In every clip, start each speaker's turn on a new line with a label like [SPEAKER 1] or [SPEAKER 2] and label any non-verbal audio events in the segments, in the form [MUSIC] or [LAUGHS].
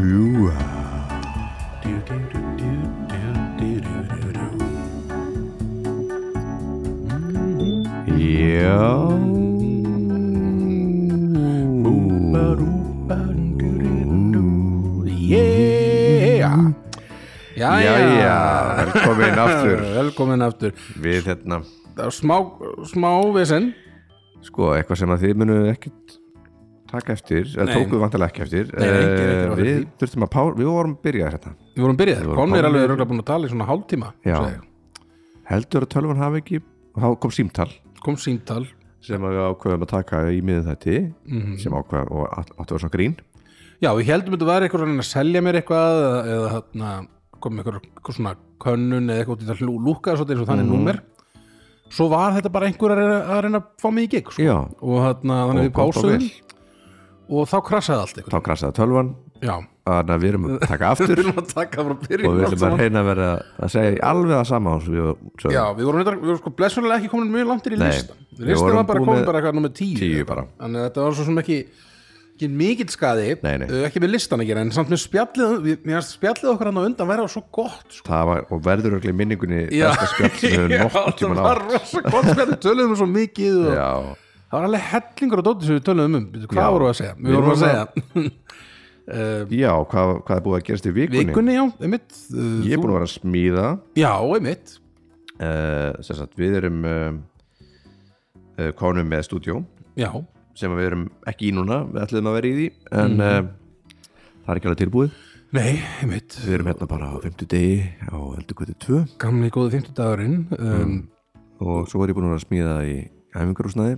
[SPEAKER 1] Ljúa Já
[SPEAKER 2] Yeah
[SPEAKER 1] Jæja, Mhm. velkomin aftur
[SPEAKER 2] [LAUGHS] Velkomin aftur
[SPEAKER 1] Við hérna,
[SPEAKER 2] Það er Smá, smá vesen
[SPEAKER 1] sko, eitthvað sem að þið munu ekkert taka eftir, eða
[SPEAKER 2] Nei.
[SPEAKER 1] tókuð vantilega ekki eftir
[SPEAKER 2] Nei, nei, ekki
[SPEAKER 1] Eh,
[SPEAKER 2] eftir á
[SPEAKER 1] Við
[SPEAKER 2] því.
[SPEAKER 1] þurftum að pár, við vorum byrjað hérna
[SPEAKER 2] Við vorum byrjað,
[SPEAKER 1] vorum
[SPEAKER 2] komnir
[SPEAKER 1] komnir.
[SPEAKER 2] alveg röglega búin að tala í svona hálftíma
[SPEAKER 1] Já.
[SPEAKER 2] sagði ég.
[SPEAKER 1] Heldur að tölvan hafi ekki, og þá kom símtal
[SPEAKER 2] Kom síntal
[SPEAKER 1] sem að við ákveðum að taka í miðin þetta
[SPEAKER 2] Mhm.
[SPEAKER 1] sem ákveðum og að- áttu að vera svona grín
[SPEAKER 2] Já, við heldum þetta var eitthvað að selja mér eitthvað eða- eða þarna kom eitthvað, eitthvað svona könnun eða eitthvað til að hlú- lúkka svo þetta er
[SPEAKER 1] Mhm.
[SPEAKER 2] þannig númer Svo var þetta bara einhver að reyna að, reyna að fá mig í gig sko.
[SPEAKER 1] Já,
[SPEAKER 2] og þarna, þannig
[SPEAKER 1] Og
[SPEAKER 2] við
[SPEAKER 1] kom þá
[SPEAKER 2] pásuðum
[SPEAKER 1] vel.
[SPEAKER 2] og þá krassaði allt eitthvað
[SPEAKER 1] þá krasaði tölvan
[SPEAKER 2] Já,
[SPEAKER 1] þannig að við erum að taka aftur
[SPEAKER 2] [LAUGHS] við erum að taka frá byrjun
[SPEAKER 1] og við
[SPEAKER 2] allt
[SPEAKER 1] viljum bara
[SPEAKER 2] saman.
[SPEAKER 1] reyna að vera að segja alveg að sama og við sögum
[SPEAKER 2] Já, við vorum, reyndar- við vorum sko blessunlega ekki komin mjög langt í
[SPEAKER 1] Nei,
[SPEAKER 2] listan
[SPEAKER 1] við
[SPEAKER 2] Listan
[SPEAKER 1] vorum
[SPEAKER 2] var bara
[SPEAKER 1] búin
[SPEAKER 2] komin
[SPEAKER 1] með
[SPEAKER 2] bara eitthvað nummer tíu,
[SPEAKER 1] tíu bara.
[SPEAKER 2] Þannig að þetta var svo sem ekki ekki mikill skaði,
[SPEAKER 1] Nei, nei.
[SPEAKER 2] uh, ekki með listan að gera en samt með spjallið, við, mér fannst spjallið okkar hann á undan væri á svo gott sko.
[SPEAKER 1] það var, og verður örugglega í minningunni
[SPEAKER 2] Já,
[SPEAKER 1] besta spjall sem
[SPEAKER 2] [LAUGHS]
[SPEAKER 1] við
[SPEAKER 2] Já,
[SPEAKER 1] höfum nokkuð
[SPEAKER 2] það
[SPEAKER 1] tíma
[SPEAKER 2] var
[SPEAKER 1] á
[SPEAKER 2] rosa gott spjall við töluðum um svo mikið og
[SPEAKER 1] Já,
[SPEAKER 2] það var alveg hellingur og dótið sem við töluðum um Bíddu,
[SPEAKER 1] Já.
[SPEAKER 2] hvað vorum við að segja?
[SPEAKER 1] Við
[SPEAKER 2] Við vorum að
[SPEAKER 1] vorum
[SPEAKER 2] segja
[SPEAKER 1] já hvað, hvað er búið að gerast í vikunni?
[SPEAKER 2] vikunni, já, einmitt uh,
[SPEAKER 1] Ég er búin að vera að smíða
[SPEAKER 2] já, einmitt,
[SPEAKER 1] uh, sem sagt, við erum uh, uh, konum með stúdjó
[SPEAKER 2] já
[SPEAKER 1] sem við erum ekki í núna, við ætlum að vera í því en uh, það er ekki alveg tilbúið
[SPEAKER 2] nei, einmitt,
[SPEAKER 1] við erum hérna bara á 50 degi á Eldugötu 2
[SPEAKER 2] gamli góði 50 dagurinn um,
[SPEAKER 1] Mm. og svo er ég búin að vera að smíða í æfingarúsnaði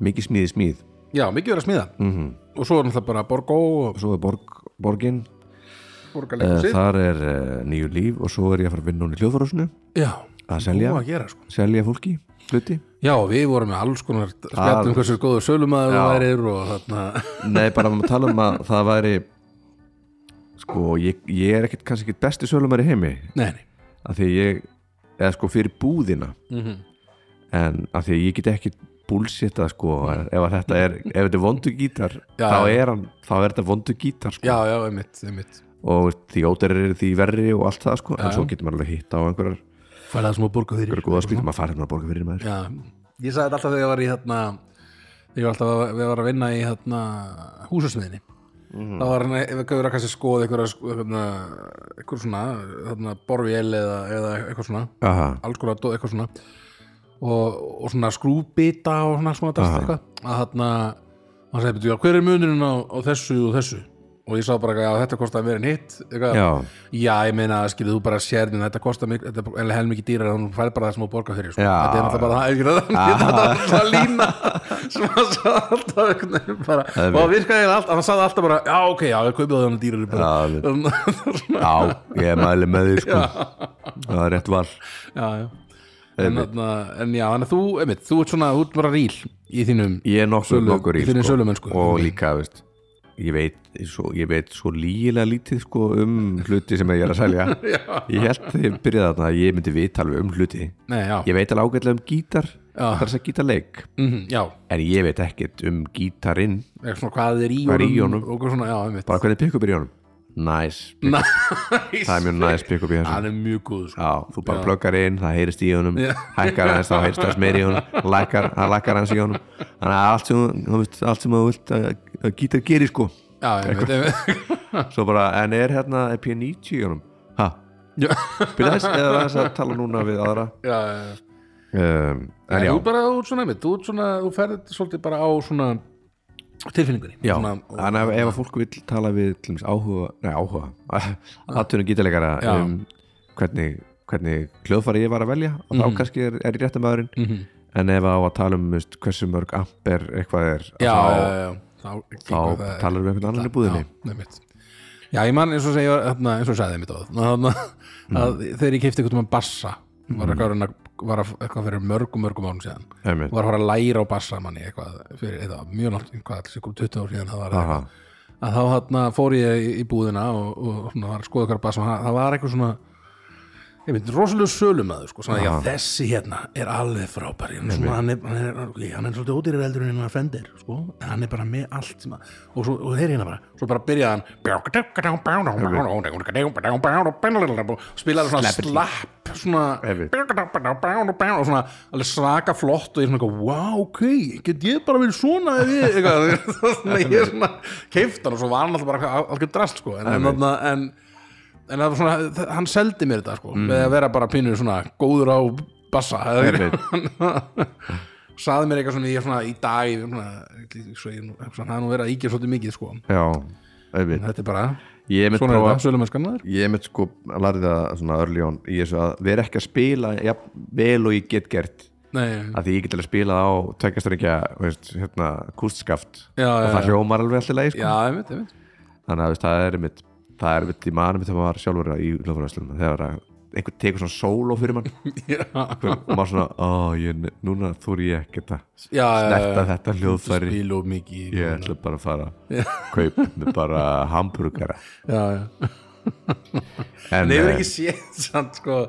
[SPEAKER 1] mikið smíði smíð
[SPEAKER 2] já, mikið verið að smíða
[SPEAKER 1] Mhm.
[SPEAKER 2] og svo er náttúrulega bara Borgó og
[SPEAKER 1] svo er borg, borgin eh,
[SPEAKER 2] Borgarleikhúsið
[SPEAKER 1] þar er uh, nýju líf og svo er ég að fara að vinna hún í hljóðfárásinu
[SPEAKER 2] já,
[SPEAKER 1] að selja,
[SPEAKER 2] búið að gera sko
[SPEAKER 1] selja fólki hluti
[SPEAKER 2] já, við vorum með alls konar spjallum hversu góðu sölumæður þú værir og þarna [LAUGHS]
[SPEAKER 1] nei bara að tala um að það væri sko ég, ég er ekkit kannski ekkit besti sölumar í heimi
[SPEAKER 2] nei, nei,
[SPEAKER 1] af því að ég eða sko fyrir búðina
[SPEAKER 2] Mhm.
[SPEAKER 1] en af því að ég get ekki búlsita sko ef að þetta er ef þetta er vondu gítar
[SPEAKER 2] Mm. Já,
[SPEAKER 1] þá
[SPEAKER 2] já.
[SPEAKER 1] er, hann, þá er þetta vondu gítar sko.
[SPEAKER 2] já, já, einmitt, einmitt
[SPEAKER 1] og því ódærir eru því verri og allt það sko. en
[SPEAKER 2] Já.
[SPEAKER 1] svo getur maður alveg hitt á einhverjar
[SPEAKER 2] fæla það smá borga fyrir
[SPEAKER 1] einhverjar góða spýtum að fara hérna að borga fyrir maður
[SPEAKER 2] Mhm. já, ég sagði þetta alltaf þegar ég var í þarna þegar ég var alltaf að, við var að vinna í þarna húsasmiðinni þá var hann ef ekki verið að kannski skoða einhverja hérna, einhver svona þarna borvél eða, eða eitthvað svona
[SPEAKER 1] Aha,
[SPEAKER 2] alls konar dót, eitthvað svona og, og svona skrúbita og svona, svona drast, eitthvað að þarna, hann sagði, "Bíddu, já, hver er munurinn á, á þessu og þessu og ég sá bara að þetta kostaði meira en hitt eitthvað.
[SPEAKER 1] já,
[SPEAKER 2] já, ég meina, skilur þú bara sérðin þetta kostaði mig, þetta er enlega helmingi dýrar en hún fær bara það sem hún borgar fyrir sko.
[SPEAKER 1] Já,
[SPEAKER 2] þetta er náttúrulega bara það, eitthvað þetta er alltaf lína [LAUGHS] sem hann sagði alltaf einhvern veginn bara,
[SPEAKER 1] er
[SPEAKER 2] og það virkaði eiginlega alltaf, hann sagði alltaf bara já, ok, já, ég kaupið þannig dýrar
[SPEAKER 1] Já,
[SPEAKER 2] bara.
[SPEAKER 1] við-
[SPEAKER 2] Svona,
[SPEAKER 1] já, ég mæli með því sko. það er rétt val
[SPEAKER 2] já, já En, þarna, en já, þannig að þú, einmitt, þú ert svona, þú ert bara ríl í þínum
[SPEAKER 1] ég er nokkuð
[SPEAKER 2] Sölu-
[SPEAKER 1] nokkur í
[SPEAKER 2] í þinni sölumennsku.
[SPEAKER 1] og líka, veist ég veit svo, ég veit svo lígilega lítið sko, um hluti sem ég er að selja ég held þegar ég byrjaði þarna að ég myndi vita alveg um hluti
[SPEAKER 2] Nei, já,
[SPEAKER 1] ég veit alveg ágætlega um gítar
[SPEAKER 2] Já.
[SPEAKER 1] þar þess að gítarleik
[SPEAKER 2] mhm, já,
[SPEAKER 1] en ég veit ekkert um gítarinn
[SPEAKER 2] eitthvað svona hvað er í
[SPEAKER 1] Hvað er í honum?
[SPEAKER 2] og eitthvað svona, já, einmitt
[SPEAKER 1] bara hvernig pick-up er í honum næs, nice, það er mjög næs nice pick-up í þessu
[SPEAKER 2] Hann er mjög góð, sko
[SPEAKER 1] Já, þú bara pluggar inn, það heyrist í honum hækkar hans, þá heyrist hans meir í honum lækkar, það lækkar hans í honum þannig að allt sem, þú veist, allt sem þú vilt að, að gítar gerir sko
[SPEAKER 2] Já, einmitt, einmitt [LAUGHS]
[SPEAKER 1] svo bara, en er hérna er P90 í honum? Ha,
[SPEAKER 2] Já,
[SPEAKER 1] byrja þess eða þess að tala núna við aðra
[SPEAKER 2] [LAUGHS] já, já
[SPEAKER 1] um, en
[SPEAKER 2] En
[SPEAKER 1] já,
[SPEAKER 2] þú bara, þú ert svona, einmitt, þú ert svona, þú ferð svolítið bara á svona tilfinningunni
[SPEAKER 1] já
[SPEAKER 2] svona, og,
[SPEAKER 1] þannig að ef að fólk vil tala við til dæmis áhuga, nei áhuga [LAUGHS] aðtunum gítarleikara
[SPEAKER 2] Já.
[SPEAKER 1] um hvernig, hvernig hljóðfari ég var að velja og þá kannski er, er í réttamæðurinn mm -hmm. En ef á að tala um veist, hversu mörg amper eitthvað er
[SPEAKER 2] Já,
[SPEAKER 1] þá,
[SPEAKER 2] já, já, já Þá,
[SPEAKER 1] þá talar við um einhvern annan í búðinni
[SPEAKER 2] Já, einmitt. já, ég man eins og segja þarna, eins og sagði einmitt á þarna,
[SPEAKER 1] Mhm.
[SPEAKER 2] að þegar ég kefti einhvern veginn bassa var eitthvað, að reyna- var að, eitthvað fyrir mörgum, mörgum ánum síðan
[SPEAKER 1] Einmitt.
[SPEAKER 2] var að fara að læra á bassa manni eitthvað fyrir, eitthvað, mjög langt, hvað, alls ykkur 20 ár síðan það var
[SPEAKER 1] Aha.
[SPEAKER 2] eitthvað að þá þarna fór ég í búðina og, og svona var að skoða okkar bassa og það- það var eitthvað svona ég veit, rosalega sölumæður sko, svona, já, þessi hérna er alveg frábær hann, er svona, hann, er, hann, er, ok, hann er svolítið ódýrir eldur en hann er fendir, sko, en hann er bara með allt sem að, og, svo, og þeir hérna bara svo bara byrjaði hann spilaði svona slapp svona,
[SPEAKER 1] Einmitt.
[SPEAKER 2] og svona alveg svaka flott og ég er svona eitthvað, wow, ok, get ég bara verið svona ef ég, eitthvað, [LAUGHS] svona, ég er svona keiftan og svo var hann alltaf bara algjör drast, sko, en, en, þarna- en en það var svona, þ- hann seldi mér þetta sko, með að vera bara pínur svona góður á bassa eða eitthvað. [LAUGHS] saði mér eitthvað svona, ég er svona í dag ég er svona, svo ég, svona, það er nú verið að ígjur svolítið mikið sko,
[SPEAKER 1] já, einmitt
[SPEAKER 2] þetta er bara
[SPEAKER 1] ég er með
[SPEAKER 2] svona er
[SPEAKER 1] prófa
[SPEAKER 2] þetta, sölumennskannaður
[SPEAKER 1] ég er með sko að larði það svona örljón í þessu að vera ekki að spila ja, vel og ég get gert
[SPEAKER 2] nei,
[SPEAKER 1] að því ég get alveg spilað á tveggjastringja hérna, kústskaft
[SPEAKER 2] Já,
[SPEAKER 1] og
[SPEAKER 2] já,
[SPEAKER 1] það
[SPEAKER 2] já.
[SPEAKER 1] hljómar alveg alltaf leið sko.
[SPEAKER 2] já, ég veit, ég veit
[SPEAKER 1] þannig að veist, það er mitt það er mitt í manum þegar maður var sjálfur í hljóðfæðarslunum þegar að einhver tekur svona sóló
[SPEAKER 2] [LAUGHS]
[SPEAKER 1] fyrir mann
[SPEAKER 2] [LAUGHS] já,
[SPEAKER 1] Hver- og maður svona, ó, ég, núna þúr ég ekkert að
[SPEAKER 2] já,
[SPEAKER 1] snerta
[SPEAKER 2] já,
[SPEAKER 1] þetta hljóðfæri
[SPEAKER 2] bíl og mikið
[SPEAKER 1] ég ætla bara að fara að kaup með bara hamburgara
[SPEAKER 2] já, já
[SPEAKER 1] en
[SPEAKER 2] Nei, ég hefur
[SPEAKER 1] eh,
[SPEAKER 2] ekki séð [LAUGHS] samt sko,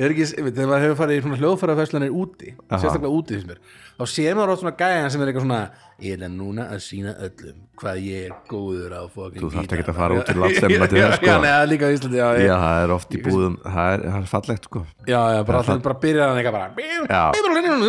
[SPEAKER 2] ég hefur ekki, ég veit, þegar maður hefur farið í svona hljóðfæraferslanir úti, sérstaklega úti finnst mér, þá sér maður átt svona gæðan sem er eitthvað svona, ég ætla núna að sína öllum hvað ég er góður á fókin
[SPEAKER 1] Þú þarft ekkert að fara út til
[SPEAKER 2] [LAUGHS]
[SPEAKER 1] landsstefnuna til þess, sko.
[SPEAKER 2] Já, neða, líka á Íslandi, já,
[SPEAKER 1] eh, já,
[SPEAKER 2] já,
[SPEAKER 1] það er oft í búðum það er, það er fallegt sko
[SPEAKER 2] já, já bara alltaf bara byrjar hann eitthvað bara
[SPEAKER 1] og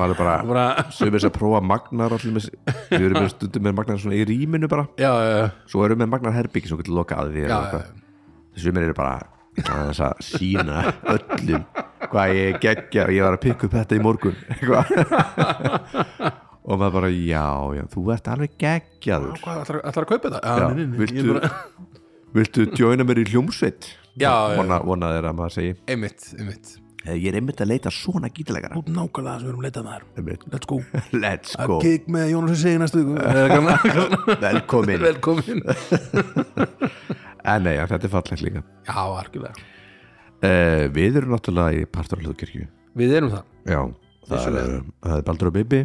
[SPEAKER 1] það er bara,
[SPEAKER 2] bara,
[SPEAKER 1] sem er þess að prófa magnar allir með, við erum með stundum með magnar svona í rýminu bara
[SPEAKER 2] já, já, já,
[SPEAKER 1] svo erum við með Magnar Herbyggi sem getur lokað að því
[SPEAKER 2] Já,
[SPEAKER 1] eða eitthvað sumir eru bara að þess að sína öllum hvað ég geggja og ég var að pikka upp þetta í morgun eitthvað og maður bara já, já, þú ert alveg geggjaður
[SPEAKER 2] hvað, ætlar ætlar að kaupa þetta?
[SPEAKER 1] já,
[SPEAKER 2] Já, nei, nei, nei, ég
[SPEAKER 1] viltu,
[SPEAKER 2] bara-
[SPEAKER 1] viltu djóina mér í hljómsveit
[SPEAKER 2] Já, já.
[SPEAKER 1] vona, vona þeir að maður segi
[SPEAKER 2] einmitt, einmitt,
[SPEAKER 1] "Eh, ég er einmitt að leita svona gítalegara
[SPEAKER 2] út nákvæmlega það sem við erum leitað með þér,
[SPEAKER 1] Einmitt.
[SPEAKER 2] let's go,
[SPEAKER 1] let's go,
[SPEAKER 2] gig með Jónas Sig næstu, viku. Eða [LAUGHS]
[SPEAKER 1] [LAUGHS]
[SPEAKER 2] eitthvað.
[SPEAKER 1] velkomin
[SPEAKER 2] velkomin
[SPEAKER 1] en nei, já, þetta er fallegt líka
[SPEAKER 2] Já, algjörlega
[SPEAKER 1] uh, við erum náttúrulega í partur á hljóðkirkju
[SPEAKER 2] Við erum það
[SPEAKER 1] Já, það er, það er Baldur og Bibi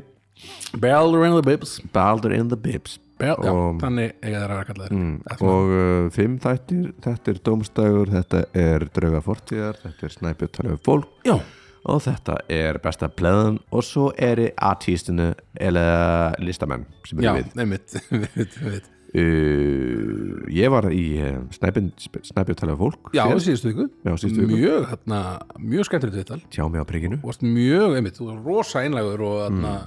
[SPEAKER 2] Baldur and the Bibs
[SPEAKER 1] Baldur in the Bibs
[SPEAKER 2] Bell, já,
[SPEAKER 1] Og-
[SPEAKER 2] Þannig eiga þeir að vera kallaðir mm,
[SPEAKER 1] og uh, fimm þættir, þetta er Dómstægur þetta er Drauga Fortíðar þetta er Snæpjö Töljöf Fólk
[SPEAKER 2] Já,
[SPEAKER 1] og þetta er Besta Pleðan og svo er artístinu eða listamenn sem
[SPEAKER 2] já,
[SPEAKER 1] eru við
[SPEAKER 2] einmitt [LAUGHS] einmitt, einmitt.
[SPEAKER 1] uh, Ég var í uh, Snæpjö Töljöf Fólk
[SPEAKER 2] Já,
[SPEAKER 1] síðast.
[SPEAKER 2] síðustu ykkur
[SPEAKER 1] Já, síðustu viku.
[SPEAKER 2] Mjög, hérna, mjög skemmtilegt viðtal
[SPEAKER 1] tjá mig á prikinu
[SPEAKER 2] Þú varst mjög, einmitt, þú varst rosa einlægur og hérna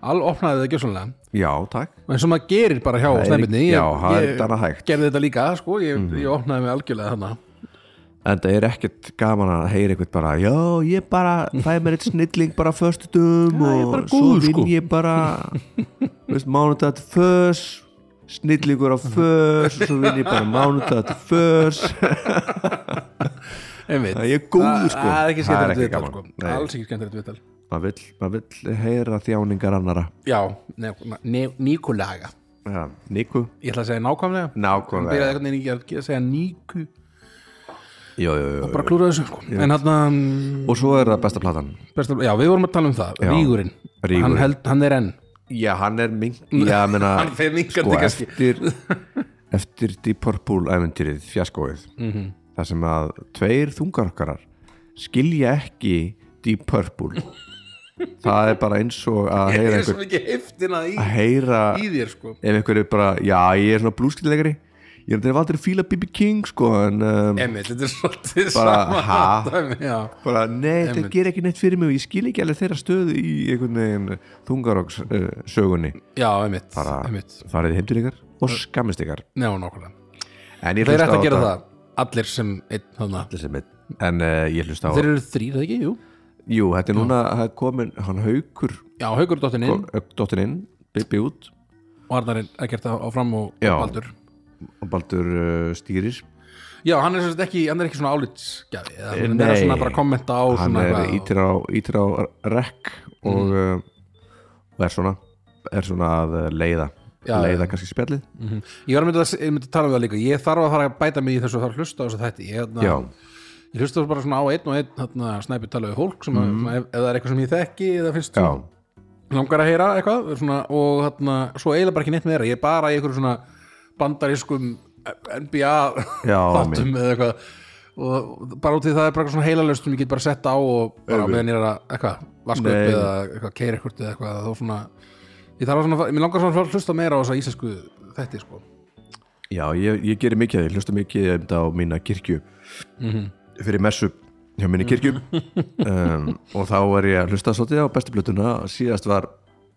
[SPEAKER 1] Mm.
[SPEAKER 2] All opnaði það gjössanlega
[SPEAKER 1] Já, takk
[SPEAKER 2] En sem maður gerir bara hjá
[SPEAKER 1] er-
[SPEAKER 2] snæminni
[SPEAKER 1] já, það er bara hægt. Mm.
[SPEAKER 2] Gerði þetta líka, sko, ég, ég opnaði mig algjörlega þarna
[SPEAKER 1] en það er ekkert gaman að heyra eitthvað bara, já, ég bara fæ mér eitt snilling bara föstudum
[SPEAKER 2] Já, ég er
[SPEAKER 1] og
[SPEAKER 2] bara góður,
[SPEAKER 1] svo vinn
[SPEAKER 2] sko.
[SPEAKER 1] ég bara
[SPEAKER 2] [LAUGHS]
[SPEAKER 1] veist, mánudag til fös snillingur á fös og svo vinn ég bara mánudag til fös
[SPEAKER 2] Einmitt
[SPEAKER 1] ég er góður, sko.
[SPEAKER 2] Það er ekki
[SPEAKER 1] Það er
[SPEAKER 2] skemmtilegt
[SPEAKER 1] ekki
[SPEAKER 2] viðtal,
[SPEAKER 1] gaman.
[SPEAKER 2] sko
[SPEAKER 1] Nei.
[SPEAKER 2] Alls ekki skemmtilegt viðtal
[SPEAKER 1] maður vill, mað vill heyra þjáningar annara
[SPEAKER 2] Já, ne- ne- Nikolaga
[SPEAKER 1] ja, Niku,
[SPEAKER 2] ég ætla að segja nákvæmlega Hún byrjaði
[SPEAKER 1] nákvæmlega
[SPEAKER 2] einhvern veginn ekki að gera- segja níku
[SPEAKER 1] jó, jó, jó.
[SPEAKER 2] bara klúra þessu sko. en hann um,
[SPEAKER 1] og svo er það besta platan
[SPEAKER 2] besta, já við vorum að tala um það,
[SPEAKER 1] Já,
[SPEAKER 2] Rígurinn
[SPEAKER 1] Rígurinn.
[SPEAKER 2] hann, held, hann er enn
[SPEAKER 1] já, hann er mink já, meina,
[SPEAKER 2] Hann fer minnkandi
[SPEAKER 1] sko,
[SPEAKER 2] kannski.
[SPEAKER 1] eftir, eftir Deep Purple æventýrið, fjaskóið
[SPEAKER 2] Mhm.
[SPEAKER 1] -hmm. þar sem að tveir þungarokkarar skilja ekki Deep Purple það er bara eins og að heyra
[SPEAKER 2] er
[SPEAKER 1] einhver,
[SPEAKER 2] svo mikið heftina í,
[SPEAKER 1] að heyra
[SPEAKER 2] í þér sko
[SPEAKER 1] ef einhver er bara, já, ég er svona blúskillegari ég er aldrei að fíla B.B. King sko, en um,
[SPEAKER 2] Emil, þetta er svolítið
[SPEAKER 1] Bara,
[SPEAKER 2] sama
[SPEAKER 1] ha?
[SPEAKER 2] dæmi, [LAUGHS] já.
[SPEAKER 1] bara, nei, þetta
[SPEAKER 2] Einmitt.
[SPEAKER 1] ger ekki neitt fyrir mig og ég skil ekki alveg þeirra stöðu í einhvern veginn þungarokks uh, sögunni
[SPEAKER 2] já, Emil,
[SPEAKER 1] Bara-
[SPEAKER 2] Emil
[SPEAKER 1] farið heimtur ykkar og skammist ykkar
[SPEAKER 2] Nei, nákvæmlega
[SPEAKER 1] En ég
[SPEAKER 2] þeir
[SPEAKER 1] hlusta
[SPEAKER 2] ætti
[SPEAKER 1] á
[SPEAKER 2] að gera
[SPEAKER 1] þetta-
[SPEAKER 2] það, allir sem einn þarna
[SPEAKER 1] allir sem einn. En uh, ég hlusta á
[SPEAKER 2] þeir eru þrýr, það ekki, jú
[SPEAKER 1] Jú, þetta er núna það er komin Hann haukur
[SPEAKER 2] já, Haukur dottin
[SPEAKER 1] Sko-
[SPEAKER 2] inn
[SPEAKER 1] Dóttin inn, Bibi út
[SPEAKER 2] og Arnarinn er gert á- áfram og
[SPEAKER 1] Já.
[SPEAKER 2] og Baldur
[SPEAKER 1] Og Baldur uh, stýrir
[SPEAKER 2] já, hann er, sem sagt ekki, hann er ekki svona álitsgjafi eða hann er
[SPEAKER 1] Nei.
[SPEAKER 2] meira svona bara að kommenta á
[SPEAKER 1] Hann
[SPEAKER 2] svona
[SPEAKER 1] er
[SPEAKER 2] eitthvað Mm. og-
[SPEAKER 1] ítir á, ítir á rekk Og, uh, og er svona Er svona að uh, leiða
[SPEAKER 2] Já,
[SPEAKER 1] Leiða kannski spjallið
[SPEAKER 2] Ég var að mynda að, ég myndi að tala um það líka Ég þarf að fara að bæta mig í þessu og þarf að hlusta á þessu þætti Ég,
[SPEAKER 1] Já,
[SPEAKER 2] hérna, ég hlusta bara svona á einn og einn hérna, snæpi talaði hólk sem mm. að, ef, ef það er eitthvað sem ég þekki eða finnst
[SPEAKER 1] Mhm. já,
[SPEAKER 2] svona langar að heyra eitthvað svona, og hérna, svo eiginlega bara ekki neitt meira Ég er bara í einhverjum svona bandarískum NBA
[SPEAKER 1] Já,
[SPEAKER 2] þáttum eða eitthvað og bara út í það er bara eitthvað svona heilalöst sem ég get bara sett á og bara
[SPEAKER 1] Auðvitað.
[SPEAKER 2] meðan ég er að eitthvað vaska
[SPEAKER 1] Nei.
[SPEAKER 2] upp eða eitthvað keira eitthvað eða eitthvað þá svona ég þarf að svona, mér langar svona að hlusta meira á þessa íslensku þetta sko
[SPEAKER 1] Já, ég, ég gerir mikið af því, hlusta mikið um þetta á mína kirkju
[SPEAKER 2] Mhm.
[SPEAKER 1] fyrir messu hjá minni kirkju [LAUGHS] um, og þá er ég að hlusta svolítið á bestu blötuna síðast var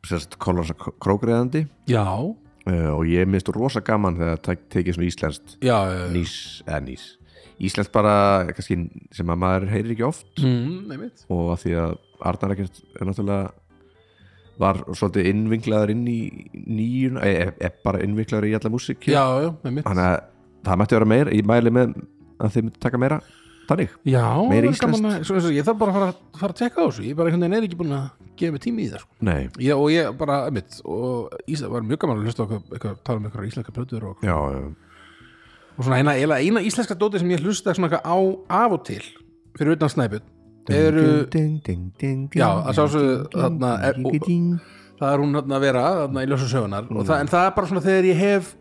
[SPEAKER 1] sérst Kolonsa Krókreðandi
[SPEAKER 2] já,
[SPEAKER 1] uh, og ég minnst rosa gaman þegar það tek- tekið svona íslenskt
[SPEAKER 2] já, já, já.
[SPEAKER 1] nýs, eða nýs íslenskt bara kannski sem að maður heyrir ekki oft
[SPEAKER 2] Mm, einmitt.
[SPEAKER 1] og að því að Arnar ekkert er náttúrulega var svolítið innvinklaður inn í nýjun, eða e, bara innvinklaður í alla músík
[SPEAKER 2] já, já, einmitt
[SPEAKER 1] þannig að það mætti vera meira, ég mæli með að þið myndi taka meira þannig
[SPEAKER 2] já,
[SPEAKER 1] meira
[SPEAKER 2] það er gaman að- svo eins og ég þarf bara að fara, fara að tjekka á þessu ég bara einhvern veginn er ekki búin að gefa mig tími í það sko.
[SPEAKER 1] Nei,
[SPEAKER 2] Já, og ég bara, einmitt, og Ísla var mjög gaman að hlusta á eitthvað, eitthvað tala um eitthvað íslenska plötur og,
[SPEAKER 1] já, já,
[SPEAKER 2] og svona eina, eina, eina íslenska dóti sem ég hlusta svona eitthvað á af og til fyrir utan snæput eru,
[SPEAKER 1] ding, ding, ding, ding,
[SPEAKER 2] já, að sá svo þarna, er,
[SPEAKER 1] ding,
[SPEAKER 2] og,
[SPEAKER 1] ding.
[SPEAKER 2] það er hún þarna að vera þarna í ljósa sögunar, og það, en það er bara svona þegar ég hef,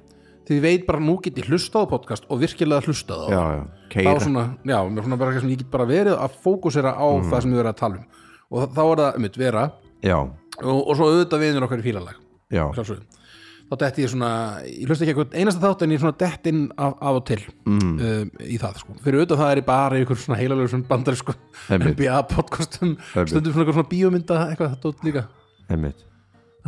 [SPEAKER 2] þegar ég veit bara nú get ég hlustað á podcast og virkilega hlustað á
[SPEAKER 1] já, já,
[SPEAKER 2] þá
[SPEAKER 1] keira
[SPEAKER 2] svona, já, mér svona bara, eitthvað sem ég get bara verið að fókusera á það sem við verið að tala um og þá er það, einmitt, vera
[SPEAKER 1] já,
[SPEAKER 2] og, og svo auðvitað viðnur okkar í fílalag
[SPEAKER 1] já,
[SPEAKER 2] sjálfsögum þá detti ég svona, ég hlusta ekki eitthvað einasta þátt en ég svona dett inn af, af og til mm. í það sko, fyrir auðvitað það er ég bara í ykkur svona heilalögur svona bandar sko
[SPEAKER 1] Einmitt.
[SPEAKER 2] NBA podcastum,
[SPEAKER 1] Einmitt.
[SPEAKER 2] stundum svona eitthvað svona bíómynda eitthvað þetta út líka,
[SPEAKER 1] einmitt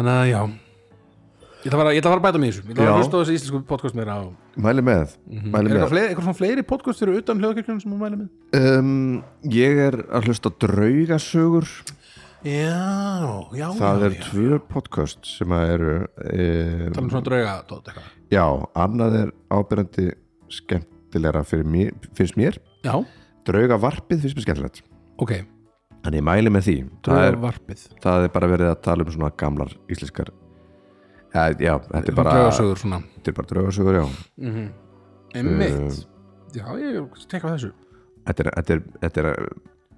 [SPEAKER 2] þannig að já ég ætla að fara- ég ætla að fara að bæta mig í þessu, ég ætla að fara
[SPEAKER 1] Já.
[SPEAKER 2] að hlusta á þessi íslensku podcast meira á,
[SPEAKER 1] Mæli með,
[SPEAKER 2] Mhm. er
[SPEAKER 1] mæli
[SPEAKER 2] eitthvað,
[SPEAKER 1] með
[SPEAKER 2] fleiri, eitthvað svona fleiri podcast fyrir utan hljóðkirkjunum sem hún mæli með?
[SPEAKER 1] um, Ég er að hlusta á draugasögur
[SPEAKER 2] Já, já,
[SPEAKER 1] Það
[SPEAKER 2] já,
[SPEAKER 1] er
[SPEAKER 2] já.
[SPEAKER 1] tvö podcast sem að eru
[SPEAKER 2] Tala
[SPEAKER 1] um,
[SPEAKER 2] um svona drauga dót eitthvað
[SPEAKER 1] Já, annað er ábyrjandi skemmtilegra fyrir mér, finnst mér
[SPEAKER 2] Já,
[SPEAKER 1] Draugavarpið finnst mér skemmtilegt
[SPEAKER 2] ok,
[SPEAKER 1] Þannig ég mæli með því það er,
[SPEAKER 2] draugavarpið
[SPEAKER 1] það er bara verið að tala um svona gamlar íslenskar ja, Já, þetta er bara
[SPEAKER 2] Draugasögur svona
[SPEAKER 1] Þetta er bara draugasögur, já
[SPEAKER 2] Mhm. Einmitt Já, ég tekka þessu
[SPEAKER 1] Þetta er, þetta er, þetta er,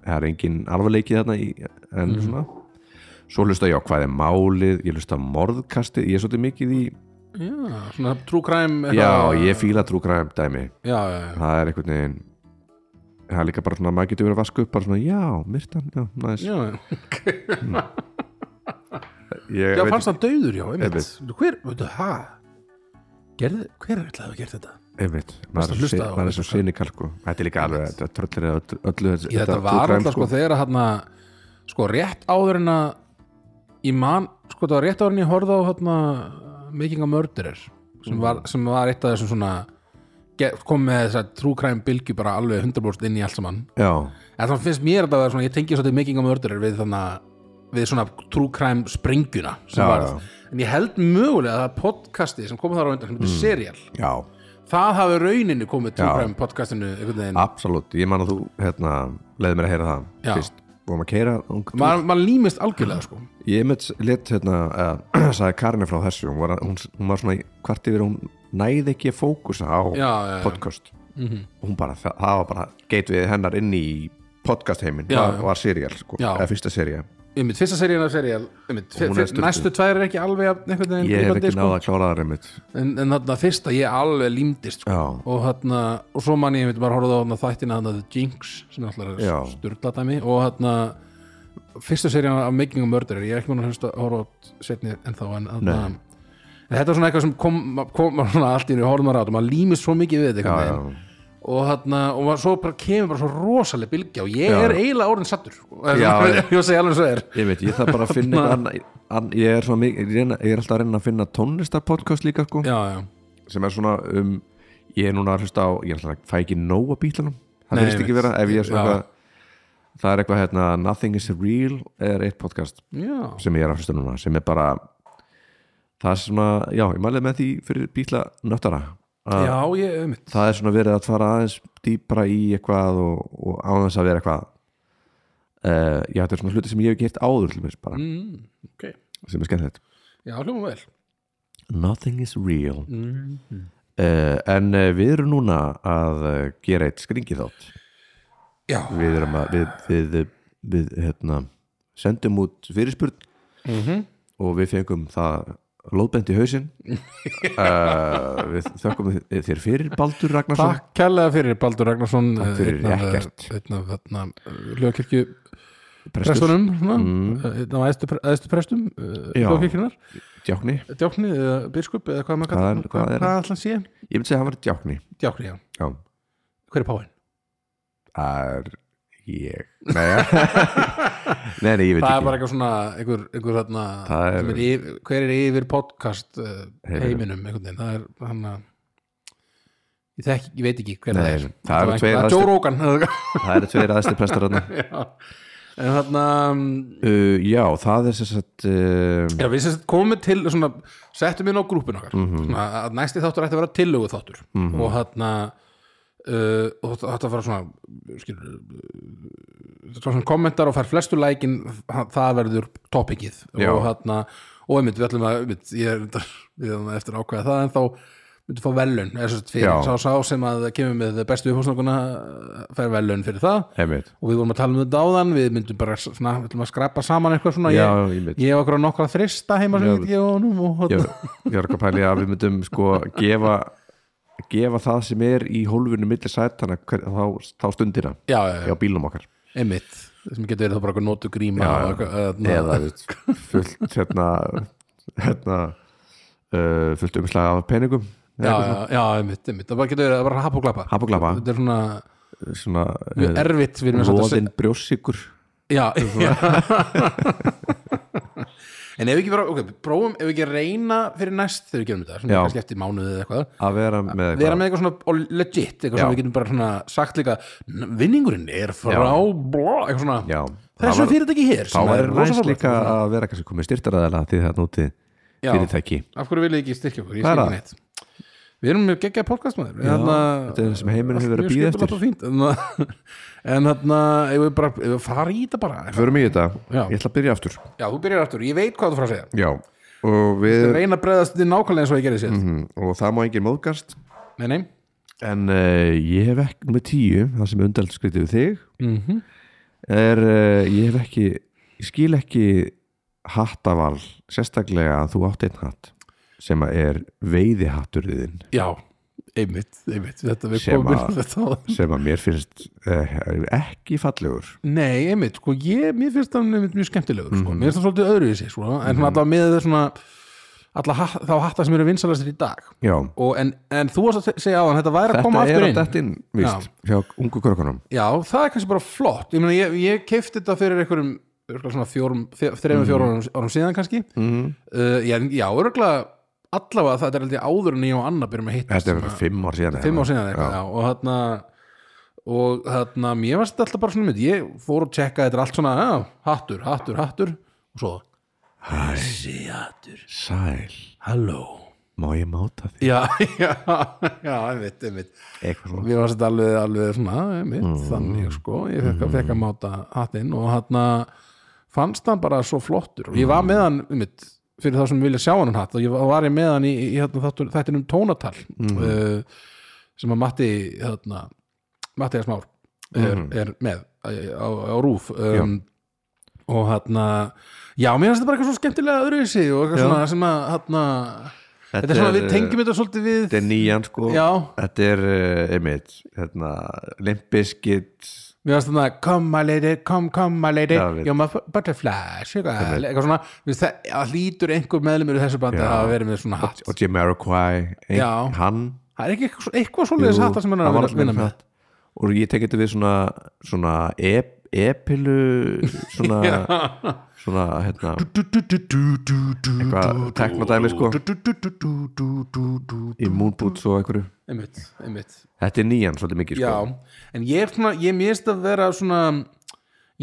[SPEAKER 1] það er engin alvarleiki þarna í, en
[SPEAKER 2] Mhm.
[SPEAKER 1] svona Svo hlusta ég á hvað er málið Ég hlusta á morðkasti, ég er svolítið mikið í
[SPEAKER 2] Já, svona true crime
[SPEAKER 1] Já,
[SPEAKER 2] eitthvað-
[SPEAKER 1] ég fíla trúgræðum dæmi
[SPEAKER 2] já, já, já.
[SPEAKER 1] Það er einhvern veginn Það er líka bara svona, maður getur verið að vaska upp bara svona, já, myrtan, já, næs
[SPEAKER 2] já, já.
[SPEAKER 1] Ég
[SPEAKER 2] já
[SPEAKER 1] veit-
[SPEAKER 2] fannst hann döður, já, einmitt
[SPEAKER 1] Einmitt.
[SPEAKER 2] Hver, veitu, hæ Gerði, hver ætlaði að hafa gert þetta?
[SPEAKER 1] einmitt, maður
[SPEAKER 2] að
[SPEAKER 1] er
[SPEAKER 2] hlusta
[SPEAKER 1] svo-
[SPEAKER 2] á
[SPEAKER 1] maður er svo
[SPEAKER 2] þetta.
[SPEAKER 1] sinikal sko. þetta er líka alveg, þetta tröllir eða öllu, öllu
[SPEAKER 2] Ég, þetta var alltaf sko þegar að hann sko rétt áður en að ég man, sko þetta var rétt áður en ég horfði á hann Making a Murderer sem var, sem var eitt af þessum svona ge- kom með þess að true crime bylgju bara alveg 100% inn í allt saman
[SPEAKER 1] já,
[SPEAKER 2] en þannig finnst mér þetta að vera svona, ég tengi svolítið Making a Murderer við þannig að við svona true crime springjuna sem
[SPEAKER 1] Já,
[SPEAKER 2] varð en ég held mögulega að það podcasti sem komið þar á undan sem heitir mm. serial
[SPEAKER 1] já,
[SPEAKER 2] það hafi rauninni komið true
[SPEAKER 1] Já.
[SPEAKER 2] crime podcastinu einhvern veginn
[SPEAKER 1] absolutt ég man að þú, hérna, leiði mér að heyra það
[SPEAKER 2] Já.
[SPEAKER 1] fyrst, búum að keira
[SPEAKER 2] maður ma límist algjörlega sko
[SPEAKER 1] ég mitt lit, hérna, uh, [CLEARS THROAT] sagði Karinni frá þessu hún var, að- hún, hún var svona í- hvart yfir að hún næði ekki að fókusa á
[SPEAKER 2] já, já, Mhm. já.
[SPEAKER 1] podcast hún bara, það, það var bara geit við hennar inn í podcast heimin,
[SPEAKER 2] Já,
[SPEAKER 1] það
[SPEAKER 2] já.
[SPEAKER 1] var serial sko,
[SPEAKER 2] Já.
[SPEAKER 1] eða fyrsta serial
[SPEAKER 2] einmitt, fyrsta serían af serial einmitt, fyr,
[SPEAKER 1] Hún er
[SPEAKER 2] fyr,
[SPEAKER 1] sturluð.
[SPEAKER 2] næstu tvær er ekki alveg jafn einhvern veginn
[SPEAKER 1] ég hef
[SPEAKER 2] grípandi,
[SPEAKER 1] ekki náða að klára það reymitt
[SPEAKER 2] en, en þarna fyrsta ég alveg límdist sko.
[SPEAKER 1] já,
[SPEAKER 2] og, þarna, og svo man ég einmitt maður horfði á þarna þættina þarna The Jinx sem er
[SPEAKER 1] Já.
[SPEAKER 2] alltaf styrla dæmi og þarna fyrstu serían af Making a Murderer ég er ekki mann að hlusta horfa át setni en þá en, þarna,
[SPEAKER 1] Nei.
[SPEAKER 2] en þetta er svona eitthvað sem kom, kom maður svona allt í henni horfði maður á þetta og maður límist svo mikið við þetta
[SPEAKER 1] já,
[SPEAKER 2] einhvern
[SPEAKER 1] já
[SPEAKER 2] veginn. og þarna og maður, svo bara kemur bara svo rosaleg bylgja og ég
[SPEAKER 1] Já.
[SPEAKER 2] er eiginlega orðin sattur sko.
[SPEAKER 1] Já, já.
[SPEAKER 2] [LAUGHS] ég segi alveg svo er
[SPEAKER 1] Ég veit, ég þarf bara að
[SPEAKER 2] [LAUGHS]
[SPEAKER 1] finna eitthvað annað an, ég, er svona mikið- ég reyna- ég er alltaf að reyna að finna tónlistarpodcast líka sko,
[SPEAKER 2] já, já
[SPEAKER 1] sem er svona um ég er núna að hlusta á, ég er alltaf að fæ ekki nóg af bílunum, það
[SPEAKER 2] Nei,
[SPEAKER 1] finnst ekki
[SPEAKER 2] einmitt.
[SPEAKER 1] vera ef ég er svona
[SPEAKER 2] Já.
[SPEAKER 1] eitthvað það er eitthvað hérna Nothing is Real er eitt podcast
[SPEAKER 2] Já,
[SPEAKER 1] sem ég er að hlusta núna, sem er bara það er svona, já, ég mælið með því fyrir bíla nöttara að
[SPEAKER 2] já ég einmitt
[SPEAKER 1] það er svona verið að fara aðeins dýpra í eitthvað og, og aðeins að vera eitthvað uh, já, þetta er svona hluti sem ég hef ekki hitt áður til mér bara,
[SPEAKER 2] mm, okay.
[SPEAKER 1] sem er skemmtilegt
[SPEAKER 2] Já, hljóma vel
[SPEAKER 1] Nothing is real
[SPEAKER 2] Mhm.
[SPEAKER 1] uh, En uh, við erum núna að uh, gera eitt skringi þátt
[SPEAKER 2] Já,
[SPEAKER 1] Við erum að við, við, við hérna, sendum út fyrirspurn
[SPEAKER 2] mm
[SPEAKER 1] og við fengum það lóðbend í
[SPEAKER 2] [LAUGHS]
[SPEAKER 1] hausinn uh, við þökkum þi- þér fyrir Baldur Ragnarsson
[SPEAKER 2] Takk kærlega fyrir Baldur Ragnarsson eh,
[SPEAKER 1] Takk fyrir,
[SPEAKER 2] einn af-
[SPEAKER 1] ekkert.
[SPEAKER 2] einn af hérna, þarna hljóðkirkju prestunum mm. einn af æðstu, pre- æðstu prestum
[SPEAKER 1] Já.
[SPEAKER 2] hljóðkirkjunar
[SPEAKER 1] Djákni,
[SPEAKER 2] djákni eða biskup eða hvað maður
[SPEAKER 1] Hvað
[SPEAKER 2] kallar
[SPEAKER 1] er-
[SPEAKER 2] hvað,
[SPEAKER 1] hvað er-
[SPEAKER 2] hvað allan sé
[SPEAKER 1] ég myndi segja að hann var Djákni
[SPEAKER 2] djákni já
[SPEAKER 1] já,
[SPEAKER 2] hver er páinn
[SPEAKER 1] það er ég nei, ja.
[SPEAKER 2] [LAUGHS]
[SPEAKER 1] nei, nei, ég veit
[SPEAKER 2] það er
[SPEAKER 1] ekki
[SPEAKER 2] bara eitthvað svona einhver, einhver þarna
[SPEAKER 1] Það er-
[SPEAKER 2] sem er yfir, hver er yfir podcast uh,
[SPEAKER 1] Heyrðu.
[SPEAKER 2] heiminum einhvern veginn það er hann að ég, þekki, ég veit ekki hver
[SPEAKER 1] Nei,
[SPEAKER 2] það er
[SPEAKER 1] nei, það eru
[SPEAKER 2] var
[SPEAKER 1] tveir
[SPEAKER 2] einhver-
[SPEAKER 1] aðstu-
[SPEAKER 2] Joe Rogan
[SPEAKER 1] það eru tveir aðstir prestar hann
[SPEAKER 2] Já. en þarna um,
[SPEAKER 1] uh, já, það er sem sagt uh,
[SPEAKER 2] Já, við sem sagt komum með til svona, settum inn á grúpin okkar
[SPEAKER 1] Mhm.
[SPEAKER 2] svona, að næsti þáttur ætti að vera tillögu þáttur og þarna uh, og þetta- þetta var svona skilur, þetta var svona kommentar og fær flestu lækin það verður topikið
[SPEAKER 1] Já.
[SPEAKER 2] og þarna, og einmitt, við ætlum að einmitt, ég er reyndar- [LAUGHS] við erum eftir að ákveða það en þá myndum fá velun
[SPEAKER 1] Já.
[SPEAKER 2] fyrir, sá, sá sem að kemur með bestu upphúsnokuna fær velun fyrir það
[SPEAKER 1] einmitt
[SPEAKER 2] og við vorum að tala um þetta áðan við myndum bara svona, við ætlum að skrapa saman eitthvað svona,
[SPEAKER 1] Já,
[SPEAKER 2] ég,
[SPEAKER 1] einmitt.
[SPEAKER 2] ég hef okkur á nokkra þrista heima sem
[SPEAKER 1] Já.
[SPEAKER 2] ég get gefa honum og hérna.
[SPEAKER 1] Já,
[SPEAKER 2] hotna.
[SPEAKER 1] ég var ekki að pæli að við myndum sko gefa gefa það sem er í hólfinu milli sætana hver- þá, þá stundina
[SPEAKER 2] já, já,
[SPEAKER 1] á bílum okkar
[SPEAKER 2] já einmitt sem getur verið þá bara eitthvað notu gríma
[SPEAKER 1] Já, já.
[SPEAKER 2] og eitthvað, eh,
[SPEAKER 1] eða þú veist, fullt hérna, hérna uh, fullt umslag af peningum
[SPEAKER 2] já, já, já, einmitt, einmitt það bara getur verið að bara happ og glappa
[SPEAKER 1] hafa glapa
[SPEAKER 2] þetta er svona
[SPEAKER 1] svona eh,
[SPEAKER 2] mjög erfitt við erum að setja-
[SPEAKER 1] róðin brjósikur
[SPEAKER 2] Já, [LAUGHS] já. En ef við ekki bara, ok, prófum ef við ekki að reyna fyrir næst þegar við gerum þetta svona
[SPEAKER 1] Já.
[SPEAKER 2] kannski eftir mánuðið eða eitthvað
[SPEAKER 1] að vera
[SPEAKER 2] við
[SPEAKER 1] með
[SPEAKER 2] erum
[SPEAKER 1] eitthvað
[SPEAKER 2] með eitthvað svona og legit eitthvað
[SPEAKER 1] Já.
[SPEAKER 2] sem við getum bara svona sagt líka "N- vinningurinn er frá blá, eitthvað svona,
[SPEAKER 1] Já. Það
[SPEAKER 2] þessu
[SPEAKER 1] var-
[SPEAKER 2] fyrirtæki hér
[SPEAKER 1] þá
[SPEAKER 2] sem
[SPEAKER 1] er
[SPEAKER 2] rosa
[SPEAKER 1] næst
[SPEAKER 2] fallegt,
[SPEAKER 1] líka
[SPEAKER 2] eitthvað svona.
[SPEAKER 1] að vera kannski komið styrtaraðala því það núti
[SPEAKER 2] Já.
[SPEAKER 1] fyrirtæki
[SPEAKER 2] af hverju viljið þið ekki styrkja okkur, ég
[SPEAKER 1] Hvað er
[SPEAKER 2] skil ekki neitt við erum með geggjað podcast maður En þarna-
[SPEAKER 1] þetta er það sem heimurinn hefur verið að
[SPEAKER 2] allt
[SPEAKER 1] bíða
[SPEAKER 2] mjög skipulagt og fínt. En þarna- [LAUGHS] en þarna, ef við bara ef við fara í þetta bara
[SPEAKER 1] förum í þetta,
[SPEAKER 2] Já.
[SPEAKER 1] ég ætla að byrja aftur
[SPEAKER 2] já, þú byrjar aftur, ég veit hvað þú frá að segja
[SPEAKER 1] já, og við
[SPEAKER 2] Ég reyna að bregðast þið nákvæmlega eins og ég gerði sér
[SPEAKER 1] Mm, og það má enginn móðgast
[SPEAKER 2] nei, nei,
[SPEAKER 1] en uh, ég hef ekki nummer tíu, það sem er undarskriti við þig Mhm. er uh, ég hef ekki, ég skil ekki hattaval sérstaklega að þú átt einn hatt sem að er veiðihatturinn þinn
[SPEAKER 2] já einmitt, einmitt, þetta við
[SPEAKER 1] Sem
[SPEAKER 2] komum
[SPEAKER 1] að-
[SPEAKER 2] inn á þetta áðan.
[SPEAKER 1] sem að mér finnst uh, ekki fallegur
[SPEAKER 2] Nei, einmitt, sko, ég, mér finnst hann einmitt mjög skemmtilegur, sko,
[SPEAKER 1] Mhm.
[SPEAKER 2] mér finnst það svolítið öðru í sig, sko, en mm -hmm. allavega með það svona alla ha- þá hatta sem eru vinsalastir í dag
[SPEAKER 1] já,
[SPEAKER 2] og en, en þú varst að segja á hann, þetta væri að koma
[SPEAKER 1] þetta
[SPEAKER 2] aftur
[SPEAKER 1] er
[SPEAKER 2] inn
[SPEAKER 1] að dætt inn víst, hjá ungu krökkunum
[SPEAKER 2] Já, það er kannski bara flott, ég meina, ég, ég keifti þetta fyrir einhverjum, örgulega svona fjórum þe- þremur, fjórum
[SPEAKER 1] Mhm.
[SPEAKER 2] árum, árum síðan kannski
[SPEAKER 1] mm.
[SPEAKER 2] uh, já, en- já, örgulega allavega það er aldrei áður en ég og Anna byrjum að hitta
[SPEAKER 1] þetta er fimm ár síðan
[SPEAKER 2] fimm ár síðan eitthvað, já, og þarna og þarna, mér varst alltaf bara svona mynd, ég fór að tjekka þetta er allt svona, já, hattur, hattur, hattur og svo, þessi hattur
[SPEAKER 1] sæl,
[SPEAKER 2] halló,
[SPEAKER 1] má ég máta þig
[SPEAKER 2] já, [LAUGHS] já já, einmitt, einmitt
[SPEAKER 1] eitthvað svona.
[SPEAKER 2] mér varst þetta alveg, alveg svona, einmitt
[SPEAKER 1] Mm.
[SPEAKER 2] þannig, sko, ég fekk, fekk að máta hattinn og þarna fannst hann bara svo flottur, og ég var með hann einmitt, fyrir þá sem vilja sjá hann um hatt og ég var, var ég með hann í, í, í þarna þáttur- þættinum tónatal
[SPEAKER 1] Mm.
[SPEAKER 2] uh, sem að Matti þarna, Mattias Már er,
[SPEAKER 1] Mm.
[SPEAKER 2] er með æ, á, á rúf um, og hann já, mér finnst þetta bara eitthvað svo skemmtilega öðruvísi og eitthvað
[SPEAKER 1] Já.
[SPEAKER 2] svona sem að hann þetta er svona, við tengjum þetta svolítið við
[SPEAKER 1] þetta er nýjan sko
[SPEAKER 2] já,
[SPEAKER 1] Þetta er, uh, einmitt, hérna, limpiskit,
[SPEAKER 2] mér finnst þetta come my lady, come, come my lady
[SPEAKER 1] Já, við-
[SPEAKER 2] you're my butterfly, sugar eitthvað svona, mér finnst það að hlýtur einhver meðlumur í þessu bandi
[SPEAKER 1] Já.
[SPEAKER 2] að hafa verið með svona hatt
[SPEAKER 1] og Jamiroquai, ein-
[SPEAKER 2] Já.
[SPEAKER 1] hann,
[SPEAKER 2] það er ekki eitthvað, eitthvað svoleiðis
[SPEAKER 1] Jú,
[SPEAKER 2] hatta sem hann er
[SPEAKER 1] hann
[SPEAKER 2] að
[SPEAKER 1] var
[SPEAKER 2] vinna-
[SPEAKER 1] alltaf
[SPEAKER 2] vinna
[SPEAKER 1] með
[SPEAKER 2] með
[SPEAKER 1] hatt. og ég tek þetta við svona, svona ep, epilu,
[SPEAKER 2] [LAUGHS]
[SPEAKER 1] svona, svona, hérna,
[SPEAKER 2] eitthvað
[SPEAKER 1] Eitthvað technodæmi, sko. í moonboots og einhverju.
[SPEAKER 2] einmitt, einmitt
[SPEAKER 1] Þetta er nýjan svolítið mikið,
[SPEAKER 2] já,
[SPEAKER 1] sko.
[SPEAKER 2] en ég er svona ég mérst að vera svona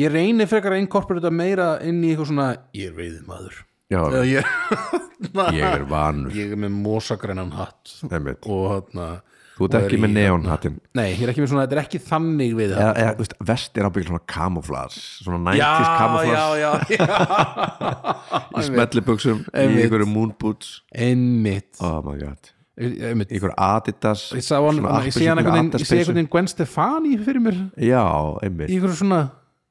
[SPEAKER 2] ég reyni frekar að inkorporita meira inn í eitthvað svona ég er veiðið maður
[SPEAKER 1] Já,
[SPEAKER 2] ég, [LAUGHS]
[SPEAKER 1] ég er vanur,
[SPEAKER 2] ég er með mosagrennan hatt
[SPEAKER 1] einmitt.
[SPEAKER 2] og hérna
[SPEAKER 1] Þú ert
[SPEAKER 2] og er
[SPEAKER 1] ekki
[SPEAKER 2] í-
[SPEAKER 1] með neonhattinn.
[SPEAKER 2] nei, ég er ekki með svona, þetta er ekki þannig við
[SPEAKER 1] Eða, eða, þú veist, vest er ábyggjum svona camouflage, svona 90s
[SPEAKER 2] já, já,
[SPEAKER 1] camouflage,
[SPEAKER 2] [LAUGHS] já, já
[SPEAKER 1] í smetlibuxum, í
[SPEAKER 2] Einmitt.
[SPEAKER 1] einhverju moonboots.
[SPEAKER 2] einmitt,
[SPEAKER 1] Oh my god.
[SPEAKER 2] einmitt.
[SPEAKER 1] einhver Adidas
[SPEAKER 2] ég sá hann,
[SPEAKER 1] svona
[SPEAKER 2] ég sé hann
[SPEAKER 1] appelsínu-
[SPEAKER 2] einhvern veginn ég sé
[SPEAKER 1] Adidas-peysu.
[SPEAKER 2] einhvern veginn Gwen Stefani fyrir mér
[SPEAKER 1] já, einmitt
[SPEAKER 2] í einhverju svona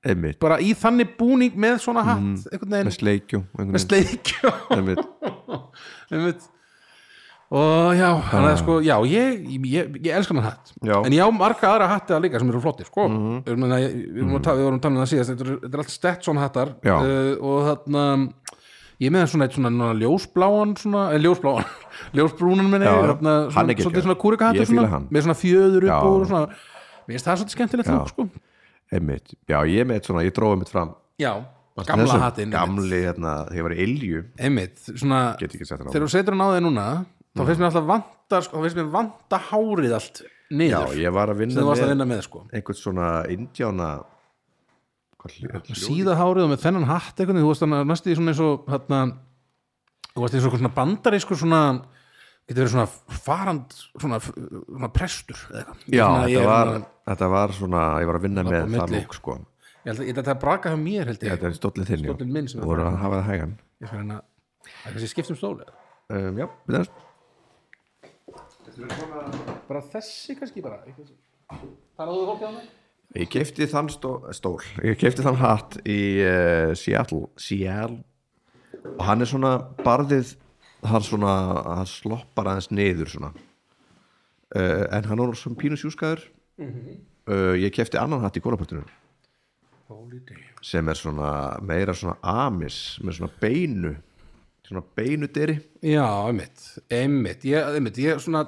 [SPEAKER 1] einmitt,
[SPEAKER 2] bara í þannig búning með svona hatt einhvern veginn
[SPEAKER 1] Mm. með sleikjum einhvern
[SPEAKER 2] með
[SPEAKER 1] veginn.
[SPEAKER 2] sleikjó
[SPEAKER 1] einmitt,
[SPEAKER 2] einmitt og já, hann er sko, já, ég, ég, ég elskar hann hatt
[SPEAKER 1] Já. Mhm.
[SPEAKER 2] en ég á marga aðra hatta líka sem eru flottir, sko mm -hmm. við, erum að, við, erum að, ta- við vorum talað um það síðast þetta eru- þetta er allt Stetson hattar
[SPEAKER 1] Já.
[SPEAKER 2] uh, og þarna ég er með hann svona, eitt svona, svona ljósbláan svona, eh, ljósbláan, [LAUGHS] ljósbrúnan minni
[SPEAKER 1] Já, já.
[SPEAKER 2] þarna,
[SPEAKER 1] Hann
[SPEAKER 2] svona,
[SPEAKER 1] er
[SPEAKER 2] svolítið
[SPEAKER 1] geggjaður.
[SPEAKER 2] svona kúrika hattur
[SPEAKER 1] Ég fíla
[SPEAKER 2] svona,
[SPEAKER 1] hann.
[SPEAKER 2] með svona fjöður upp
[SPEAKER 1] Já.
[SPEAKER 2] og svona mér finnst það svolítið skemmtilegt
[SPEAKER 1] Já.
[SPEAKER 2] þú, sko
[SPEAKER 1] einmitt já, ég með svona, ég dróði mitt fram
[SPEAKER 2] já, gamla
[SPEAKER 1] Þessum
[SPEAKER 2] hattinn einmitt.
[SPEAKER 1] gamli, hérna, þegar ég var í Ilju
[SPEAKER 2] einmitt, svona
[SPEAKER 1] get ekki sett hann á
[SPEAKER 2] þegar þú setur hann á þig núna þá finnst mér alltaf vanta sko, þá finnst mér vanta hárið allt
[SPEAKER 1] já,
[SPEAKER 2] niður
[SPEAKER 1] ég var að
[SPEAKER 2] sem
[SPEAKER 1] vinna
[SPEAKER 2] þú varst að
[SPEAKER 1] með
[SPEAKER 2] vinna með sko
[SPEAKER 1] einhvern svona indjána hvað hljóð
[SPEAKER 2] síða hárið og með þennan hatt einhvern veginn, þú varst að næstu því svona eins og hérna, þú varst eins og einhver svona bandari sko svona getur verið svona farand svona, svona prestur eða eitthvað.
[SPEAKER 1] já,
[SPEAKER 2] Svona, ég
[SPEAKER 1] þetta
[SPEAKER 2] er
[SPEAKER 1] var,
[SPEAKER 2] svona-
[SPEAKER 1] þetta var svona ég var að vinna
[SPEAKER 2] á
[SPEAKER 1] með það
[SPEAKER 2] milli.
[SPEAKER 1] lúk sko
[SPEAKER 2] ég held að ég held að þetta braka hjá mér held ég
[SPEAKER 1] þetta er stóllin þinn, já,
[SPEAKER 2] Stóllinn minn sem er
[SPEAKER 1] og voru að hafa það hægan
[SPEAKER 2] ég skal hérna það er kannski skiptum stóli
[SPEAKER 1] um, já, við þess
[SPEAKER 2] bara þessi kannski bara talaðu þú fólkið á mig?
[SPEAKER 1] Ég kefti þann stó, stól Ég kefti þann hatt í uh, Seattle Seattle og hann er svona barðið hann svona, hann sloppar aðeins niður svona uh, en hann er svona pínu sjúskaður uh, ég kefti annan hatt í kólapartinu sem er svona meira svona amis með svona beinu svona beinu dyri
[SPEAKER 2] Já, einmitt, einmitt ég, einmitt, ég svona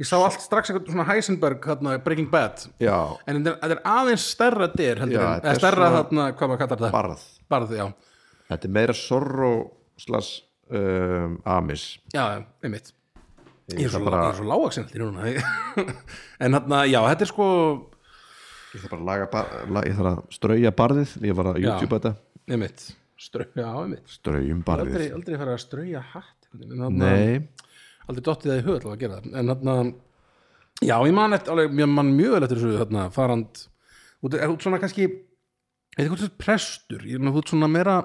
[SPEAKER 2] ég sá allt strax einhvern svona Heisenberg hérna, Breaking Bad
[SPEAKER 1] Já,
[SPEAKER 2] en þetta er- þetta er aðeins stærra dyr heldur
[SPEAKER 1] Já,
[SPEAKER 2] en,
[SPEAKER 1] þetta
[SPEAKER 2] eða
[SPEAKER 1] er
[SPEAKER 2] stærra
[SPEAKER 1] svona-
[SPEAKER 2] þarna, hvað maður kallar það
[SPEAKER 1] barð
[SPEAKER 2] barð, já,
[SPEAKER 1] Þetta er meira sorro slags um, amis
[SPEAKER 2] já, já, einmitt ég er svo,
[SPEAKER 1] bara-
[SPEAKER 2] bara... svo lágaksin heldur núna [LAUGHS] en þarna, já, þetta er sko
[SPEAKER 1] Ég þarf bara að laga bar, la, ég þarf að strauja barðið ég var að YouTube þetta
[SPEAKER 2] einmitt, strau, já, einmitt
[SPEAKER 1] straujum barðið
[SPEAKER 2] aldrei, aldrei fara að strauja hatt einhvern veginn, en þarna-
[SPEAKER 1] Nei,
[SPEAKER 2] aldrei dottið það í hug til að gera það en þarna, já ég man eftir alveg, ég man mjög vel eftir þessu þarna, farand, út, er út svona kannski eitthvað hvort þessu prestur ég er út svona meira,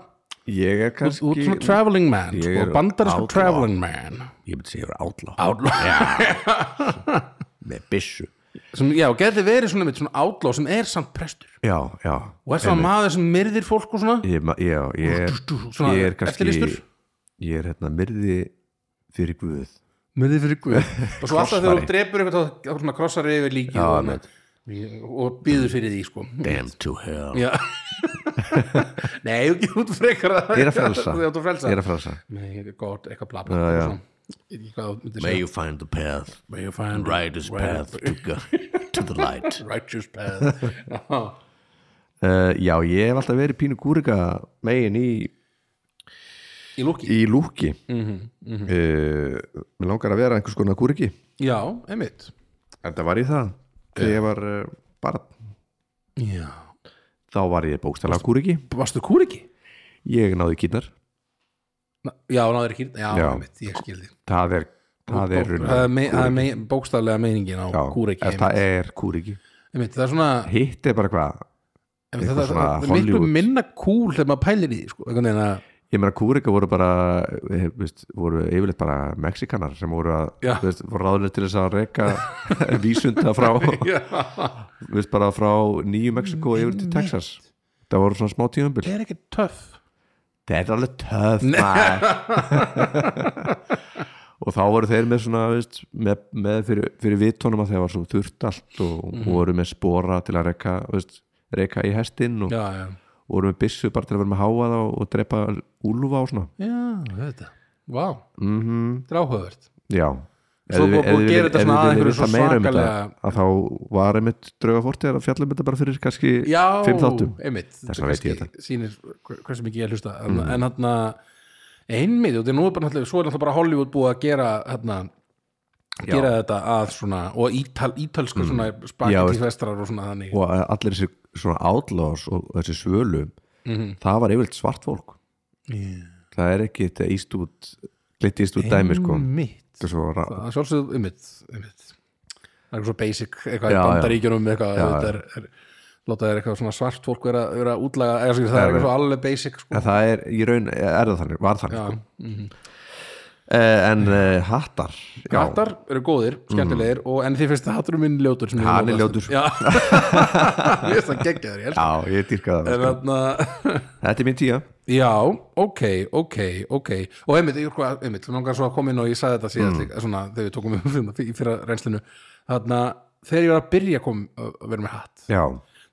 [SPEAKER 1] ég er
[SPEAKER 2] Kanski, út
[SPEAKER 1] kannski
[SPEAKER 2] svona traveling man
[SPEAKER 1] Ég
[SPEAKER 2] sko,
[SPEAKER 1] er
[SPEAKER 2] bandarisku
[SPEAKER 1] outlaw.
[SPEAKER 2] traveling man
[SPEAKER 1] Ég myndi segja ég er átla
[SPEAKER 2] outlaw,
[SPEAKER 1] með byssu
[SPEAKER 2] [LAUGHS] sem, já, geti verið svona, mitt, svona outlaw sem er samt prestur
[SPEAKER 1] Já, já
[SPEAKER 2] og er svona maður sem myrðir fólk og svona
[SPEAKER 1] Ég, ma- já, ég, er,
[SPEAKER 2] Svona
[SPEAKER 1] ég er kannski
[SPEAKER 2] eftirlýstur?
[SPEAKER 1] Ég er hérna myrði fyrir guð
[SPEAKER 2] myrðir fyrir guð [LAUGHS] og svo alltaf þegar
[SPEAKER 1] Krossari.
[SPEAKER 2] þú drepur eitthvað þá- þá svona krossar yfir líki
[SPEAKER 1] Já,
[SPEAKER 2] og, og býður fyrir því sko
[SPEAKER 1] Damn to hell
[SPEAKER 2] Já [LAUGHS] Nei, ekki út frekar að-
[SPEAKER 1] Ég er að frelsa
[SPEAKER 2] Þú ert að frelsa
[SPEAKER 1] Ég er að frelsa
[SPEAKER 2] Nei, ég er gott, eitthvað bla bla
[SPEAKER 1] Já, já.
[SPEAKER 2] svona. Ég veit ekki hvað þú myndir segja.
[SPEAKER 3] you find the path,
[SPEAKER 2] May you find
[SPEAKER 3] rider's
[SPEAKER 2] right-
[SPEAKER 3] path to, go, to the
[SPEAKER 1] [LAUGHS]
[SPEAKER 3] light.
[SPEAKER 2] Righteous path [LAUGHS] Já.
[SPEAKER 1] uh, Já, ég hef alltaf verið pínu kúrika megin í,
[SPEAKER 2] Í lúki
[SPEAKER 1] í lúki mm
[SPEAKER 2] Mhm,
[SPEAKER 1] uh, Mér langar að vera einhvers konar kúriki
[SPEAKER 2] Já, einmitt
[SPEAKER 1] En það var ég það Þegar ég var uh, barn
[SPEAKER 2] Já
[SPEAKER 1] Þá var ég bókstælega kúriki
[SPEAKER 2] Varstu kúr ekki?
[SPEAKER 1] Ég náði kýrnar
[SPEAKER 2] Já, náður ekki Já,
[SPEAKER 1] Já.
[SPEAKER 2] einmitt, ég skildi
[SPEAKER 1] Það er, það er runni
[SPEAKER 2] Það er mei- það er mei- bókstaflega meiningin á kúr ekki
[SPEAKER 1] Það er kúriki
[SPEAKER 2] Einmitt, það er svona
[SPEAKER 1] Hitt er bara hvað
[SPEAKER 2] einmitt,
[SPEAKER 1] eitthvað
[SPEAKER 2] Það það-
[SPEAKER 1] svona
[SPEAKER 2] það er miklu
[SPEAKER 1] Hollywood.
[SPEAKER 2] minna kúl þegar maður pælir í því sko, einhvern veginn að
[SPEAKER 1] Ég meina kúrika voru bara eh, veist, voru yfirleitt bara mexikanar sem voru, að,
[SPEAKER 2] Já.
[SPEAKER 1] þú veist, voru ráðlega til þess að reka [LAUGHS] vísunda frá þú veist, bara frá nýju Mexiko yfir til Texas Það voru svona smá tíðumbil
[SPEAKER 2] Er ekki töff
[SPEAKER 1] Þetta er alveg
[SPEAKER 2] [LAUGHS]
[SPEAKER 1] töf maður Og þá voru þeir með svona veist, með, með fyrir, fyrir vitunum að þeir var svo þurft allt og
[SPEAKER 2] Mhm.
[SPEAKER 1] voru með spora til að reka, veist, reka í hestinn og
[SPEAKER 2] Já, já
[SPEAKER 1] voru með byssu bara til að vera með háa þá og drepa úlfa og svona
[SPEAKER 2] Já, þetta Vá, mm -hmm.
[SPEAKER 1] Mhm.
[SPEAKER 2] þetta er áhugavert
[SPEAKER 1] Já
[SPEAKER 2] Svo búið- búið að gera þetta svona að einhverju svo svakalega-
[SPEAKER 1] um að þá var einmitt drauga fórtið að fjalla um þetta bara fyrir kannski
[SPEAKER 2] Já,
[SPEAKER 1] fimm þáttum
[SPEAKER 2] einmitt
[SPEAKER 1] Þess vegna veit ég þetta.
[SPEAKER 2] Sýnir hver- hversu mikið ég hlusta mm. En hann einmitt, og þetta er nú bara náttúrulega- Svo er náttúrulega bara Hollywood búið að gera hérna, gera þetta að svona og ítal, ítalsku svona spagetti vestrar og svona þannig
[SPEAKER 1] Mm. og allir þessi svona outlaws og þessi svölu
[SPEAKER 2] Mhm.
[SPEAKER 1] það var yfirleitt svart fólk
[SPEAKER 2] Yeah.
[SPEAKER 1] það er ekki þetta íst út glitt íst út dæmi sko
[SPEAKER 2] Einmitt
[SPEAKER 1] Þetta er svo ra-
[SPEAKER 2] Það er sjálfsögðu, einmitt, einmitt Það er eitthvað svo basic, eitthvað í
[SPEAKER 1] Já, já.
[SPEAKER 2] bandaríkjunum eitthvað, þetta er, er láta þér eitthvað svona svart fólk vera, vera útlaga, eða, skil, það er eitthvað svo alveg basic sko. mhm.
[SPEAKER 1] En það er í raun, er það þannig, var þannig
[SPEAKER 2] Já,
[SPEAKER 1] sko. uh, sko. en uh, hattar já. Mhm.
[SPEAKER 2] Hattar eru góðir, skemmtilegir og, en þið finnst að hatturum minn ljótur sem ég
[SPEAKER 1] Hann
[SPEAKER 2] vil
[SPEAKER 1] er
[SPEAKER 2] notast.
[SPEAKER 1] ljótur. [LAUGHS]
[SPEAKER 2] Já, ég veist að geggja þér
[SPEAKER 1] já, ég dýrka það
[SPEAKER 2] En
[SPEAKER 1] sko.
[SPEAKER 2] þarna, [LAUGHS]
[SPEAKER 1] þetta er mín tíja
[SPEAKER 2] já, ok, ok, ok Og einmitt, ég, hvað- einmitt, þú langar svo að koma inn og ég sagði þetta
[SPEAKER 1] Mm.
[SPEAKER 2] síðast líka, svona, þegar við tókum um í fyrra reynslinu Þarna, þegar ég var að byrja að, kom, að vera með hatt
[SPEAKER 1] já,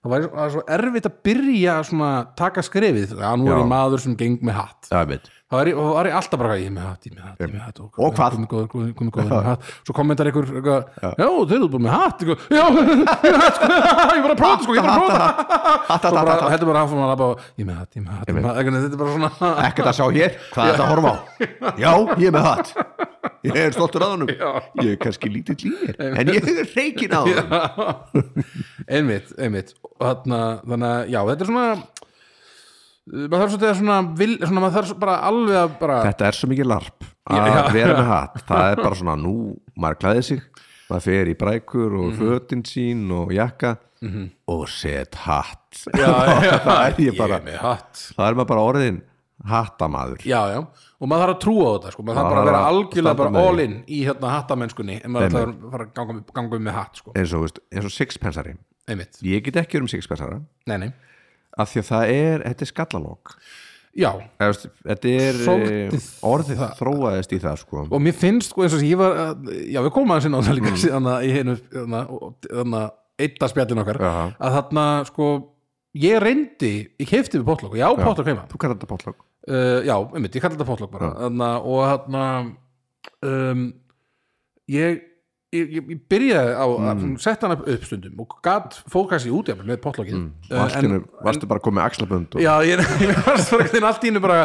[SPEAKER 2] Það var, var svo erfitt að byrja að svona taka skrefið Já, nú er
[SPEAKER 1] Já.
[SPEAKER 2] ég maður sem geng með hatt
[SPEAKER 1] það er mitt
[SPEAKER 2] Það var, ég- var ég alltaf bara, ég er með hatt, ég er með hatt, ég er með hatt og,
[SPEAKER 1] Og hvað?
[SPEAKER 2] Komið góður, komið komið góður, með hatt Svo kommentar ykkur, eitthvað, já, þeir eru bara með hatt eitthvað, Já, [LAUGHS] ég er með hatt, sko, ég er bara að prófa, sko, ég er bara að prófa Svo bara,
[SPEAKER 1] [LAUGHS]
[SPEAKER 2] hættu bara áfram að labba og Ég er með hatt, ég er með hatt, ég er með hatt Eitthvað, Þetta er bara svona
[SPEAKER 1] ekkert að sjá hér, hvað er þetta að horfa á
[SPEAKER 2] [LAUGHS]
[SPEAKER 1] já, ég er með hatt ég er stoltur að honum ég er kannski lítill í mér, en ég er reikin á honum
[SPEAKER 2] [LAUGHS] Einmitt, einmitt Og þarna, Þannig að, já, þetta er svona eh, maður þarf svolítið að svona, vil, svona maður þarf svo bara alveg að bara
[SPEAKER 1] [LAUGHS] þetta er svo mikið larp að
[SPEAKER 2] Já, já.
[SPEAKER 1] [LAUGHS] vera með hatt, það er bara svona nú, maður klæði sig maður fer í brækur
[SPEAKER 2] Mhm.
[SPEAKER 1] og fötin sín og jakka og set hatt
[SPEAKER 2] já, já,
[SPEAKER 1] [LAUGHS] það er ég bara
[SPEAKER 2] er með hatt
[SPEAKER 1] það er maður bara orðin hattamaður
[SPEAKER 2] já, já, og maður þarf að trúa á þetta sko. maður þarf
[SPEAKER 1] Já,
[SPEAKER 2] bara að vera
[SPEAKER 1] maður þarf að
[SPEAKER 2] algjörlega
[SPEAKER 1] standa
[SPEAKER 2] bara
[SPEAKER 1] með
[SPEAKER 2] all in í hérna hattamennskunni en maður þarf að fara að ganga, með- ganga um með hatt sko.
[SPEAKER 1] eins og, veist, eins og sixpensari
[SPEAKER 2] einmitt,
[SPEAKER 1] ég get ekki verið um sixpensara
[SPEAKER 2] nei, nei,
[SPEAKER 1] af því að það er, þetta er skallalók
[SPEAKER 2] já
[SPEAKER 1] Eða, veist, þetta er
[SPEAKER 2] Svolítið
[SPEAKER 1] eh, orðið þróaðist í það sko.
[SPEAKER 2] og mér finnst sko eins og sem ég var að- já, við komum aðeins inn á það
[SPEAKER 1] Mm.
[SPEAKER 2] líka síðan að í hennu, þannig að eitt að spjallin okkar
[SPEAKER 1] Jaha.
[SPEAKER 2] að þarna sko ég reyndi, ég kefti við potlokk og já, potlokk heima
[SPEAKER 1] þú kallar þetta potlók
[SPEAKER 2] uh, já, einmitt, ég kallar þetta potlokk bara þarna, og þarna um, ég ég, ég, ég byrjaði á að mm. setja hana upp stundum og gat fókast í útjafnir með potlokkin mm.
[SPEAKER 1] og allt í einu varstu bara komið axlabönd og
[SPEAKER 2] já, ég, [LAUGHS] ég var spraktin allt í einu bara,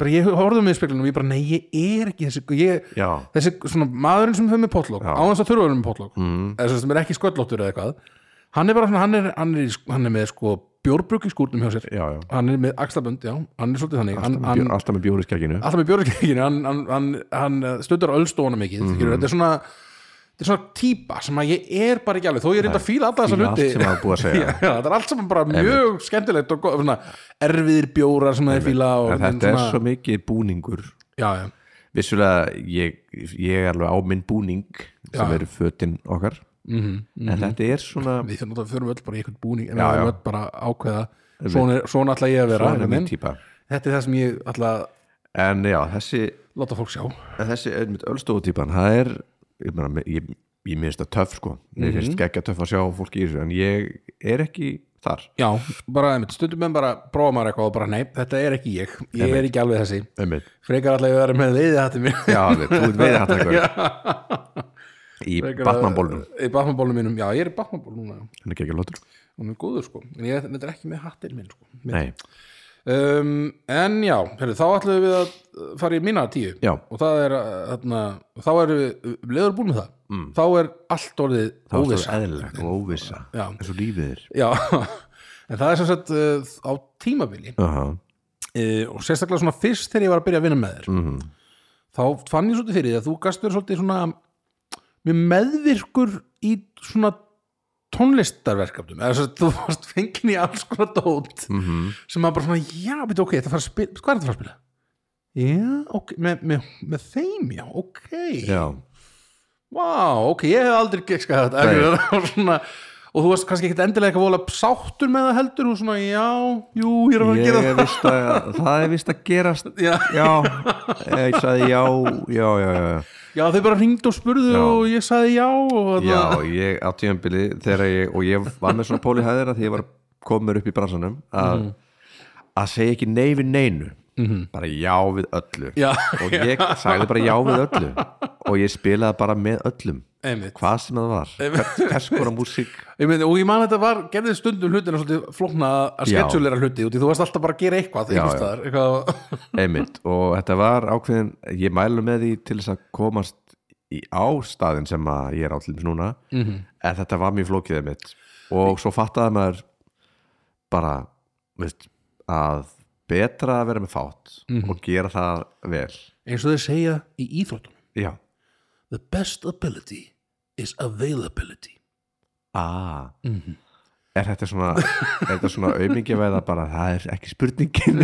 [SPEAKER 2] bara ég horfði mig í speklunum og ég bara, nei, ég er ekki þessi, ég,
[SPEAKER 1] Já.
[SPEAKER 2] þessi svona maðurinn sem fyrir með potlokk, á þess að þurfa að vera með potlokk mm. þess sem er ekki sköllóttur eða eitthvað hann er bara svona, hann er, hann er, í- hann er með sko bjórbruk í skúrnum hjá sér
[SPEAKER 1] Já, já.
[SPEAKER 2] hann er með axlabönd, já, hann er svolítið þannig hann, hann,
[SPEAKER 1] Bjó- alltaf með bjóri í skegginu
[SPEAKER 2] alltaf með björnskeginu hann, hann, hann, hann eh, stundar öllstóna mikið
[SPEAKER 1] Mhm.
[SPEAKER 2] mm þetta er svona þetta er svona típa sem að ég er bara ekki alveg þó ég reynda að fíla alla þessa
[SPEAKER 1] Fíla allt
[SPEAKER 2] hluti
[SPEAKER 1] sem að búið að
[SPEAKER 2] [LAUGHS]
[SPEAKER 1] segja.
[SPEAKER 2] já, já, þetta er allt saman bara mjög skemmtilegt og góð, svona, erfiðir bjórar sem það er fíla og
[SPEAKER 1] en þetta er svo mikið búningur
[SPEAKER 2] já, já,
[SPEAKER 1] vissulega ég, ég er alveg á minn búning sem
[SPEAKER 2] Já.
[SPEAKER 1] eru fötin okkar en þetta er svona
[SPEAKER 2] við fyrir náttúrulega förum öll bara í eitthvað búning en við
[SPEAKER 1] Já, já.
[SPEAKER 2] erum öll bara að ákveða svona, er- svona ætla ég að vera
[SPEAKER 1] svona
[SPEAKER 2] einhvern
[SPEAKER 1] minn
[SPEAKER 2] veginn.
[SPEAKER 1] típa
[SPEAKER 2] þetta er það sem ég ætla að
[SPEAKER 1] en já, þessi,
[SPEAKER 2] láta fólk sjá
[SPEAKER 1] en þessi ölstofu típan, það er ég, meina, ég, ég minnst það töff sko ég finnst ekki að töff að sjá fólki í þessu en ég er ekki þar
[SPEAKER 2] já, bara einmitt, stundum en bara prófa maður eitthvað og bara nei, þetta er ekki ég ég er ekki alveg þessi
[SPEAKER 1] Einmitt.
[SPEAKER 2] frekar alltaf ég að vera með veiði hattum mér
[SPEAKER 1] já, alveg, þú ert veiði hattakar í
[SPEAKER 2] Frekar að-
[SPEAKER 1] batmanbólnum
[SPEAKER 2] í Batmanbólnum mínum, já ég er í Batmanbólnum núna já.
[SPEAKER 1] hann er ekki ekki lótur
[SPEAKER 2] hún er góður sko, en ég þetta er ekki með hattinn minn sko.
[SPEAKER 1] nei,
[SPEAKER 2] um, en já, herri, þá ætlum við að uh, fara í mína tíu
[SPEAKER 1] Já.
[SPEAKER 2] og það er, uh, þarna, þá erum við leður búin með það, mm. þá er allt orðið
[SPEAKER 1] það var
[SPEAKER 2] óvissa
[SPEAKER 1] svo eðlilegt og óvissa
[SPEAKER 2] Já.
[SPEAKER 1] eins og lífið er
[SPEAKER 2] já, [LAUGHS] en það er sem sagt uh, á tímabili
[SPEAKER 1] Aha.
[SPEAKER 2] uh, og sérstaklega svona fyrst þegar ég var að byrja að vinna með þér
[SPEAKER 1] Mhm.
[SPEAKER 2] þá fann ég svolítið fyrir því að þú gast verið svolítið svona mjög meðvirkur í svona tónlistarverkefnum eða þess að þú varst fengin í alls konar dót
[SPEAKER 1] Mhm.
[SPEAKER 2] sem maður bara svona, já, veitu, ok, þetta fara að spila hvað er þetta fara að spila? Já, ok, með, með, með þeim, já, ok
[SPEAKER 1] já,
[SPEAKER 2] Vá, ok, ég hef aldrei gekskað þetta [LAUGHS]
[SPEAKER 1] Nei.
[SPEAKER 2] Það var svona, og þú varst kannski ekkit endilega eitthvað vola sáttur með það heldur og svona, já, jú, ég er að fara að
[SPEAKER 1] ég
[SPEAKER 2] gera
[SPEAKER 1] er
[SPEAKER 2] það
[SPEAKER 1] vist að það er vist að gerast
[SPEAKER 2] Já.
[SPEAKER 1] já, ég sagði já já, já, já,
[SPEAKER 2] Já, þau bara hringdu og spurðu
[SPEAKER 1] Já.
[SPEAKER 2] og ég sagði já og
[SPEAKER 1] já
[SPEAKER 2] þarna-
[SPEAKER 1] ég á tíðanbili þegar ég, og ég var með svona pól í hæðir að því ég var komur upp í bransanum að,
[SPEAKER 2] Mhm.
[SPEAKER 1] að segja ekki nei við neinu bara já við öllu
[SPEAKER 2] Já. [LAUGHS]
[SPEAKER 1] og ég sagði bara já við öllu og ég spilaði bara með öllum
[SPEAKER 2] Einmitt.
[SPEAKER 1] hvað sem það var, hvers, hvers konar músík
[SPEAKER 2] Ég meina, og ég man að þetta var, gerðið stundum hlutina svolítið flókna að
[SPEAKER 1] Já.
[SPEAKER 2] sketsjulera hluti út í þú varst alltaf bara að gera eitthvað,
[SPEAKER 1] Já,
[SPEAKER 2] eitthvað,
[SPEAKER 1] já.
[SPEAKER 2] staðar, eitthvað [LAUGHS]
[SPEAKER 1] einmitt og þetta var ákveðin ég mælu með því til þess að komast í ástæðin sem að ég er átlum núna -hmm. en þetta var mjög flókið einmitt og svo fattaði maður bara veist, að betra að vera með fát og gera það vel
[SPEAKER 2] eins og þau segja í íþróttunum
[SPEAKER 1] já,
[SPEAKER 2] the best ability is availability
[SPEAKER 1] ah er þetta svona, er þetta svona aumingjavæða bara það er ekki [LAUGHS] spurningin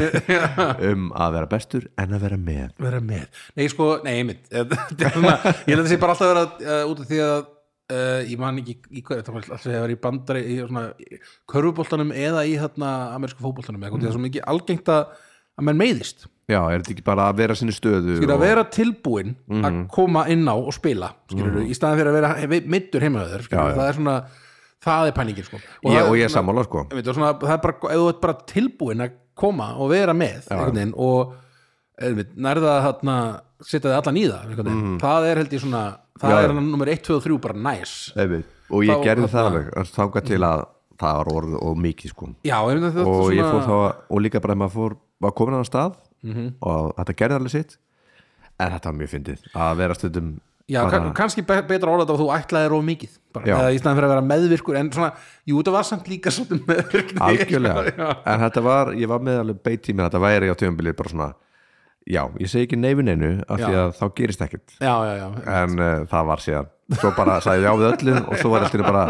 [SPEAKER 1] um að vera bestur en að vera með
[SPEAKER 2] vera með nei sko, nei einmitt [LAUGHS] Þetta er svona- ég leti sér bara alltaf vera uh, út af því að uh, ég man ekki í hverju þetta var alltaf að vera í bandari í svona í körfuboltanum eða í hérna amerísku fótboltanum eða mm. það er svo mikið algengt að að menn meiðist
[SPEAKER 1] Já, er þetta ekki bara að vera sinni stöðu
[SPEAKER 2] skilur
[SPEAKER 1] og,
[SPEAKER 2] að vera tilbúinn að koma inn á og spila skilur í staðan fyrir að vera meittur heimaður skilur
[SPEAKER 1] Já, já.
[SPEAKER 2] það er svona það er pæningin sko
[SPEAKER 1] ég,
[SPEAKER 2] það
[SPEAKER 1] og ég er
[SPEAKER 2] svona-
[SPEAKER 1] sammála sko
[SPEAKER 2] Einmitt, og svona, það er bara, ef þú ert bara tilbúin að koma og vera með einhvern veginn og einmitt, nærða að þarna setja þið allan í það einhvern veginn. það er held ég svona það
[SPEAKER 1] Já, já.
[SPEAKER 2] er hann nummer 1, 2 og 3 bara næs
[SPEAKER 1] Einmitt. og ég
[SPEAKER 2] Þá- hérna-
[SPEAKER 1] gerði það
[SPEAKER 2] þarna-
[SPEAKER 1] alveg að þanga til að það var orð og mikið sko
[SPEAKER 2] já, einmitt, þetta er
[SPEAKER 1] og ég
[SPEAKER 2] svona-
[SPEAKER 1] fór þá að, og líka bara að maður fór, var komin að stað
[SPEAKER 2] Mhm.
[SPEAKER 1] og þetta gerði alveg sitt en þetta var mjög fyndið að vera stundum
[SPEAKER 2] Já,
[SPEAKER 1] bara,
[SPEAKER 2] kann, kannski be betra orða þetta að þú ætlaðir of mikið bara,
[SPEAKER 1] Já.
[SPEAKER 2] eða í staðan fyrir að vera meðvirkur en svona, jú, það var samt líka svolítið meðvirkni [LAUGHS]
[SPEAKER 1] algjörlega,
[SPEAKER 2] Já,
[SPEAKER 1] en þetta var ég var með alveg beitt í mér, þetta væri á tjömbilið bara svona, já, ég segi ekki neifin einu af því
[SPEAKER 2] Já.
[SPEAKER 1] að þá gerist ekkert
[SPEAKER 2] já, já, já.
[SPEAKER 1] en uh, það var síðan svo bara sagði ég á við öllu og svo var allir bara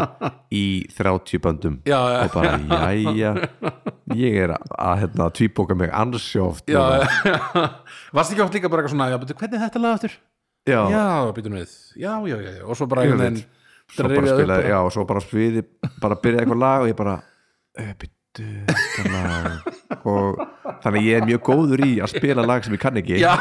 [SPEAKER 1] í 30 böndum
[SPEAKER 2] Já, já.
[SPEAKER 1] og bara jæja ég er að hérna, tvíbóka mig ansjóft
[SPEAKER 2] Já, já. [LAUGHS] Varstu ekki átt líka bara eitthvað svona já, betur, hvernig er þetta lag aftur?
[SPEAKER 1] já,
[SPEAKER 2] Já, býtum við Já, já, já, já, og svo bara
[SPEAKER 1] Ég
[SPEAKER 2] einhvern veginn
[SPEAKER 1] veit. svo bara
[SPEAKER 2] dreifið upp
[SPEAKER 1] spilaði,
[SPEAKER 2] bara.
[SPEAKER 1] já, og svo bara spilaði bara byrjaði eitthvað lag og ég bara "Eh, bíddu, þetta lag." og þannig að ég er mjög góður í að spila lag sem ég kann ekki
[SPEAKER 2] [LAUGHS] já,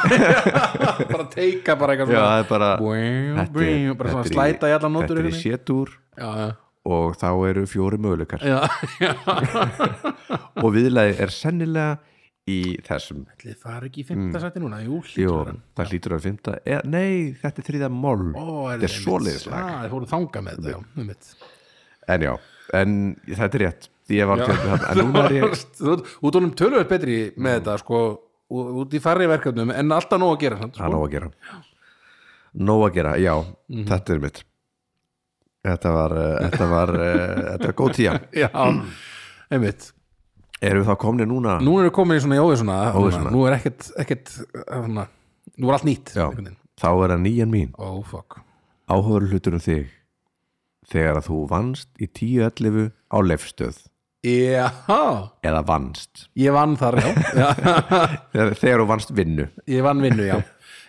[SPEAKER 2] já, bara teika bara eitthvað
[SPEAKER 1] Já,
[SPEAKER 2] svona
[SPEAKER 1] það er bara
[SPEAKER 2] Búing,
[SPEAKER 1] þetta er-
[SPEAKER 2] búing, bara svona
[SPEAKER 1] þetta er
[SPEAKER 2] slæta í hérna. alla nótur
[SPEAKER 1] þetta er í
[SPEAKER 2] einhvern
[SPEAKER 1] sétúr
[SPEAKER 2] já, já,
[SPEAKER 1] og þá eru fjóri möguleikar
[SPEAKER 2] já, já
[SPEAKER 1] og viðlaði er sennilega í þessum
[SPEAKER 2] Ætli það er ekki í fimmta
[SPEAKER 1] Mm.
[SPEAKER 2] sæti núna, jú,
[SPEAKER 1] Jó,
[SPEAKER 2] hlýtur að vera.
[SPEAKER 1] það hlýtur að vera fymta e, Nei, þetta er þriða mól
[SPEAKER 2] Ó,
[SPEAKER 1] Þetta er
[SPEAKER 2] einmitt.
[SPEAKER 1] svoleiðis
[SPEAKER 2] Já,
[SPEAKER 1] lag
[SPEAKER 2] þeir fóru þanga með þetta, já, um
[SPEAKER 1] En já, en þetta er rétt Því Ég var til að en núna
[SPEAKER 2] [LAUGHS]
[SPEAKER 1] er ég
[SPEAKER 2] Þú út honum tölvöld betri með
[SPEAKER 1] Mm.
[SPEAKER 2] þetta, sko ú- út í færri verkefnum, en alltaf nóg að gera samt,
[SPEAKER 1] Það er
[SPEAKER 2] sko.
[SPEAKER 1] nóg að gera Nóg að gera, já, þetta er mitt Þetta var uh, Þetta var, uh, þetta var góð tíja
[SPEAKER 2] Já, einmitt
[SPEAKER 1] Erum við þá komni núna?
[SPEAKER 2] Nú erum við komin í svona í óvissuna
[SPEAKER 1] Óvissuna.
[SPEAKER 2] Nú er ekkert, ekkert svona, Nú er allt nýtt
[SPEAKER 1] já,
[SPEAKER 2] einhvern veginn.
[SPEAKER 1] þá er það nýjan mín
[SPEAKER 2] Ó, fuck
[SPEAKER 1] Áhóður hlutur um þig Þegar að þú vannst í 10.11 á leifstöð
[SPEAKER 2] Já,
[SPEAKER 1] Eða vannst
[SPEAKER 2] ég vann þar,
[SPEAKER 1] [LAUGHS]
[SPEAKER 2] já, já.
[SPEAKER 1] Þegar, þegar þú vannst vinnu
[SPEAKER 2] ég vann vinnu, já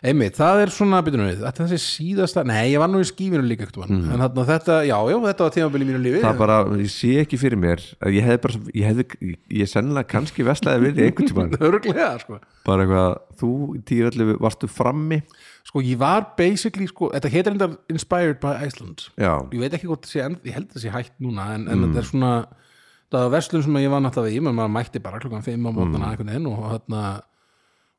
[SPEAKER 2] einmitt, það er svona byrjunum við þetta er þessi síðasta, nei, ég vann nú í skífinu líka ekkert mm. en þarna þetta, já, já, þetta var tímabili mínu lífi
[SPEAKER 1] Mhm. það bara, ég sé ekki fyrir mér að ég hefði bara, ég hefði, ég sennilega kannski veslaði við í einhvern tímann
[SPEAKER 2] [LAUGHS] örglega, sko
[SPEAKER 1] bara eitthvað, þú í tíu öllu varstu frammi,
[SPEAKER 2] sko, ég var basically, sko, þetta heitir endar Inspired by Iceland
[SPEAKER 1] já Mm.
[SPEAKER 2] ég veit ekki hvort það sé, en, ég held það sé hægt núna en, en þetta er svona, það var verslun sem ég vann alltaf í, menn maður mætti bara klukkan 5 á
[SPEAKER 1] Mm.
[SPEAKER 2] mótana einhvern veginn og þarna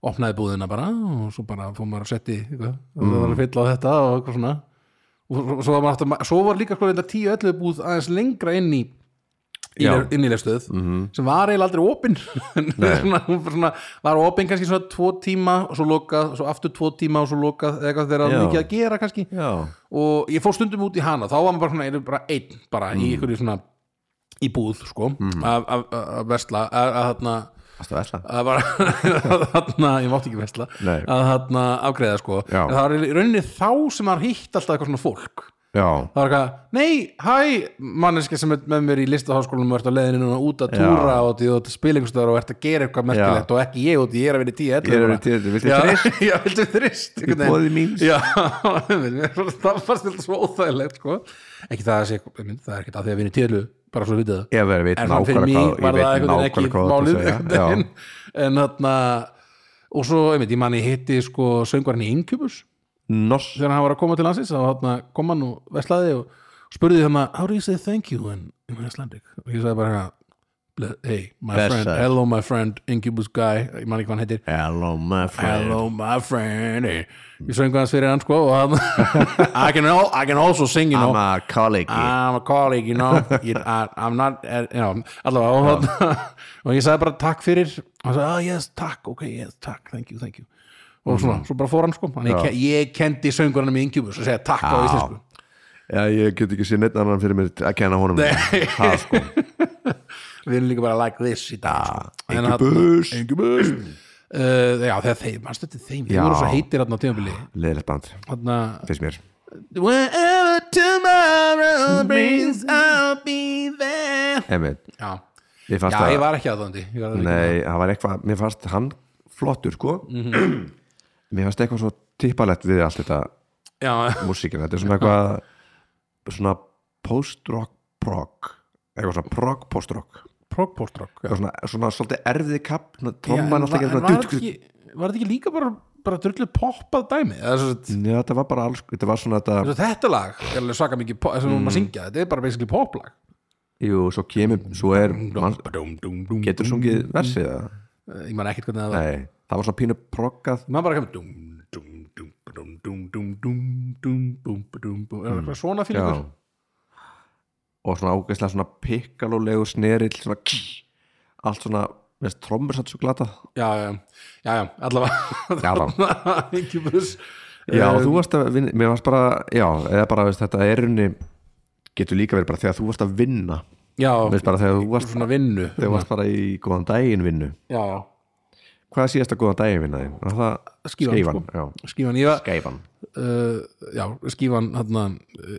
[SPEAKER 2] opnaði búðina bara og svo bara fór maður að setja í eitthvað, það
[SPEAKER 1] Mm.
[SPEAKER 2] var að fylla á þetta og eitthvað svona og svo- svo var, maður aftur, svo var líka sko þetta 10-11 búð aðeins lengra inn í í
[SPEAKER 1] Já. Mhm.
[SPEAKER 2] le- inn í lefstöð sem var eiginlega aldrei [LAUGHS] opin svona, hún var svona, var opin kannski svona tvo tíma og svo lokað, svo aftur tvo tíma og svo lokað eða eitthvað þegar það var
[SPEAKER 1] Já.
[SPEAKER 2] mikið að gera kannski
[SPEAKER 1] já,
[SPEAKER 2] og ég fór stundum út í hana þá var maður bara, svona, einu- bara einn bara
[SPEAKER 1] Mm.
[SPEAKER 2] í einhverju svona í búð sko að að- að versla að að þarna
[SPEAKER 1] varstu að vesla
[SPEAKER 2] að bara [LAUGHS] að þarna, ég mátti ekki versla
[SPEAKER 1] Nei.
[SPEAKER 2] að þarna afgreða sko
[SPEAKER 1] Já.
[SPEAKER 2] en það var í rauninni þá sem maður hitt alltaf eitthvað svona fólk
[SPEAKER 1] já,
[SPEAKER 2] það var eitthvað, nei, hæ manneski sem er með mér í listaháskólanum og ert á leiðinu núna út að túra og því þú ert að spila einhvers staðar og ert að gera eitthvað merkilegt og ekki ég út, ég er að vinna í 10
[SPEAKER 1] Ég er að vinna í 10, viltu
[SPEAKER 2] Já,
[SPEAKER 1] þrist?
[SPEAKER 2] [LAUGHS] Já, viltu þrist
[SPEAKER 1] í bóði mín
[SPEAKER 2] Já, [LAUGHS] mér fannst- það fannst þetta svo óþægilegt sko. ekki það að sé, ég mynd, það er ekkert að því að vinna í tíðlu bara svo við það
[SPEAKER 1] ég verið veit
[SPEAKER 2] en svona fyrir
[SPEAKER 1] nákvæmlega
[SPEAKER 2] mig
[SPEAKER 1] hvað,
[SPEAKER 2] var
[SPEAKER 1] ég
[SPEAKER 2] það
[SPEAKER 1] veit
[SPEAKER 2] einhvern veginn ekki
[SPEAKER 1] nákvæmlega hvað þú
[SPEAKER 2] málið
[SPEAKER 1] ert að
[SPEAKER 2] einhvern
[SPEAKER 1] segja
[SPEAKER 2] veginn.
[SPEAKER 1] já,
[SPEAKER 2] en þarna og svo, einmitt, ég manni hitti sko söngvarinn í Incubus
[SPEAKER 1] noss,
[SPEAKER 2] þegar hann var að koma til landsins þá þarna kom hann og veslaði og spurði þarna how do you say thank you in, in Icelandic og ég sagði bara hérna, "Ble- hey, my friend,
[SPEAKER 1] Blessaður.
[SPEAKER 2] hello my friend Incubus guy, ég man ekki hvað hann heitir
[SPEAKER 1] hello my friend
[SPEAKER 2] Hello my friend hey. Ég söngu hans fyrir hann sko og hann [LAUGHS] I, can al I can also sing you know
[SPEAKER 1] I'm a colleague
[SPEAKER 2] I'm a colleague, you
[SPEAKER 1] [LAUGHS]
[SPEAKER 2] know you, I, I'm not, uh, you know allavega, og, hann, og ég sagði bara takk fyrir og hann sagði, ah yes, takk, ok, yes, takk thank you, thank you og svona,
[SPEAKER 1] Mm.
[SPEAKER 2] svo bara fór hann sko, hann ég, ke- ég kendi söngurinn í Incubus og segja takk á
[SPEAKER 1] Já.
[SPEAKER 2] íslensku
[SPEAKER 1] já, ég get ekki séð neitt annan fyrir mér að kenna honum það sko,
[SPEAKER 2] við erum líka bara like this í dag sko. [LAUGHS] En hann-
[SPEAKER 1] Incubus Incubus
[SPEAKER 2] uh, já, þegar þeim, mannstu þetta þeim þeir
[SPEAKER 1] Já.
[SPEAKER 2] voru svo heitir hann á tímabili
[SPEAKER 1] leðilegt band,
[SPEAKER 2] hann að
[SPEAKER 1] finnst mér Mm.
[SPEAKER 2] Wherever tomorrow brings, I'll be there.
[SPEAKER 1] einmitt
[SPEAKER 2] já,
[SPEAKER 1] Mér fannst
[SPEAKER 2] já
[SPEAKER 1] að-
[SPEAKER 2] ég var ekki aðdóndi ég var ekki
[SPEAKER 1] Nei, það var eitthvað, mér fannst hann flottur sko
[SPEAKER 2] Mhm.
[SPEAKER 1] Mér fannst eitthvað svo tippalett við allt þetta
[SPEAKER 2] já, [LAUGHS]
[SPEAKER 1] músíkina, þetta er svona eitthvað svona post-rock prog, eitthvað svona prog post-rock
[SPEAKER 2] prog post-rock já.
[SPEAKER 1] eitthvað svona, svona svolítið erfiði kapp
[SPEAKER 2] Já, en
[SPEAKER 1] tromman alltaf
[SPEAKER 2] var-
[SPEAKER 1] ekki
[SPEAKER 2] en var
[SPEAKER 1] svona
[SPEAKER 2] þetta ekki, var þetta ekki líka bara, bara drullið poppað dæmi Eða svo sagt,
[SPEAKER 1] Já, þetta var bara alls, þetta var svona
[SPEAKER 2] eins
[SPEAKER 1] þetta
[SPEAKER 2] og þetta lag er alveg svaka mikið pop, sem
[SPEAKER 1] Mm.
[SPEAKER 2] hún maður syngja, þetta er bara basically poplag
[SPEAKER 1] Jú, svo kemur, svo er man,
[SPEAKER 2] Dum, dum, dum,
[SPEAKER 1] getur
[SPEAKER 2] dum.
[SPEAKER 1] sungið versið eða?
[SPEAKER 2] Eh, ég man ekkert hvernig það var
[SPEAKER 1] Nei, það var svona pínu proggað
[SPEAKER 2] ég man bara kemur dum, dum, dum, dum, dum, dum, dum, dum, dum, dum, dum, er það svona fyrir
[SPEAKER 1] Mm. Já Og svona ágæslega svona pikkalólegu snerill svona kí, allt svona með trommur satt svo glata
[SPEAKER 2] já, já, já, já, allavega [LAUGHS]
[SPEAKER 1] Já, já.
[SPEAKER 2] ekki buss
[SPEAKER 1] Já,
[SPEAKER 2] Ehm,
[SPEAKER 1] þú varst að vinna, mér varst bara já, eða bara veist, þetta er unni getur líka verið bara þegar þú varst að vinna
[SPEAKER 2] já,
[SPEAKER 1] veist bara þegar þú varst,
[SPEAKER 2] svona vinnu
[SPEAKER 1] þegar þú varst bara í góðan daginn vinnu
[SPEAKER 2] já,
[SPEAKER 1] Hvað er síðasta góðan daginn vinna þín? Var það
[SPEAKER 2] Skífan,
[SPEAKER 1] Skífan, já.
[SPEAKER 2] skífan ég var
[SPEAKER 1] Skífan.
[SPEAKER 2] uh, já, skífan hérna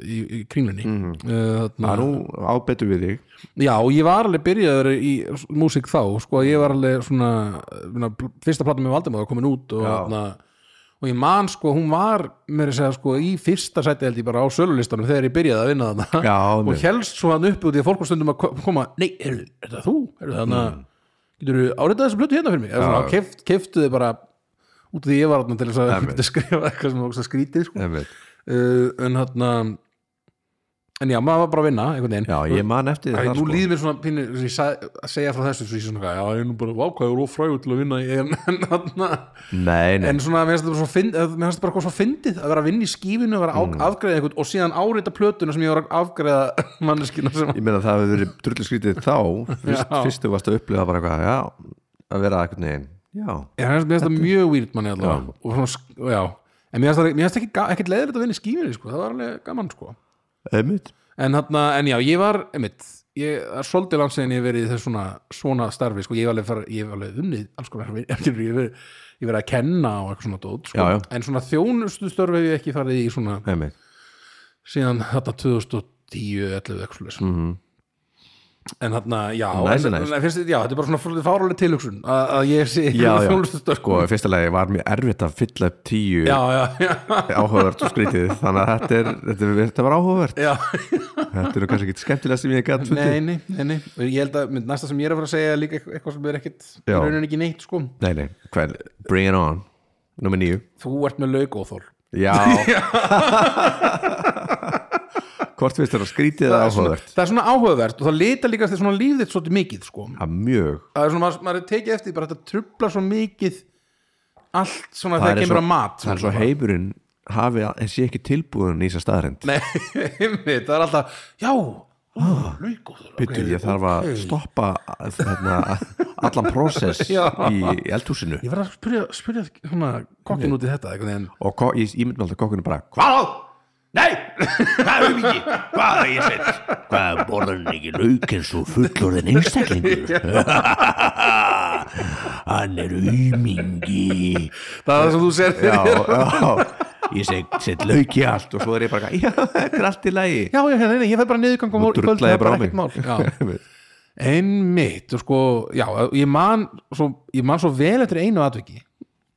[SPEAKER 2] í, í kringlunni
[SPEAKER 1] Mhm.
[SPEAKER 2] mm uh,
[SPEAKER 1] Það
[SPEAKER 2] þarna,
[SPEAKER 1] Ah, nú ábetur við þig
[SPEAKER 2] já, og ég var alveg byrjaður í músík þá, sko, ég var alveg svona, svona fyrsta platan með Valdimar var komin út og,
[SPEAKER 1] Já.
[SPEAKER 2] hérna, og ég man, sko, hún var mér að segja, sko, í fyrsta sæti held ég bara á sölulistanum þegar ég byrjaði að vinna þarna
[SPEAKER 1] Já,
[SPEAKER 2] Ah, og
[SPEAKER 1] einmitt.
[SPEAKER 2] helst svo hann upp út í að fólk var stundum að ko- koma, nei, er, er það þú? Er það þannig
[SPEAKER 1] Mm.
[SPEAKER 2] að, getur þú áreitað þessu blötu hérna fyrir mig? Eða svona, keft, keftu þið bara út af því ég var þarna til þess að
[SPEAKER 1] Einmitt.
[SPEAKER 2] geta skrifa eitthvað sem var ógeðslega skrítið, sko
[SPEAKER 1] Einmitt.
[SPEAKER 2] uh, en hérna en já, maður var bara að vinna einhvern veginn
[SPEAKER 1] Já, ég man eftir
[SPEAKER 2] Æ,
[SPEAKER 1] þér sko.
[SPEAKER 2] nú líður mér svona pínu sem ég sag, að segja frá þessu svo ég sé svona, já, ég er nú bara vákvæður og frægur til að vinna í- en, [LAUGHS] en, þarna-
[SPEAKER 1] Nei, nei,
[SPEAKER 2] en svona, mér finnst þetta bara svona fynd- eh, mér finnst þetta bara eitthvað svona fyndið að vera að vinna í skífinu að vera mm. afgreða einhvern og síðan árita plötuna sem ég var að [LAUGHS] afgreða manneskina sem
[SPEAKER 1] ég meina að það hefur verið drullu skrítið þá fyrst,
[SPEAKER 2] Já.
[SPEAKER 1] fyrst þú varst að upplifa bara eitthvað já, að vera eitthvað neginn já,
[SPEAKER 2] Já, mér finnst það mjög weird manni allavega og svona, sk- já en mér finnst það- mér finnst ekki, ga- ekkert leðilegt að vinna í skífinu sko. það var alveg gaman sko
[SPEAKER 1] einmitt
[SPEAKER 2] en, þarna, en já, ég var einmitt, ég það er svolítið langt síðan ég hef verið í þess svona, svona starfi, sko, ég hef alveg, fara, ég hef alveg unnið alls konar, [LAUGHS] vin- ég hef verið, ég hef verið að kenna og eitthvað svona dót, sko,
[SPEAKER 1] Já, já.
[SPEAKER 2] en svona þjónustu störfi hef ég ekki farið í svona
[SPEAKER 1] einmitt,
[SPEAKER 2] síðan þarna 2010 11 eitthvað slags mm
[SPEAKER 1] Mhm.
[SPEAKER 2] -hmm. en þarna, já,
[SPEAKER 1] Nice,
[SPEAKER 2] en,
[SPEAKER 1] nice.
[SPEAKER 2] En, fyrst, já þetta er bara svona svolítið fárálega tilhugsun að, að ég sé í
[SPEAKER 1] já, já,
[SPEAKER 2] þjónustu störfi
[SPEAKER 1] sko, í fyrsta lagi var mér erfitt að fylla upp tíu
[SPEAKER 2] já, já, já,
[SPEAKER 1] áhugavert og skrítið þannig að þetta, er, þetta, er, þetta var áhugavert [LAUGHS]
[SPEAKER 2] já
[SPEAKER 1] þetta er nú kannski ekki skemmtilega sem ég gætt
[SPEAKER 2] Nei, nei, nei, nei, Og ég held að mynd, næsta sem ég er að fara að segja er líka eitthvað- eitthvað sem er ekkit
[SPEAKER 1] Já.
[SPEAKER 2] raunin ekki neitt sko
[SPEAKER 1] nei, nei, hvern, bring it on nummer nýju,
[SPEAKER 2] þú ert með laugóþól
[SPEAKER 1] já
[SPEAKER 2] [LAUGHS]
[SPEAKER 1] hvort finnst þetta skrítið eða áhugavert
[SPEAKER 2] það er svona áhugavert og það lita líka þetta svona líf þitt svolítið mikið sko.
[SPEAKER 1] já, mjög
[SPEAKER 2] það er svona, maður, maður er tekið eftir bara þetta trublar svo mikið allt svona
[SPEAKER 1] Það
[SPEAKER 2] þegar
[SPEAKER 1] er
[SPEAKER 2] kemur
[SPEAKER 1] svo-
[SPEAKER 2] að mat
[SPEAKER 1] það er svo heimurinn hafi, en sé ekki tilbúin í þess að staðrind
[SPEAKER 2] Nei, [LAUGHS] einmitt, það er alltaf já, laugóþól
[SPEAKER 1] Byttu, Ah, ég þarf að stoppa þarna, allan prósess
[SPEAKER 2] [LAUGHS] Já.
[SPEAKER 1] í eldhúsinu
[SPEAKER 2] ég verð að spyrja, spyrja svona, kokkin út í þetta einhvern veginn
[SPEAKER 1] og ko- ég ímynd með alltaf kokkinu bara "Hva-
[SPEAKER 3] Hvað? Nei, það er mikið Hvað er ég sett? Hvað borðar hann ekki lauk eins og fullorðin
[SPEAKER 1] [LAUGHS]
[SPEAKER 3] einstaklingur? hann er aumingi
[SPEAKER 2] það er sem þú sér
[SPEAKER 1] já,
[SPEAKER 2] fyrir þér.
[SPEAKER 1] já,
[SPEAKER 3] Ég seg, sett lauk í allt
[SPEAKER 1] og svo er ég bara já, þetta er allt í lagi
[SPEAKER 2] já, já, hérna, nei, nei, ég fer bara niðurgang á mor- í kvöld,
[SPEAKER 1] drullaði
[SPEAKER 2] það er bara
[SPEAKER 1] bara á mig.
[SPEAKER 2] ekkert mál já. Einmitt, og sko, já, ég man svo, ég man svo vel eftir einu atviki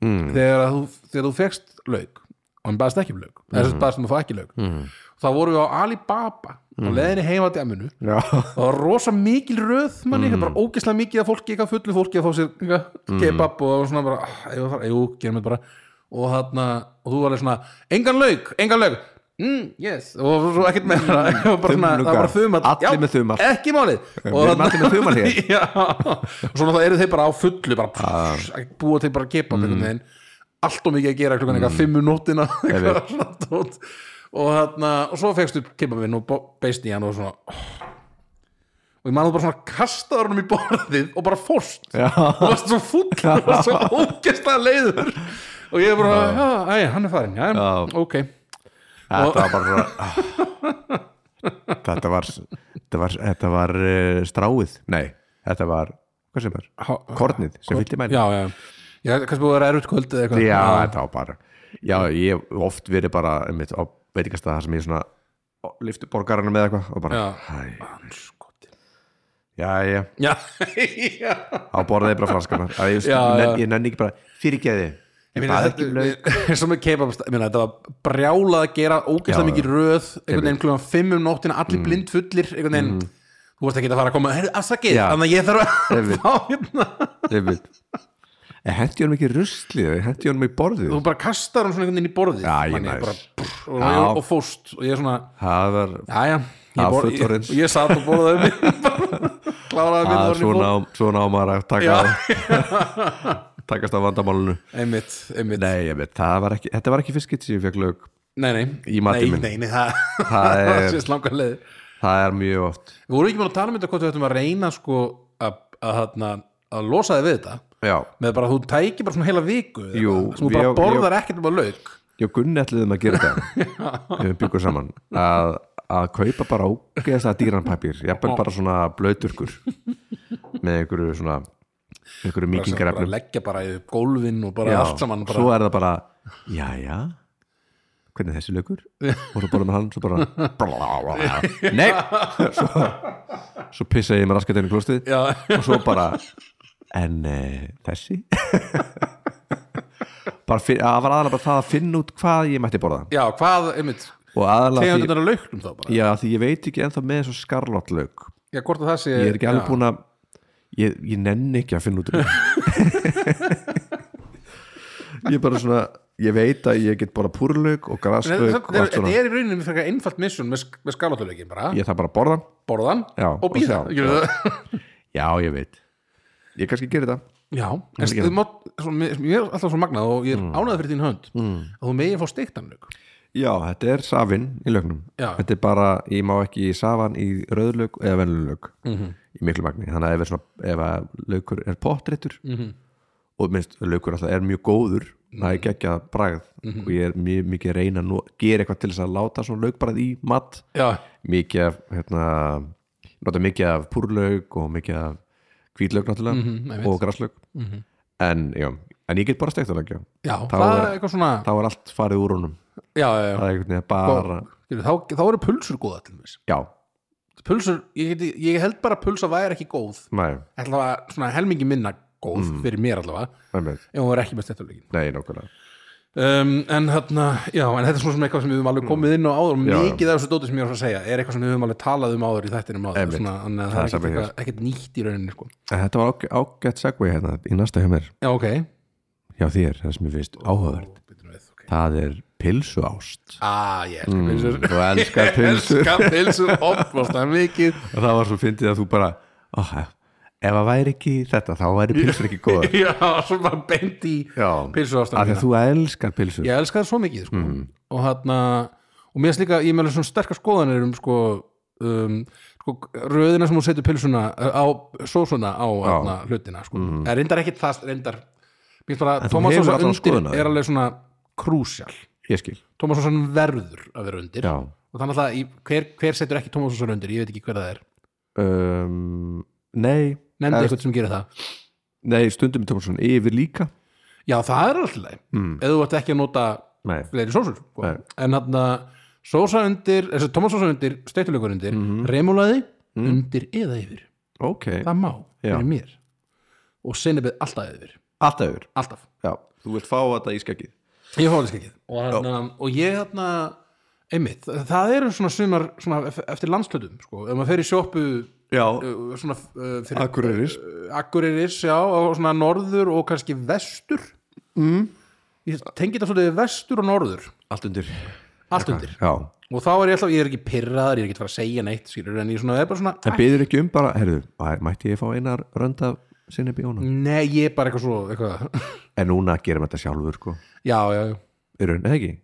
[SPEAKER 2] mm. þegar, að þú, þegar þú fekst lauk og hann baðast ekki um lauk mm. þess að baðast um að fá ekki lauk mm. þá vorum við á Alibaba mm. og leðinni heima til aminu
[SPEAKER 1] já,
[SPEAKER 2] það var rosa mikil röð manni, mm. bara ógeðslega mikið af fólki, eitthvað fullu fólki að fá sér eitthvað kebab og það var svona bara, "Ah, eigum við að fara, jú, gerum við bara og þarna, og þú var alveg svona engan lauk, engan lauk mm, yes, og svo ekkert meira mm. bara svona, [LAUGHS] það var
[SPEAKER 1] Þumlungar.
[SPEAKER 2] þumat,
[SPEAKER 1] Allir með þumal.
[SPEAKER 2] ekki málið
[SPEAKER 1] Við erum allir með þumal hér.
[SPEAKER 2] [LAUGHS] já, og svona þá eru þeir bara á fullu bara
[SPEAKER 1] Ah.
[SPEAKER 2] pff, að búa til bara kebab
[SPEAKER 1] Mm.
[SPEAKER 2] einhvern veginn allt og mikið að gera klukkan eitthvað fimmu nóttina [LAUGHS] eitthvað svona tótt og, þarna, og svo fegstu kebabinn og bo- beist í hann og svona og ég man þú bara svona kastaður honum í borðið og bara fórst
[SPEAKER 1] já,
[SPEAKER 2] og varst svo fúll og varst
[SPEAKER 1] [LAUGHS]
[SPEAKER 2] svo ógæstlega leiður og ég er bara, já, æ, hann er farin já,
[SPEAKER 1] Já.
[SPEAKER 2] ok,
[SPEAKER 1] þetta var bara ah. [LAUGHS] þetta var þetta var, þetta var uh, stráið nei, þetta var, hvað sem er
[SPEAKER 2] Há-
[SPEAKER 1] kornið sem fyllti mæli
[SPEAKER 2] já, já já, kannski búið að vera erut kvöld eða eitthvað
[SPEAKER 1] já, þetta var bara já, ég hef oft verið bara einmitt, á veitingastað þar sem ég svona lyftu borgarana með eitthvað og bara,
[SPEAKER 2] Já.
[SPEAKER 1] hæ
[SPEAKER 2] Andskotinn.
[SPEAKER 1] Jæja,
[SPEAKER 2] já, já
[SPEAKER 1] á borðið bara franskana að ég,
[SPEAKER 2] Já,
[SPEAKER 1] nenn,
[SPEAKER 2] já.
[SPEAKER 1] ég nenni ekki bara fyrirgeði
[SPEAKER 2] Ég
[SPEAKER 1] ég
[SPEAKER 2] meina,
[SPEAKER 1] bað
[SPEAKER 2] þetta,
[SPEAKER 1] ekki um laug
[SPEAKER 2] við- [LAUGHS] svo með kebab ég meina, þetta var brjálað að gera ógeðslega
[SPEAKER 1] Já,
[SPEAKER 2] mikið röð einhvern
[SPEAKER 1] Einmitt.
[SPEAKER 2] veginn klukkan fimm um nóttina allir blind fullir einhvern veginn þú varst ekki að fara að koma "Heyrðu, afsakið
[SPEAKER 1] Já.
[SPEAKER 2] þannig að ég þarf að
[SPEAKER 1] Einmitt.
[SPEAKER 2] fá hérna
[SPEAKER 1] Einmitt. en hendi honum ekki ruslið hendi honum í borðið
[SPEAKER 2] þú bara kastar hún svona einhvern veginn í borðið
[SPEAKER 1] Já, ég
[SPEAKER 2] Þannig
[SPEAKER 1] næs.
[SPEAKER 2] bara, prr, og,
[SPEAKER 1] Já.
[SPEAKER 2] og, og fóst og ég er svona
[SPEAKER 1] það var
[SPEAKER 2] já já
[SPEAKER 1] Já,
[SPEAKER 2] ég, bor, ég,
[SPEAKER 1] fullorðins.
[SPEAKER 2] og ég satt og borðaði [LAUGHS] mig kláraði mig
[SPEAKER 1] að
[SPEAKER 2] áður en ég
[SPEAKER 1] svona,
[SPEAKER 2] fór.
[SPEAKER 1] á- svona ámar að taka takast á vandamálunu
[SPEAKER 2] [LAUGHS] einmitt, einmitt nei,
[SPEAKER 1] nei, ég veit, það var ekki, þetta var ekki fiskitt sem ég fekk lög
[SPEAKER 2] nei, nei,
[SPEAKER 1] Í matinn minn.
[SPEAKER 2] nei, nei það,
[SPEAKER 1] Það
[SPEAKER 2] [LAUGHS] það
[SPEAKER 1] er-
[SPEAKER 2] sést langar leið
[SPEAKER 1] það er mjög oft
[SPEAKER 2] Við vorum ekki búin að tala um þetta hvort við ættum að reyna sko að, að, þarna, að losa þig við þetta
[SPEAKER 1] já,
[SPEAKER 2] með bara að þú tæki bara svona heila viku eða
[SPEAKER 1] Jú,
[SPEAKER 2] eitthvað, sem þú
[SPEAKER 1] við-
[SPEAKER 2] bara
[SPEAKER 1] ég-
[SPEAKER 2] borðar ekkert um að lauk
[SPEAKER 1] ég og Gunni ætliðum að
[SPEAKER 2] [LAUGHS]
[SPEAKER 1] gera þetta ef við byggum saman að, að kaupa bara ógeðast að dýranpapír jafnvel bara svona blöyturkur með einhverju svona einhverju
[SPEAKER 2] bara
[SPEAKER 1] mýkingarefnum
[SPEAKER 2] leggja bara í gólfin og bara
[SPEAKER 1] Já,
[SPEAKER 2] allt saman bara,
[SPEAKER 1] svo er það bara, jæja hvernig er þessi lögur og svo borðum við hann, svo bara nei svo, svo pissa ég með raskatinn í klostið
[SPEAKER 2] já, [LAUGHS]
[SPEAKER 1] og svo bara en e, þessi bara fyrir, að var aðalega bara það að finna út hvað ég mætti borða
[SPEAKER 2] já, hvað, einmitt
[SPEAKER 1] og aðalega
[SPEAKER 2] tegum
[SPEAKER 1] því,
[SPEAKER 2] þetta að lauknum þá bara
[SPEAKER 1] já, því ég veit ekki ennþá með þessu skarlottlaug
[SPEAKER 2] já, hvort að það sé
[SPEAKER 1] ég er ekki alveg
[SPEAKER 2] já.
[SPEAKER 1] búin að ég, ég nenni ekki að
[SPEAKER 2] [LAUGHS]
[SPEAKER 1] finna út úr því. ég er bara svona ég veit að ég get bara púrlaug
[SPEAKER 2] En
[SPEAKER 1] og
[SPEAKER 2] þetta-
[SPEAKER 1] graslaug og
[SPEAKER 2] þetta er-
[SPEAKER 1] allt
[SPEAKER 2] þetta
[SPEAKER 1] svona
[SPEAKER 2] er í rauninni fyrir einfalt missun með, sk- með skalatuleikin bara
[SPEAKER 1] ég þarf bara að borða
[SPEAKER 2] borðan
[SPEAKER 1] Já,
[SPEAKER 2] og býða
[SPEAKER 1] og sjá.
[SPEAKER 2] já, [LAUGHS]
[SPEAKER 1] já ég veit ég kannski gerir það
[SPEAKER 2] já. En, þú mátt- svo, mér mér er alltaf svo magnað og
[SPEAKER 1] Mm.
[SPEAKER 2] ég er ánægð fyrir þín hönd að þú megin fá steiktan lauk
[SPEAKER 1] já þetta er safin í lögnum
[SPEAKER 2] Já.
[SPEAKER 1] þetta er bara ég má ekki safan í rauðlaug eða venlulaug mm
[SPEAKER 2] Mhm.
[SPEAKER 1] -hmm. í miklu magni þannig að ef, er svona, ef að laukur er pottréttur
[SPEAKER 2] Mhm.
[SPEAKER 1] -hmm. og minnst laukur alltaf er mjög góður það er ekki að bragð
[SPEAKER 2] Mhm.
[SPEAKER 1] og ég er mjög mikið að reyna að nú- gera eitthvað til þess að láta svona laukbragð í mat
[SPEAKER 2] já,
[SPEAKER 1] mikið af hérna, nota mikið af púrlaug og mikið af hvítlaug náttúrulega
[SPEAKER 2] Mhm,
[SPEAKER 1] og graslaug en, já, en ég get bara steikt að leggja
[SPEAKER 2] Já,
[SPEAKER 1] Þá
[SPEAKER 2] það er
[SPEAKER 1] er-
[SPEAKER 2] eitthvað svona
[SPEAKER 1] þá er allt farið úr honum
[SPEAKER 2] já, já, já.
[SPEAKER 1] það er einhvern veginn bara
[SPEAKER 2] Skilur, Þá, þá eru pulsur góða til mér
[SPEAKER 1] já,
[SPEAKER 2] Pulsur, ég, geti, ég held bara að pulsa væri ekki góð
[SPEAKER 1] nei,
[SPEAKER 2] allavega svona helmingi minna góð
[SPEAKER 1] Mm.
[SPEAKER 2] fyrir mér allavega
[SPEAKER 1] einmitt
[SPEAKER 2] ef hún er ekki með stettuleikin
[SPEAKER 1] nei, nákvæmlega
[SPEAKER 2] um, en, þarna, já, en þetta er svona sem eitthvað sem við höfum alveg komið inn á áður og
[SPEAKER 1] Mm. Já, já.
[SPEAKER 2] mikið af þessu dóti sem ég var að segja er eitthvað sem við höfum alveg talað um áður í þættinum áður
[SPEAKER 1] Einmitt.
[SPEAKER 2] svona, en það
[SPEAKER 1] Það
[SPEAKER 2] er
[SPEAKER 1] er
[SPEAKER 2] ekkert,
[SPEAKER 1] sama hér.
[SPEAKER 2] eitthvað, ekkert nýtt í rauninni sko.
[SPEAKER 1] en þetta var ágæ- ágætt segway hérna í næsta hjá mér
[SPEAKER 2] Já, ok,
[SPEAKER 1] hjá þér, það sem ég finnst áhugavert
[SPEAKER 2] Bíddu nú við, ok.
[SPEAKER 1] það er pilsu ást
[SPEAKER 2] Ah, ég elska pilsur
[SPEAKER 1] þú Mm. [LAUGHS] elskar pilsu
[SPEAKER 2] Elska pilsur, opnast það mikið
[SPEAKER 1] [LAUGHS] og það var svo fyndið að þú bara oh, ef það væri ekki þetta þá væri pilsur ekki góð
[SPEAKER 2] Já, svo bara beint í
[SPEAKER 1] [LAUGHS] já,
[SPEAKER 2] pilsu
[SPEAKER 1] af því að þú elskar pilsur
[SPEAKER 2] ég elska það svo mikið sko.
[SPEAKER 1] Mhm.
[SPEAKER 2] og hérna og mér finnst líka, ég meðlega svona sterkar skoðanir um sko, um, sko röðina sem hún setur pilsuna uh, á sósuna á hérna, hlutina sko. mm. reyndar ekkit það, reyndar mér finnst bara,
[SPEAKER 1] Mhm. En þú
[SPEAKER 2] Thomas
[SPEAKER 1] hefur
[SPEAKER 2] Sosa
[SPEAKER 1] allan
[SPEAKER 2] undir
[SPEAKER 1] skoðun á því.
[SPEAKER 2] er alveg svona krúsjál
[SPEAKER 1] ég skil
[SPEAKER 2] Thomas Sosa verður að vera undir
[SPEAKER 1] já
[SPEAKER 2] og þannig að í- hver, hver setur ekki Thomas Sosa undir, ég veit ekki hver það er
[SPEAKER 1] um, nei,
[SPEAKER 2] nefndi
[SPEAKER 1] Eða-
[SPEAKER 2] eitthvað sem gerir það
[SPEAKER 1] nei stundum er Tómasson yfir líka
[SPEAKER 2] já, það er alltaf leið, mm. eða þú ert ekki að nota
[SPEAKER 1] nei,
[SPEAKER 2] fleiri sósur sko.
[SPEAKER 1] Nei.
[SPEAKER 2] en þarna sósa undir, þessi Thomas sósa undir steituleikur undir, mm
[SPEAKER 1] Mhm.
[SPEAKER 2] remulaði undir eða yfir,
[SPEAKER 1] ok,
[SPEAKER 2] það má
[SPEAKER 1] Já.
[SPEAKER 2] fyrir mér og sinnebið alltaf yfir,
[SPEAKER 1] alltaf yfir
[SPEAKER 2] alltaf
[SPEAKER 1] já. þú vilt fá þetta í skeggið
[SPEAKER 2] ég fóðis ekki og, þarna, og ég þarna einmitt, það eru svona sumar svona ef- eftir landslutum, sko, ef maður fer í sjoppu
[SPEAKER 1] já,
[SPEAKER 2] uh, svona uh, fyrir
[SPEAKER 1] akkuriris
[SPEAKER 2] Akureyris, já, og svona norður og kannski vestur mm.
[SPEAKER 1] Mhm.
[SPEAKER 2] ég tengi þetta svolítið við vestur og norður
[SPEAKER 1] allt undir
[SPEAKER 2] allt undir
[SPEAKER 1] Ah, já.
[SPEAKER 2] og þá er ég alltaf, ég er ekki pirraðar, ég er ekki að fara að segja neitt skilur, en ég svona, er bara svona
[SPEAKER 1] en byður ekki um bara, herðu, að- mætti ég fá einar rönd af sinni bjóna
[SPEAKER 2] nei, ég er bara eitthvað svo eitthvað. [LAUGHS]
[SPEAKER 1] en núna gerum þetta sjálfur sko.
[SPEAKER 2] já, já, já,
[SPEAKER 1] í raun, eða ekki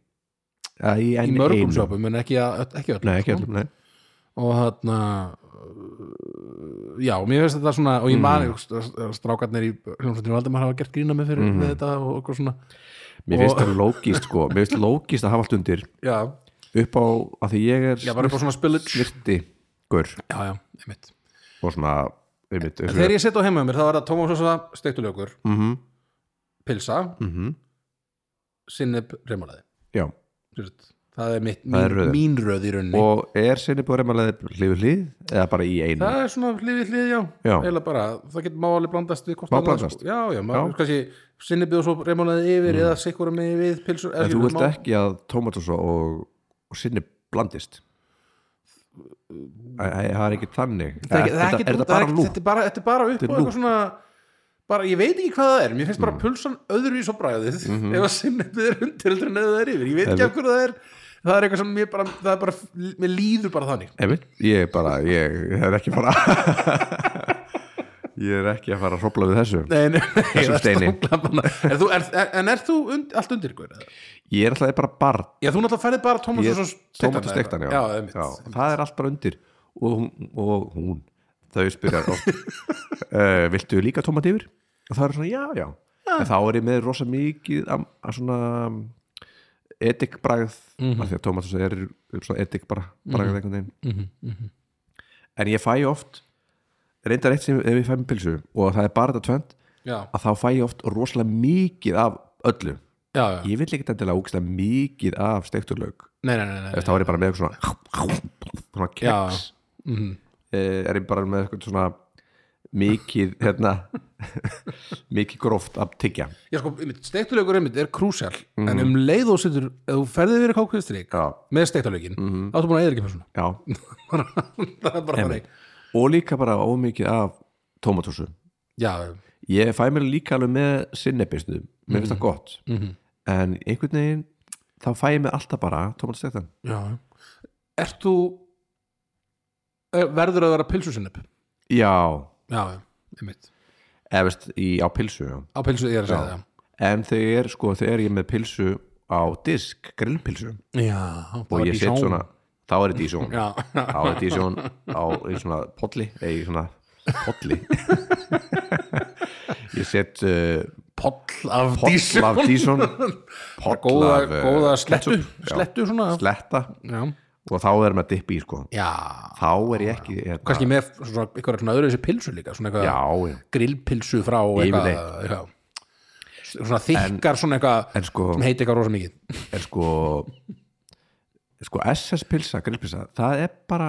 [SPEAKER 1] Eða
[SPEAKER 2] í
[SPEAKER 1] í, enn
[SPEAKER 2] mörgum Sko.
[SPEAKER 1] einu.
[SPEAKER 2] sjópum en ekki, að- ekki öll
[SPEAKER 1] nei, ekki öllum, nei
[SPEAKER 2] og þarna já, mér finnst þetta svona og ég man, mm. strákarnir í hljómsveitinu Valdimar hafa gert grína með fyrir
[SPEAKER 1] Mm.
[SPEAKER 2] með þetta og okkur svona,
[SPEAKER 1] mér finnst
[SPEAKER 2] Og-
[SPEAKER 1] það lógist sko, mér finnst lógist að hafa allt undir
[SPEAKER 2] já,
[SPEAKER 1] upp á, að því ég er
[SPEAKER 2] já, bara eitthvað svona spillut já,
[SPEAKER 1] snirti gur
[SPEAKER 2] já, einmitt
[SPEAKER 1] og svona, einmitt, eins og
[SPEAKER 2] þegar ég setja á heima með mér, þá er það Tómas Sosa steiktulegur,
[SPEAKER 1] Mhm.
[SPEAKER 2] pilsa
[SPEAKER 1] Mhm.
[SPEAKER 2] sinneb remulaði
[SPEAKER 1] já
[SPEAKER 2] Þú veist, það er mitt,
[SPEAKER 1] Það er
[SPEAKER 2] mín,
[SPEAKER 1] röðin.
[SPEAKER 2] mín röð í rauninni
[SPEAKER 1] og er sinni búið reymalega hlið við hlið eða bara í einu
[SPEAKER 2] það er svona hlifið hlið, já,
[SPEAKER 1] Já.
[SPEAKER 2] eiginlega bara það getur má alveg blandast við hvort
[SPEAKER 1] Má
[SPEAKER 2] annað,
[SPEAKER 1] blandast.
[SPEAKER 2] sko. já, já,
[SPEAKER 1] Já. Mm.
[SPEAKER 2] maður, kannski sinnibið og svo reymólaðið yfir eða sikkur með við pilsur
[SPEAKER 1] en þú vilt ekki að tómatos og, og sinni blandist Æ, æ, það er ekki þannig
[SPEAKER 2] það er, ekki, það er, ekki,
[SPEAKER 1] er þetta bara nú
[SPEAKER 2] þetta er bara, þetta er bara upp
[SPEAKER 1] Þetta
[SPEAKER 2] á
[SPEAKER 1] er nú. Mm.
[SPEAKER 2] eitthvað svona bara, ég veit ekki hvað það er, mér finnst bara pulsan öðru í svo bræðið
[SPEAKER 1] Mhm.
[SPEAKER 2] [LAUGHS] ef að sinnefnið er undir heldur en ef það er yfir, ég veit ekki
[SPEAKER 1] Ef-
[SPEAKER 2] af hverju það er það er eitthvað sem mér bara, það er bara mér líður bara þannig
[SPEAKER 1] Einmitt, ég er bara, ég, ég er ekki að fara [LAUGHS] ég er ekki að fara að hrópla við þessu
[SPEAKER 2] Nei, nei,
[SPEAKER 1] Þessum
[SPEAKER 2] það er
[SPEAKER 1] steini.
[SPEAKER 2] stanglambanna. Er þú- er- er- en er þú und, allt undir ykkur? eða?
[SPEAKER 1] ég er alltaf bara barn
[SPEAKER 2] Já, þú náttúrulega færið bara Thomas
[SPEAKER 1] ég,
[SPEAKER 2] og
[SPEAKER 1] tómata stektan, já,
[SPEAKER 2] já, einmitt.
[SPEAKER 1] það er allt bara undir og, hún- og hún, þau spyrjar [LAUGHS] oft uh, viltu líka tómat yfir? og það er svona, já, já, en þá er ég með rosa mikið að, að svona edikbragð
[SPEAKER 2] Mhm.
[SPEAKER 1] af því að tómat er er svona edikbragð einhvern veginn
[SPEAKER 2] Mhm,
[SPEAKER 1] en ég fæ oft reyndar eitt sem ef ég fæ með pilsu og það er bara þetta tvönd
[SPEAKER 2] já,
[SPEAKER 1] að þá fæ ég oft rosalega mikið af öllu
[SPEAKER 2] já, já.
[SPEAKER 1] ég vil ekki endilega úkislega mikið af steikturlaug
[SPEAKER 2] Nei, nei, nei, nei,
[SPEAKER 1] þá er ég bara með eitthvað svona svona keks
[SPEAKER 2] Mhm.
[SPEAKER 1] Eh, er ég bara með eitthvað svona mikið hérna, [LAUGHS] mikið gróft að tyggja
[SPEAKER 2] Já, sko, steiktulegur einmitt er krúsjál en um leið og setur, ef þú ferðið verið kákvistrik
[SPEAKER 1] Mhm. Já. Mhm.
[SPEAKER 2] með steiktulegin þá ertu búin að eða ekki með svona
[SPEAKER 1] Já.
[SPEAKER 2] það er [LAUGHS] bara þannig
[SPEAKER 1] og líka bara ómikið af tómatósu
[SPEAKER 2] Já,
[SPEAKER 1] ég fæ mér líka alveg með sinnebistu mér finnst það gott
[SPEAKER 2] Mhm.
[SPEAKER 1] en einhvern veginn þá fæ ég mér alltaf bara tómatóstektan
[SPEAKER 2] já Ert þú er- verður að vera pilsusinnep?
[SPEAKER 1] já,
[SPEAKER 2] Já, einmitt
[SPEAKER 1] eða veist í, á pilsu já.
[SPEAKER 2] Á pilsu, ég er að segja
[SPEAKER 1] en þegar, sko, þegar ég er með pilsu á disk, grillpilsu
[SPEAKER 2] það Já, það
[SPEAKER 1] og
[SPEAKER 2] var
[SPEAKER 1] ég set
[SPEAKER 2] Dijon.
[SPEAKER 1] svona, þá er þetta í sjón
[SPEAKER 2] Já, já,
[SPEAKER 1] þá er þetta í sjón á í svona podli eða í svona podli ég set uh,
[SPEAKER 2] [LAUGHS] poll af
[SPEAKER 1] podl af
[SPEAKER 2] dísum
[SPEAKER 1] dísón podl
[SPEAKER 2] Góða,
[SPEAKER 1] af uh,
[SPEAKER 2] góða slettu,
[SPEAKER 1] ketchup, já,
[SPEAKER 2] slettu svona
[SPEAKER 1] sletta
[SPEAKER 2] Já,
[SPEAKER 1] og þá er maður að dippa í sko
[SPEAKER 2] já
[SPEAKER 1] þá er ég ekki hérna,
[SPEAKER 2] kannski með svona eitthvað svona öðru þessi pilsu líka svona eitthvað
[SPEAKER 1] já, já.
[SPEAKER 2] grillpilsu frá eitthvað, já, svona þykkar svona eitthvað
[SPEAKER 1] en sko,
[SPEAKER 2] sem heiti eitthvað rosa mikið
[SPEAKER 1] en sko sko SS pilsa, grillpilsa það er bara,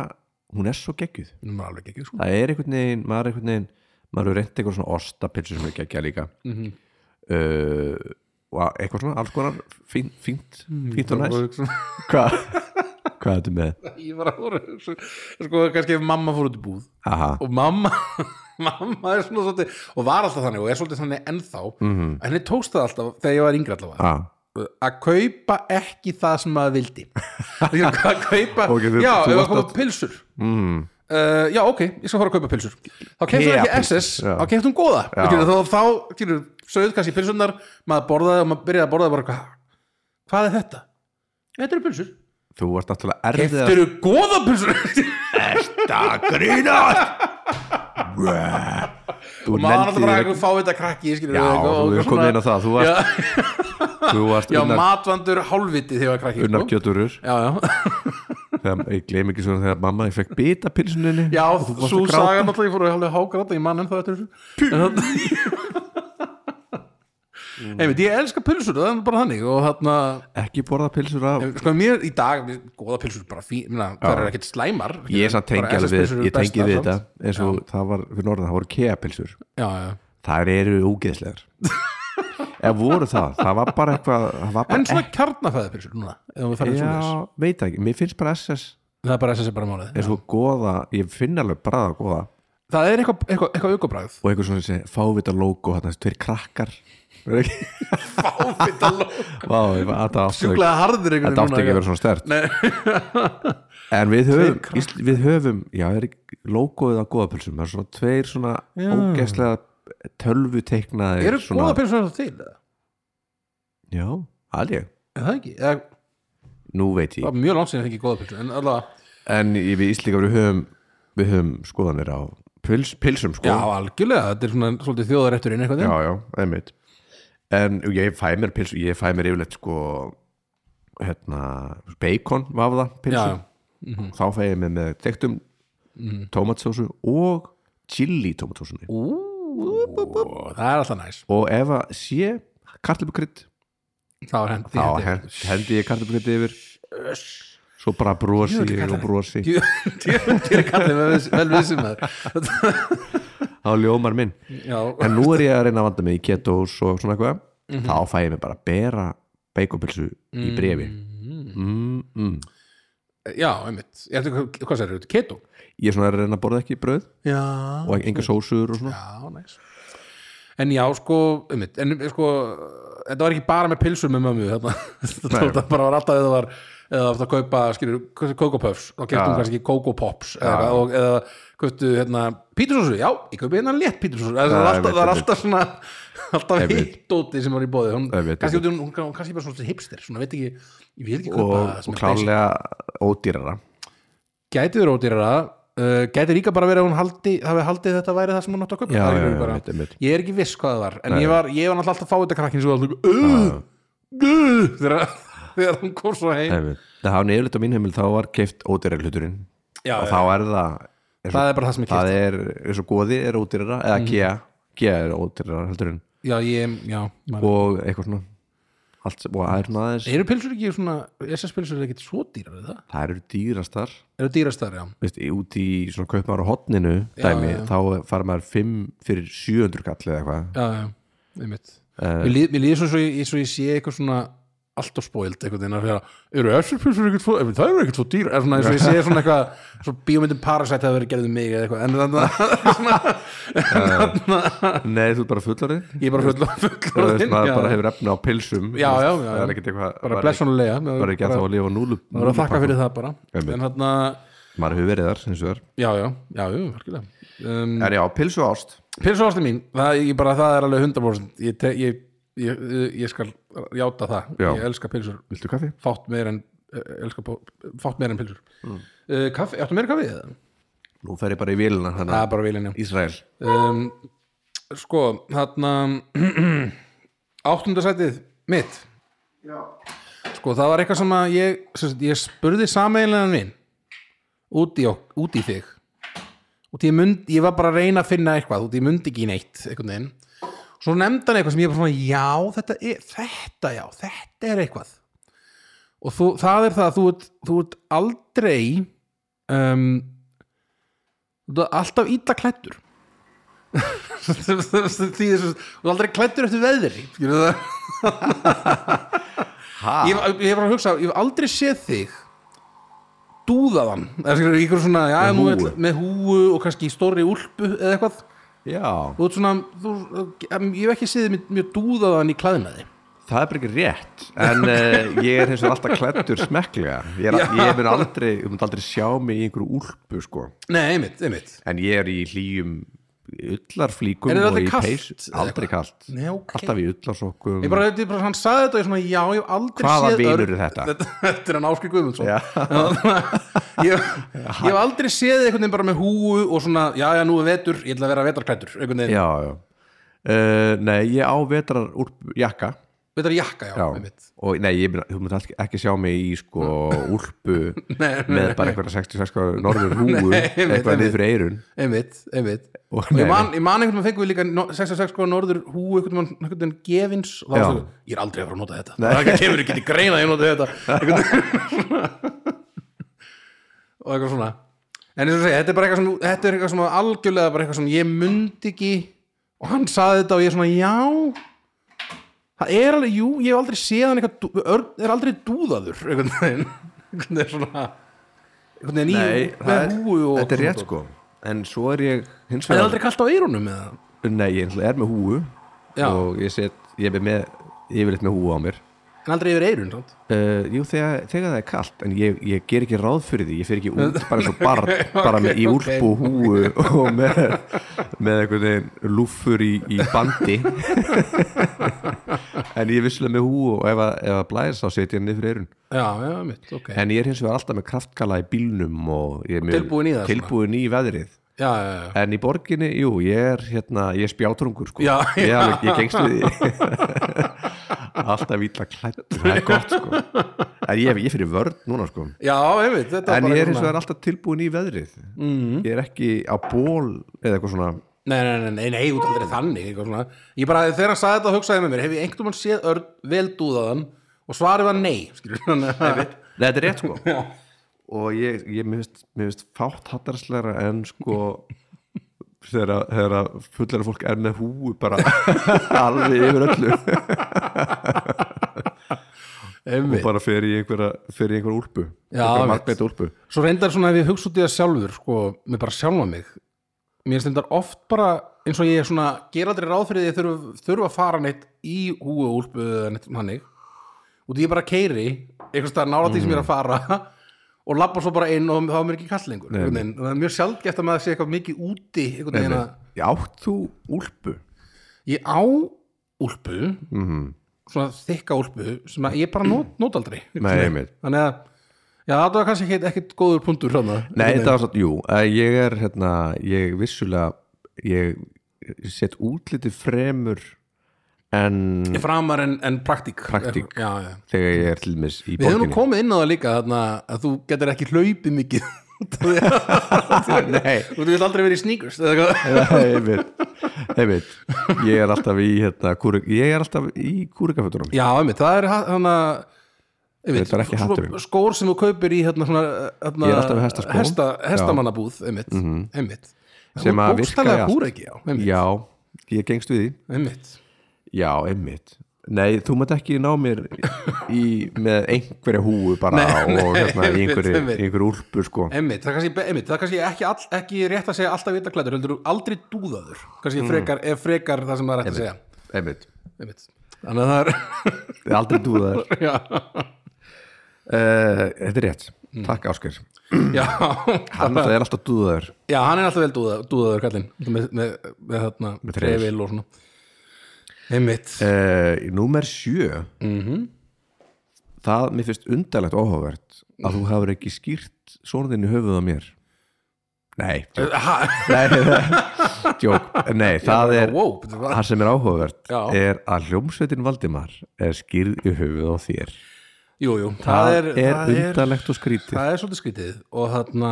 [SPEAKER 1] hún er svo geggjuð
[SPEAKER 2] Hún var alveg [LAUGHS] ekki, sko.
[SPEAKER 1] það er einhvern veginn, maður er einhvern veginn maður er reynt eitthvað svona ostapilsu sem er geggja líka
[SPEAKER 2] Mhm.
[SPEAKER 1] uh, og eitthvað svona alls konar fínt, fínt,
[SPEAKER 2] Mhm,
[SPEAKER 1] fínt og næst
[SPEAKER 2] ég
[SPEAKER 1] [LAUGHS] hvað hvað er þetta með?
[SPEAKER 2] var að voru sko kannski ef mamma fór út í búð
[SPEAKER 1] Aha,
[SPEAKER 2] og mamma [LAUGHS] mamma er svona svolítið og var alltaf þannig og er svolítið þannig ennþá
[SPEAKER 1] Mhm.
[SPEAKER 2] en henni tókst það alltaf þegar ég var yngri allavega
[SPEAKER 1] ah,
[SPEAKER 2] að kaupa ekki það sem maður vildi að kaupa
[SPEAKER 1] Ok, þú-
[SPEAKER 2] já,
[SPEAKER 1] þú
[SPEAKER 2] ef að
[SPEAKER 1] varst
[SPEAKER 2] kaupa
[SPEAKER 1] oft-
[SPEAKER 2] pilsur
[SPEAKER 1] mm,
[SPEAKER 2] Uh, já, ok, ég skal fara að kaupa pilsur Þá kefti hún
[SPEAKER 1] Nýja
[SPEAKER 2] ekki
[SPEAKER 1] pylsur,
[SPEAKER 2] SS,
[SPEAKER 1] já.
[SPEAKER 2] þá kefti hún góða
[SPEAKER 1] Já.
[SPEAKER 2] skilur, Þá, þá skilur, sögðu kannski pilsurnar Maður borðaði og maður byrjaði að borðaði bara, "Hva- Hvað er þetta? Þetta eru pilsur
[SPEAKER 1] þú varst náttúrulega erfið
[SPEAKER 2] Þetta eru góða pilsur
[SPEAKER 1] að grína þú
[SPEAKER 2] [LAUGHS] Maður
[SPEAKER 1] lendi
[SPEAKER 2] náttúrulega bara
[SPEAKER 1] þér
[SPEAKER 2] eitthvað fá þetta krakki skilur,
[SPEAKER 1] já, þú er komið inn á það þú varst,
[SPEAKER 2] Já,
[SPEAKER 1] þú varst
[SPEAKER 2] já
[SPEAKER 1] unnar,
[SPEAKER 2] matvandur hálfviti þegar ég var krakki sko.
[SPEAKER 1] unnar kjöturur
[SPEAKER 2] Já, já,
[SPEAKER 1] þegar, ég gleym ekki svona þegar mamma ég fekk bita pilsuninni
[SPEAKER 2] já
[SPEAKER 1] og þú varst
[SPEAKER 2] svo
[SPEAKER 1] að gráta.
[SPEAKER 2] saga náttúrulega Ég fór að hálfveg hágráta, ég mann en það þetta þessu
[SPEAKER 1] Mm.
[SPEAKER 2] Einmitt, ég elska pilsur, það er bara þannig og þarna,
[SPEAKER 1] ekki borða pilsur af
[SPEAKER 2] sko mér í dag, mér- góða pilsur bara fín, minna, það er ekkert slæmar
[SPEAKER 1] ég samt tengi
[SPEAKER 2] Bara
[SPEAKER 1] alveg við,
[SPEAKER 2] SS-pylsur eru
[SPEAKER 1] ég tengi
[SPEAKER 2] bestar
[SPEAKER 1] við
[SPEAKER 2] samt.
[SPEAKER 1] þetta eins og það var, fyrir norðan, það voru keapilsur
[SPEAKER 2] já, já.
[SPEAKER 1] það eru [LAUGHS] ógeðslegar ef voru það, það var bara eitthvað það var bara
[SPEAKER 2] en svona kjarnafæði pilsur núna ef við farum
[SPEAKER 1] ekki,
[SPEAKER 2] svona
[SPEAKER 1] já, veit það ekki, mér finnst bara SS
[SPEAKER 2] það er bara SS er bara málið
[SPEAKER 1] eins og goða, ég finn alveg bara það goða
[SPEAKER 2] það er eitthvað eitthva, eitthva
[SPEAKER 1] [LAUGHS]
[SPEAKER 2] aukabræð
[SPEAKER 1] og eitthvað svona þessi fávita logo þarna, þessi tveir [LAUGHS] krakkar Er ekki-
[SPEAKER 2] fávita
[SPEAKER 1] Vá, ég var- þetta átti
[SPEAKER 2] [LAUGHS]
[SPEAKER 1] ekki-
[SPEAKER 2] sjúklega harður
[SPEAKER 1] þetta átti ekki að vera svona stert [LAUGHS] en við höfum, Ísl, við höfum já, er ekki- logoið á goðapilsum það er svona tveir svona ógeðslega tölvu teiknaðir
[SPEAKER 2] eru
[SPEAKER 1] svona,
[SPEAKER 2] góða pilsur það til eða?
[SPEAKER 1] já, alveg,
[SPEAKER 2] er það ekki, eða,
[SPEAKER 1] nú veit ég
[SPEAKER 2] það var mjög langt sinni ekki góða pilsur en allavega,
[SPEAKER 1] en í- við Íslíkar við höfum við höfum skoðanir á pils, pilsum sko
[SPEAKER 2] já algjörlega þetta er svona svolítið þjóðarétturinn eitthvað
[SPEAKER 1] já, já, einmitt en ég fæ mér pilsu, ég fæ mér yfirleitt sko hérna bacon vafða pilsu
[SPEAKER 2] Já, já.
[SPEAKER 1] þá fæ ég mér með tektum tómatsósu og chili tómatsósunni
[SPEAKER 2] Ú, það er alltaf næs
[SPEAKER 1] og ef að sé kartlubukrydd
[SPEAKER 2] þá er hendi
[SPEAKER 1] þá hend- hendi ég kartlubukrydd yfir svo bara brosi
[SPEAKER 2] Jöfull
[SPEAKER 1] ég og
[SPEAKER 2] kallar.
[SPEAKER 1] brosi
[SPEAKER 2] Djöfndir kallið vel viss- vel vissum það [LAUGHS]
[SPEAKER 1] þá ljómar minn
[SPEAKER 2] Já,
[SPEAKER 1] en nú er ég að reyna að vanda mig í ketos og svona eitthvað
[SPEAKER 2] Mhm.
[SPEAKER 1] þá fæ ég mig bara að bera beikopilsu í brefi mm, mm.
[SPEAKER 2] já, einmitt Ertu, hvað- Hvað sér þetta? Keto?
[SPEAKER 1] ég er svona að reyna að borða ekki bröð
[SPEAKER 2] Já
[SPEAKER 1] og enga sósur og svona
[SPEAKER 2] Já, næs En já, sko, einmitt En sko, þetta var ekki bara með pilsur með mömmu Þetta [LAUGHS] þetta bara var alltaf eða var eða aftur að kaupa, skilur, Coco Puffs þá keftum
[SPEAKER 1] Já. kannski
[SPEAKER 2] kannski Coco Pops eða, og, eða kauptu, hérna, pítursósu já, ég kaupi hérna létt pítursósu það
[SPEAKER 1] Já,
[SPEAKER 2] er alltaf, það
[SPEAKER 1] einmitt,
[SPEAKER 2] er
[SPEAKER 1] einmitt.
[SPEAKER 2] alltaf svona [LAUGHS] alltaf
[SPEAKER 1] Einmitt.
[SPEAKER 2] hitt dóti sem var í bóði hún,
[SPEAKER 1] Einmitt,
[SPEAKER 2] kannski, hún, hún, hún kannski bara svona hipster svona, veit ekki, ég vil ekki
[SPEAKER 1] og,
[SPEAKER 2] kaupa sem
[SPEAKER 1] og
[SPEAKER 2] er basic.
[SPEAKER 1] klálega ódýrara
[SPEAKER 2] gæti verið ódýrara uh, gæti líka bara verið að hún haldi, hafi haldið þetta væri það sem hún átti að kaupa Það
[SPEAKER 1] Já,
[SPEAKER 2] er
[SPEAKER 1] já,
[SPEAKER 2] ekki
[SPEAKER 1] já,
[SPEAKER 2] bara-
[SPEAKER 1] einmitt, einmitt.
[SPEAKER 2] ég er ekki viss hvað það var en ég var, ég var náttúrulega alltaf að fá þetta krakkin svo alltaf uh, uh, þegar, þegar hann kom svo heim
[SPEAKER 1] Nei, það hafa nefnilegt á mín heimil þá var keift ódýrar hluturinn
[SPEAKER 2] Já,
[SPEAKER 1] og
[SPEAKER 2] já.
[SPEAKER 1] þá er það er
[SPEAKER 2] það er bara það sem ég kýrt
[SPEAKER 1] það er, eins og goði er ódýrara eða Kia, Kia er ódýrara heldurinn
[SPEAKER 2] já, ég, já, maður
[SPEAKER 1] og eitthvað svona allt, sem- og það er svona aðeins
[SPEAKER 2] eru pilsur ekki svona, SS pilsur er ekki svo dýrar er það?
[SPEAKER 1] það eru dýrastar
[SPEAKER 2] eru dýrastar, já
[SPEAKER 1] Veist, í- út í svona kaupmar á hotninu dæmi,
[SPEAKER 2] já.
[SPEAKER 1] þá fara maður 5 fyrir 700 kall eða eitthvað
[SPEAKER 2] já, já, einmitt
[SPEAKER 1] Eh.
[SPEAKER 2] mér líð- mér líður svo svo ég, svo ég sé eitthvað svona allt á spóild einhvern veginn að þegar eru SS-pilsur ekkert svo, það eru ekkert svo dýr er svona eins og ég sé svona eitthvað svo bíómyndin Parasite hafa verið gerðið mig eða eitthvað en þannig að [LAUGHS] svona,
[SPEAKER 1] nei, þú er bara
[SPEAKER 2] [LAUGHS]
[SPEAKER 1] fullarinn
[SPEAKER 2] ég er bara full
[SPEAKER 1] þú
[SPEAKER 2] fullorðinn,
[SPEAKER 1] veist, maður
[SPEAKER 2] já.
[SPEAKER 1] bara hefur efni á pilsum
[SPEAKER 2] Já,
[SPEAKER 1] þú veist,
[SPEAKER 2] já, já,
[SPEAKER 1] það
[SPEAKER 2] já.
[SPEAKER 1] er ekkert eitthvað
[SPEAKER 2] bara
[SPEAKER 1] maður er ekki-
[SPEAKER 2] blessunlega
[SPEAKER 1] maður er
[SPEAKER 2] maður
[SPEAKER 1] ekki að þá að lifa á núlu
[SPEAKER 2] maður er að þakka fyrir það bara
[SPEAKER 1] Einmitt.
[SPEAKER 2] en þarna,
[SPEAKER 1] maður hefur verið þar, eins og þar
[SPEAKER 2] já, já, já, já, virkilega um,
[SPEAKER 1] en já, pilsu og ást
[SPEAKER 2] Pilsu ástu mín, það, ég bara, það er alveg 100% ég, te, ég, ég, ég skal játa það,
[SPEAKER 1] Já.
[SPEAKER 2] ég elska pilsur
[SPEAKER 1] viltu kaffi?
[SPEAKER 2] fátt meir en eh, elska, pó- fátt meir en pilsur mm. uh, kaffi, áttu meira kaffi? eða?
[SPEAKER 1] nú fer ég bara í vélina
[SPEAKER 2] Það
[SPEAKER 1] þannig
[SPEAKER 2] er bara vilinni
[SPEAKER 1] að Ísrael
[SPEAKER 2] um, sko, þarna [CLEARS THROAT] áttundasætið mitt sko, það var eitthvað sem að ég, sem sagt, ég spurði sameiginlegan minn út í, ok- út í þig og ég, mynd, ég var bara að reyna að finna eitthvað út í mundi ekki neitt einhvern veginn svo nefndi hann eitthvað sem ég bara svona já, þetta er, þetta já, þetta er eitthvað og þú, það er það að þú ert, þú ert aldrei um, þú ert alltaf illa klættur [LAUGHS] því þess að þú ert aldrei klættur eftir veðri skilur það [LAUGHS]
[SPEAKER 1] ha?
[SPEAKER 2] ég, ég hef bara að hugsa, ég hef aldrei séð þig dúðaðan eða skilur, ykkur svona, já,
[SPEAKER 1] Með
[SPEAKER 2] nú
[SPEAKER 1] húfu.
[SPEAKER 2] ætla- með húu og kannski í stórri úlpu eða eitthvað,
[SPEAKER 1] já,
[SPEAKER 2] þú ert svona þú, em, ég hef ekki séð þig mjög- mjög dúðaðan í klæðnaði
[SPEAKER 1] það er bara ekki rétt
[SPEAKER 2] [LAUGHS]
[SPEAKER 1] en uh, ég er hins vegar alltaf klættur smekklega ég, er, ég mun aldrei, ég mun aldrei sjá mig í einhverju úlpu sko.
[SPEAKER 2] nei, einmitt, einmitt
[SPEAKER 1] en ég er í hlýjum ullarflíkum
[SPEAKER 2] Er þér aldrei
[SPEAKER 1] og í
[SPEAKER 2] kalt
[SPEAKER 1] peysu-
[SPEAKER 2] eða
[SPEAKER 1] aldrei
[SPEAKER 2] eitthvað?
[SPEAKER 1] kalt,
[SPEAKER 2] Nei, ok.
[SPEAKER 1] alltaf í ullarsokkum
[SPEAKER 2] ég bara, ég bara, hann sagði þetta og ég svona, já, ég hef aldrei
[SPEAKER 1] Hvaða
[SPEAKER 2] séð
[SPEAKER 1] vinur
[SPEAKER 2] Örn-
[SPEAKER 1] er þetta?
[SPEAKER 2] þetta, [LAUGHS] þetta er hann Áskir Guðmundsson
[SPEAKER 1] Já.
[SPEAKER 2] [LAUGHS] ég, ég hef aldrei séð þig einhvern veginn bara með húu og svona, já, já, nú er vetur ég ætla að vera vetarklættur, einhvern veginn
[SPEAKER 1] já, já. Uh, nei, ég á vetrar úlpu, jakka
[SPEAKER 2] vetarjakka, já,
[SPEAKER 1] já.
[SPEAKER 2] einmitt
[SPEAKER 1] og nei, ég mun, þú mun ekki, ekki sjá mig í sko,
[SPEAKER 2] [LAUGHS]
[SPEAKER 1] úlpu
[SPEAKER 2] Nei,
[SPEAKER 1] með bara einhverja 66 gráðu norður húu eitthvað niður fyrir eyrun
[SPEAKER 2] einmitt, einmitt
[SPEAKER 1] Og-
[SPEAKER 2] og ég
[SPEAKER 1] nei,
[SPEAKER 2] man, ég man einhvern veginn fengum við líka no- 66 sko norður hú einhvern veginn- einhvern veginn gefins og það
[SPEAKER 1] Já.
[SPEAKER 2] var svo, ég er aldrei að fara að nota þetta það er ekki að kemur ekki til greina að ég nota þetta Einhvern
[SPEAKER 1] [LAUGHS]
[SPEAKER 2] veginn. og eitthvað svona en eins og segja, þetta er bara eitthvað sem þetta er eitthvað sem algjörlega bara eitthvað sem ég mundi ekki og hann saði þetta og ég svona já það er alveg, jú, ég hef aldrei séð hann eitthvað, dú- Örn er aldrei dúðaður einhvern veginn [LAUGHS] einhvern veginn svona einhvern veginn í
[SPEAKER 1] Nei, það
[SPEAKER 2] með
[SPEAKER 1] er,
[SPEAKER 2] húu og
[SPEAKER 1] þetta er rétt sko En svo er ég hins
[SPEAKER 2] Það er
[SPEAKER 1] vegar
[SPEAKER 2] aldrei kallt á eyrunum eða?
[SPEAKER 1] Nei, ég náttúrulega er með húu
[SPEAKER 2] Já.
[SPEAKER 1] Og ég set, ég er með Yfirleitt með húu á mér
[SPEAKER 2] En aldrei yfir eyrun, sant?
[SPEAKER 1] uh, Jú, þegar, þegar það er kalt En ég, ég ger ekki ráð fyrir því Ég fer ekki út bara svo
[SPEAKER 2] [LAUGHS]
[SPEAKER 1] barn Bara með í
[SPEAKER 2] ok,
[SPEAKER 1] úlpu og húu Og með, með einhvern veginn lúffur í, í
[SPEAKER 2] [LAUGHS]
[SPEAKER 1] bandi En ég er vissulega með húu Og ef að, ef að blæðis þá set ég hann niður fyrir eyrun
[SPEAKER 2] Já, já, mitt, ok.
[SPEAKER 1] En ég er hins vegar alltaf með kraftkala í bílnum Og ég er mjög-
[SPEAKER 2] Tilbúin í það, svona.
[SPEAKER 1] Tilbúin í veðrið
[SPEAKER 2] já, já, já.
[SPEAKER 1] En í borginni, jú, ég er hérna, ég er spjátrungur sko
[SPEAKER 2] Já,
[SPEAKER 1] Ég, er alveg, ég gengst við því [LAUGHS] Alltaf ítla klætt Það er gott sko En ég, ég fyrir vörn núna sko
[SPEAKER 2] Já, einmitt, þetta var
[SPEAKER 1] En
[SPEAKER 2] bara Mhm.
[SPEAKER 1] ég er
[SPEAKER 2] eitthvað
[SPEAKER 1] eins og er alltaf tilbúin í veðrið Ég er ekki á ból eða eitthvað svona
[SPEAKER 2] Nei, nei, nei, nei, nei, út aldrei þannig, eitthvað svona. Ég bara, þegar hann [LAUGHS] sagði þetta, hugsaði ég með mér, hef ég einhvern mann séð örn vel dúðaðan og svarið var nei, skilur hann. Einmitt.
[SPEAKER 1] Nei, þetta er rétt sko
[SPEAKER 2] [LAUGHS] Já.
[SPEAKER 1] og ég, ég mér finnst- mér finnst fátt hattarsleira en sko þegar að- þegar að fullara fólk er með húu bara [LAUGHS] alveg yfir öllu og
[SPEAKER 2] Einmitt.
[SPEAKER 1] bara fer í einhverja, fer í einhverja úlpu
[SPEAKER 2] Já,
[SPEAKER 1] einhverja
[SPEAKER 2] veit.
[SPEAKER 1] margbeita úlpu
[SPEAKER 2] Svo reyndar svona ef ég hugsa út í það sjálfur sko, mér bara sjálfa mig mér stendar oft bara eins og ég er svona gera aldrei ráð fyrir því að þurfa, þurfa að fara neitt í húu og úlpu eða neitt hannig og því ég bara keiri einhvers staðar nála því sem ég er að
[SPEAKER 1] Mm.
[SPEAKER 2] fara [LAUGHS] og labba svo bara inn og þá er mér ekki kall lengur einhvern veginn. og það er mjög sjaldgæft að maður sé eitthvað mikið úti einhvern veginn að
[SPEAKER 1] Já, átt þú úlpu?
[SPEAKER 2] ég á úlpu
[SPEAKER 1] Mm. Mhm.
[SPEAKER 2] svona þykka úlpu sem að ég bara not, not aldrei
[SPEAKER 1] Nei, einmitt.
[SPEAKER 2] þannig að já, það var kannski ekkit, ekkit góður punktur hrann
[SPEAKER 1] Nei, þetta var satt, jú, að ég er hérna, ég vissulega ég set útlitið fremur en
[SPEAKER 2] framar en, en Mm. praktík
[SPEAKER 1] Praktík.
[SPEAKER 2] já, já.
[SPEAKER 1] þegar ég er til dæmis í
[SPEAKER 2] við höfum nú
[SPEAKER 1] borginni
[SPEAKER 2] komið inn á það líka þarna, að þú getur ekki hlaupið mikið [LAUGHS] Út af því
[SPEAKER 1] [LAUGHS]
[SPEAKER 2] að-
[SPEAKER 1] Nei.
[SPEAKER 2] þú vil aldrei verið í sneakers eða eitthvað.
[SPEAKER 1] einmitt, einmitt ég er alltaf í hérna, kúrik, ég er alltaf í kúrikafötunum
[SPEAKER 2] já, einmitt, það er hann að einmitt,
[SPEAKER 1] Þetta er ekki
[SPEAKER 2] svo-
[SPEAKER 1] hatturinn.
[SPEAKER 2] skór sem þú kaupir í hérna, svona, hérna,
[SPEAKER 1] Ég er alltaf í hestaskóm.
[SPEAKER 2] hesta,
[SPEAKER 1] Já.
[SPEAKER 2] hestamannabúð einmitt, einmitt
[SPEAKER 1] Sem að virka í
[SPEAKER 2] bókstælega
[SPEAKER 1] allt.
[SPEAKER 2] húr ekki, já, einmitt,
[SPEAKER 1] já, ég gengst við því
[SPEAKER 2] einmitt.
[SPEAKER 1] já, einmitt nei, þú mátt ekki ná mér í, með einhverja húu bara
[SPEAKER 2] Nei,
[SPEAKER 1] og
[SPEAKER 2] nei,
[SPEAKER 1] hérna, í
[SPEAKER 2] einmitt,
[SPEAKER 1] einhverju,
[SPEAKER 2] einmitt.
[SPEAKER 1] einhverju úlpu sko.
[SPEAKER 2] Einmitt, það er kannski, einmitt, það er kannski ekki, all, ekki rétt að segja alltaf vita klætur, heldur þú aldrei dúðaður kannski frekar, ef frekar það sem það er rétt að segja
[SPEAKER 1] einmitt,
[SPEAKER 2] einmitt. þannig að það er [LAUGHS]
[SPEAKER 1] Þið aldrei dúðar uh,
[SPEAKER 2] já,
[SPEAKER 1] þetta er rétt,
[SPEAKER 2] Mm.
[SPEAKER 1] takk Ásker
[SPEAKER 2] já,
[SPEAKER 1] hann alltaf er alltaf dúðar
[SPEAKER 2] já, hann er alltaf vel dúða, dúðaður kallinn með, með, með þarna
[SPEAKER 1] Með trefil.
[SPEAKER 2] trefil og svona einmitt,
[SPEAKER 1] uh, númer sjö
[SPEAKER 2] Mhm.
[SPEAKER 1] það, mér finnst undarlegt óhugavert að þú hafur ekki skýrt sonðinni höfuð á mér nei, djók.
[SPEAKER 2] ha,
[SPEAKER 1] nei [LAUGHS] djók, nei, það er
[SPEAKER 2] wow, betur hvað?
[SPEAKER 1] það sem er áhugavert
[SPEAKER 2] Já.
[SPEAKER 1] er að hljómsveitin Valdimar er skýrð í höfuð á þér
[SPEAKER 2] jú, jú,
[SPEAKER 1] það,
[SPEAKER 2] það er
[SPEAKER 1] er
[SPEAKER 2] það er-
[SPEAKER 1] undarlegt og skrítið
[SPEAKER 2] það er svolítið skrítið og þarna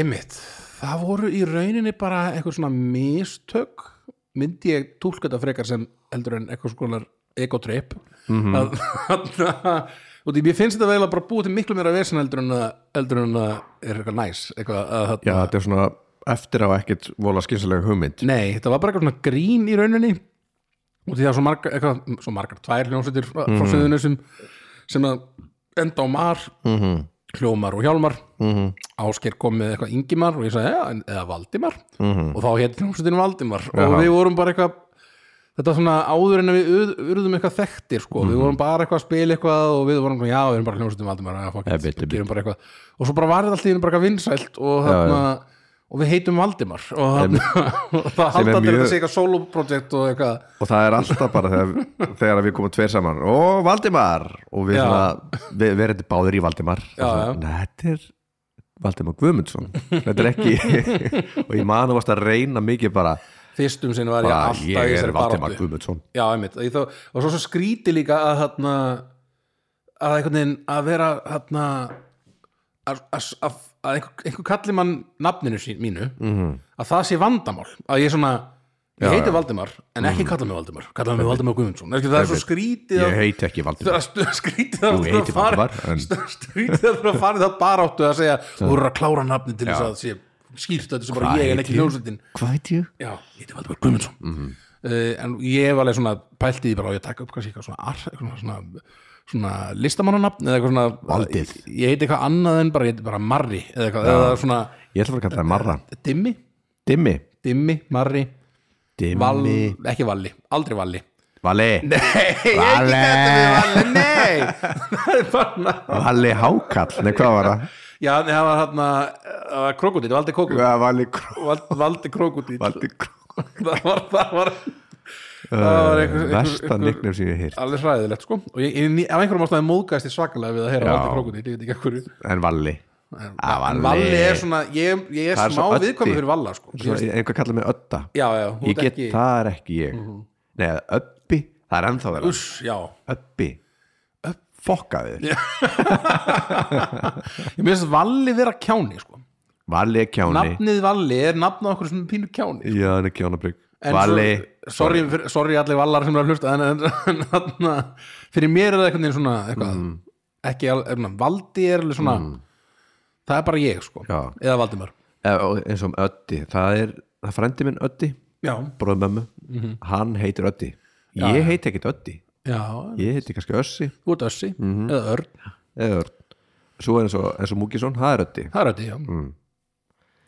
[SPEAKER 2] einmitt, það voru í rauninni bara eitthvað svona mistök myndi ég túlka þetta frekar sem heldur en eitthvað skonar ekotrip mm
[SPEAKER 1] Mhm.
[SPEAKER 2] -hmm. og því mér finnst þetta vel að bara búið til miklu meira vesin heldur en að, heldur en að er eitthvað næs eitthvað, að, þarna-
[SPEAKER 1] já, þetta er svona eftir á ekkert vola skynsalega hugmynd
[SPEAKER 2] Nei, þetta var bara eitthvað svona grín í rauninni og því það er svo margar, eitthvað, svo margar tvær hljómsveitir frá, frá söðunum sem, sem að enda á mar
[SPEAKER 1] Mhm.
[SPEAKER 2] hljómar og hjálmar -hmm. Ásker kom með eitthvað Ingimar og ég sagði, ja, en- eða Valdimar -hmm. og þá hétt hljómsveitin Valdimar og
[SPEAKER 1] Mhm. Jaha.
[SPEAKER 2] við vorum bara eitthvað þetta var svona áður en að við uð- urðum eitthvað þekktir sko,
[SPEAKER 1] Mhm.
[SPEAKER 2] við vorum bara eitthvað að spila eitthvað og við vorum, já, við erum bara hljómsveitin Valdimar já, fuck it,
[SPEAKER 1] Einmitt, einmitt.
[SPEAKER 2] gerum bara eitthvað og svo bara var þetta alltaf í einu bara eitthvað vinsælt og, þarna, og við heitum Valdimar og þarna, [LAUGHS] og það
[SPEAKER 1] Sem er
[SPEAKER 2] halda allir að
[SPEAKER 1] mjög-
[SPEAKER 2] þetta sé eitthvað soloprojekt og eitthvað
[SPEAKER 1] og það er alltaf bara þegar, þegar við komum tveir saman og Valdimar og við,
[SPEAKER 2] Já.
[SPEAKER 1] svona, við, við erum þetta báðir í Valdimar
[SPEAKER 2] Já,
[SPEAKER 1] Og
[SPEAKER 2] já.
[SPEAKER 1] svona, "Nei, þetta er Valdimar Guðmundsson þetta er ekki [LAUGHS] og ég man að varst að reyna mikið bara,
[SPEAKER 2] fyrstum sinn var ég
[SPEAKER 1] bara
[SPEAKER 2] alltaf
[SPEAKER 1] ég
[SPEAKER 2] í
[SPEAKER 1] er
[SPEAKER 2] þessari
[SPEAKER 1] Valdimar
[SPEAKER 2] baráttu
[SPEAKER 1] Guðmundsson
[SPEAKER 2] já, einmitt, Ég þó, og svo, svo skríti líka að þarna að einhvern veginn að vera þarna að, að, að, að einhver, einhver kalli mann nafninu sín, mínu
[SPEAKER 1] Mhm.
[SPEAKER 2] -hmm. að það sé vandamál, að ég svona ég heiti Valdimar, en ekki kalla mig Valdimar kalla mig Valdimar Guðmundsson, Eski, það er svo skrítið
[SPEAKER 1] Mhm. ég
[SPEAKER 2] að-
[SPEAKER 1] heiti
[SPEAKER 2] [LAUGHS]
[SPEAKER 1] ekki
[SPEAKER 2] Það er
[SPEAKER 1] Valdimar
[SPEAKER 2] að stu- skrítið að
[SPEAKER 1] Jú, ég
[SPEAKER 2] þurfa
[SPEAKER 1] heiti
[SPEAKER 2] að fara
[SPEAKER 1] Valdimar,
[SPEAKER 2] [LAUGHS]
[SPEAKER 1] en-
[SPEAKER 2] stu- skrítið að þurfa að fara í það baráttu að segja þú eru að klára nafni til þess að sé skýrt þetta sem bara
[SPEAKER 1] Hvað
[SPEAKER 2] ég en
[SPEAKER 1] heiti
[SPEAKER 2] ekki
[SPEAKER 1] ég?
[SPEAKER 2] ljósundin
[SPEAKER 1] hvað heiti ég?
[SPEAKER 2] já, ég heiti Valdimar Guðmundsson uh, en ég var alveg svona pælt í því bara á ég að taka upp kannski eitthvað svona, ar, eitthvað svona, svona listamannanafn eða eitthvað svona
[SPEAKER 1] Valdið.
[SPEAKER 2] ég, ég heiti eitthvað annað en bara, ég heiti bara Marri eða eitthvað, eða svona
[SPEAKER 1] ég ætla að fara að kalla það Marra
[SPEAKER 2] Dimmi,
[SPEAKER 1] Dimmi,
[SPEAKER 2] Dimmi, Marri Val,
[SPEAKER 1] Dimmi,
[SPEAKER 2] ekki Valli, aldrei Valli
[SPEAKER 1] Valli
[SPEAKER 2] [LAUGHS] Nei,
[SPEAKER 1] Valli.
[SPEAKER 2] Valli, nei [LAUGHS] það er bara
[SPEAKER 1] Valli Hákall, nei hvað var það?
[SPEAKER 2] Já, nei, það var hérna það var krokodil, valdi krokodil
[SPEAKER 1] Hvað, Valli Kró
[SPEAKER 2] Vald, valdi krokodil
[SPEAKER 1] Valli Kró
[SPEAKER 2] [LAUGHS] það var, það var, það var einhver, einhver-
[SPEAKER 1] Vesta
[SPEAKER 2] einhver-
[SPEAKER 1] nicknum sem ég heyrt
[SPEAKER 2] alveg hræðilegt sko og ég, ég, af einhverjum ástæðum móðgæðist ég svakalega við að heyra
[SPEAKER 1] Já.
[SPEAKER 2] valdi krokodil, ég veit ekki að hverju
[SPEAKER 1] en Valli
[SPEAKER 2] en,
[SPEAKER 1] Ah, Valli.
[SPEAKER 2] en valli er svona, ég, ég
[SPEAKER 1] Það
[SPEAKER 2] er
[SPEAKER 1] er
[SPEAKER 2] smá
[SPEAKER 1] svo öddi.
[SPEAKER 2] viðkvæmi fyrir valla sko Ég veist-
[SPEAKER 1] einhver kallar mig Ötta
[SPEAKER 2] Já, já, þú
[SPEAKER 1] ég
[SPEAKER 2] ert
[SPEAKER 1] get,
[SPEAKER 2] ekki Mhm.
[SPEAKER 1] það er ekki ég Nei, eða uppi, það er ennþá verið
[SPEAKER 2] Uss, já,
[SPEAKER 1] uppi, upp, fokkaði þér
[SPEAKER 2] ég minnst valli vera kjáni sko
[SPEAKER 1] Valli er kjáni
[SPEAKER 2] Nafnið Valli er nafn á okkur sem pínu kjáni
[SPEAKER 1] já, hann er kjánabrygg
[SPEAKER 2] En
[SPEAKER 1] Valli,
[SPEAKER 2] svo, sorry, fyrir-
[SPEAKER 1] Mm.
[SPEAKER 2] sorry allir vallar sem eru að hlusta en, en, en, en fyrir mér er það einhvern veginn svona eitthvað ekki, al- er, na, Valdi er alveg svona það er bara ég sko
[SPEAKER 1] Já.
[SPEAKER 2] eða Valdimar
[SPEAKER 1] Eh, og eins og um Öddi, það er það er frændi minn Öddi,
[SPEAKER 2] já,
[SPEAKER 1] bróðum mömmu
[SPEAKER 2] Mhm.
[SPEAKER 1] hann heitir Öddi ég heiti ekkit Öddi,
[SPEAKER 2] já,
[SPEAKER 1] ég heiti kannski Össi
[SPEAKER 2] þú ert Össi
[SPEAKER 1] Mhm.
[SPEAKER 2] eða Örn,
[SPEAKER 1] eða Örn svo er eins og, eins og Múkisson, það er Öddi
[SPEAKER 2] það er Öddi, já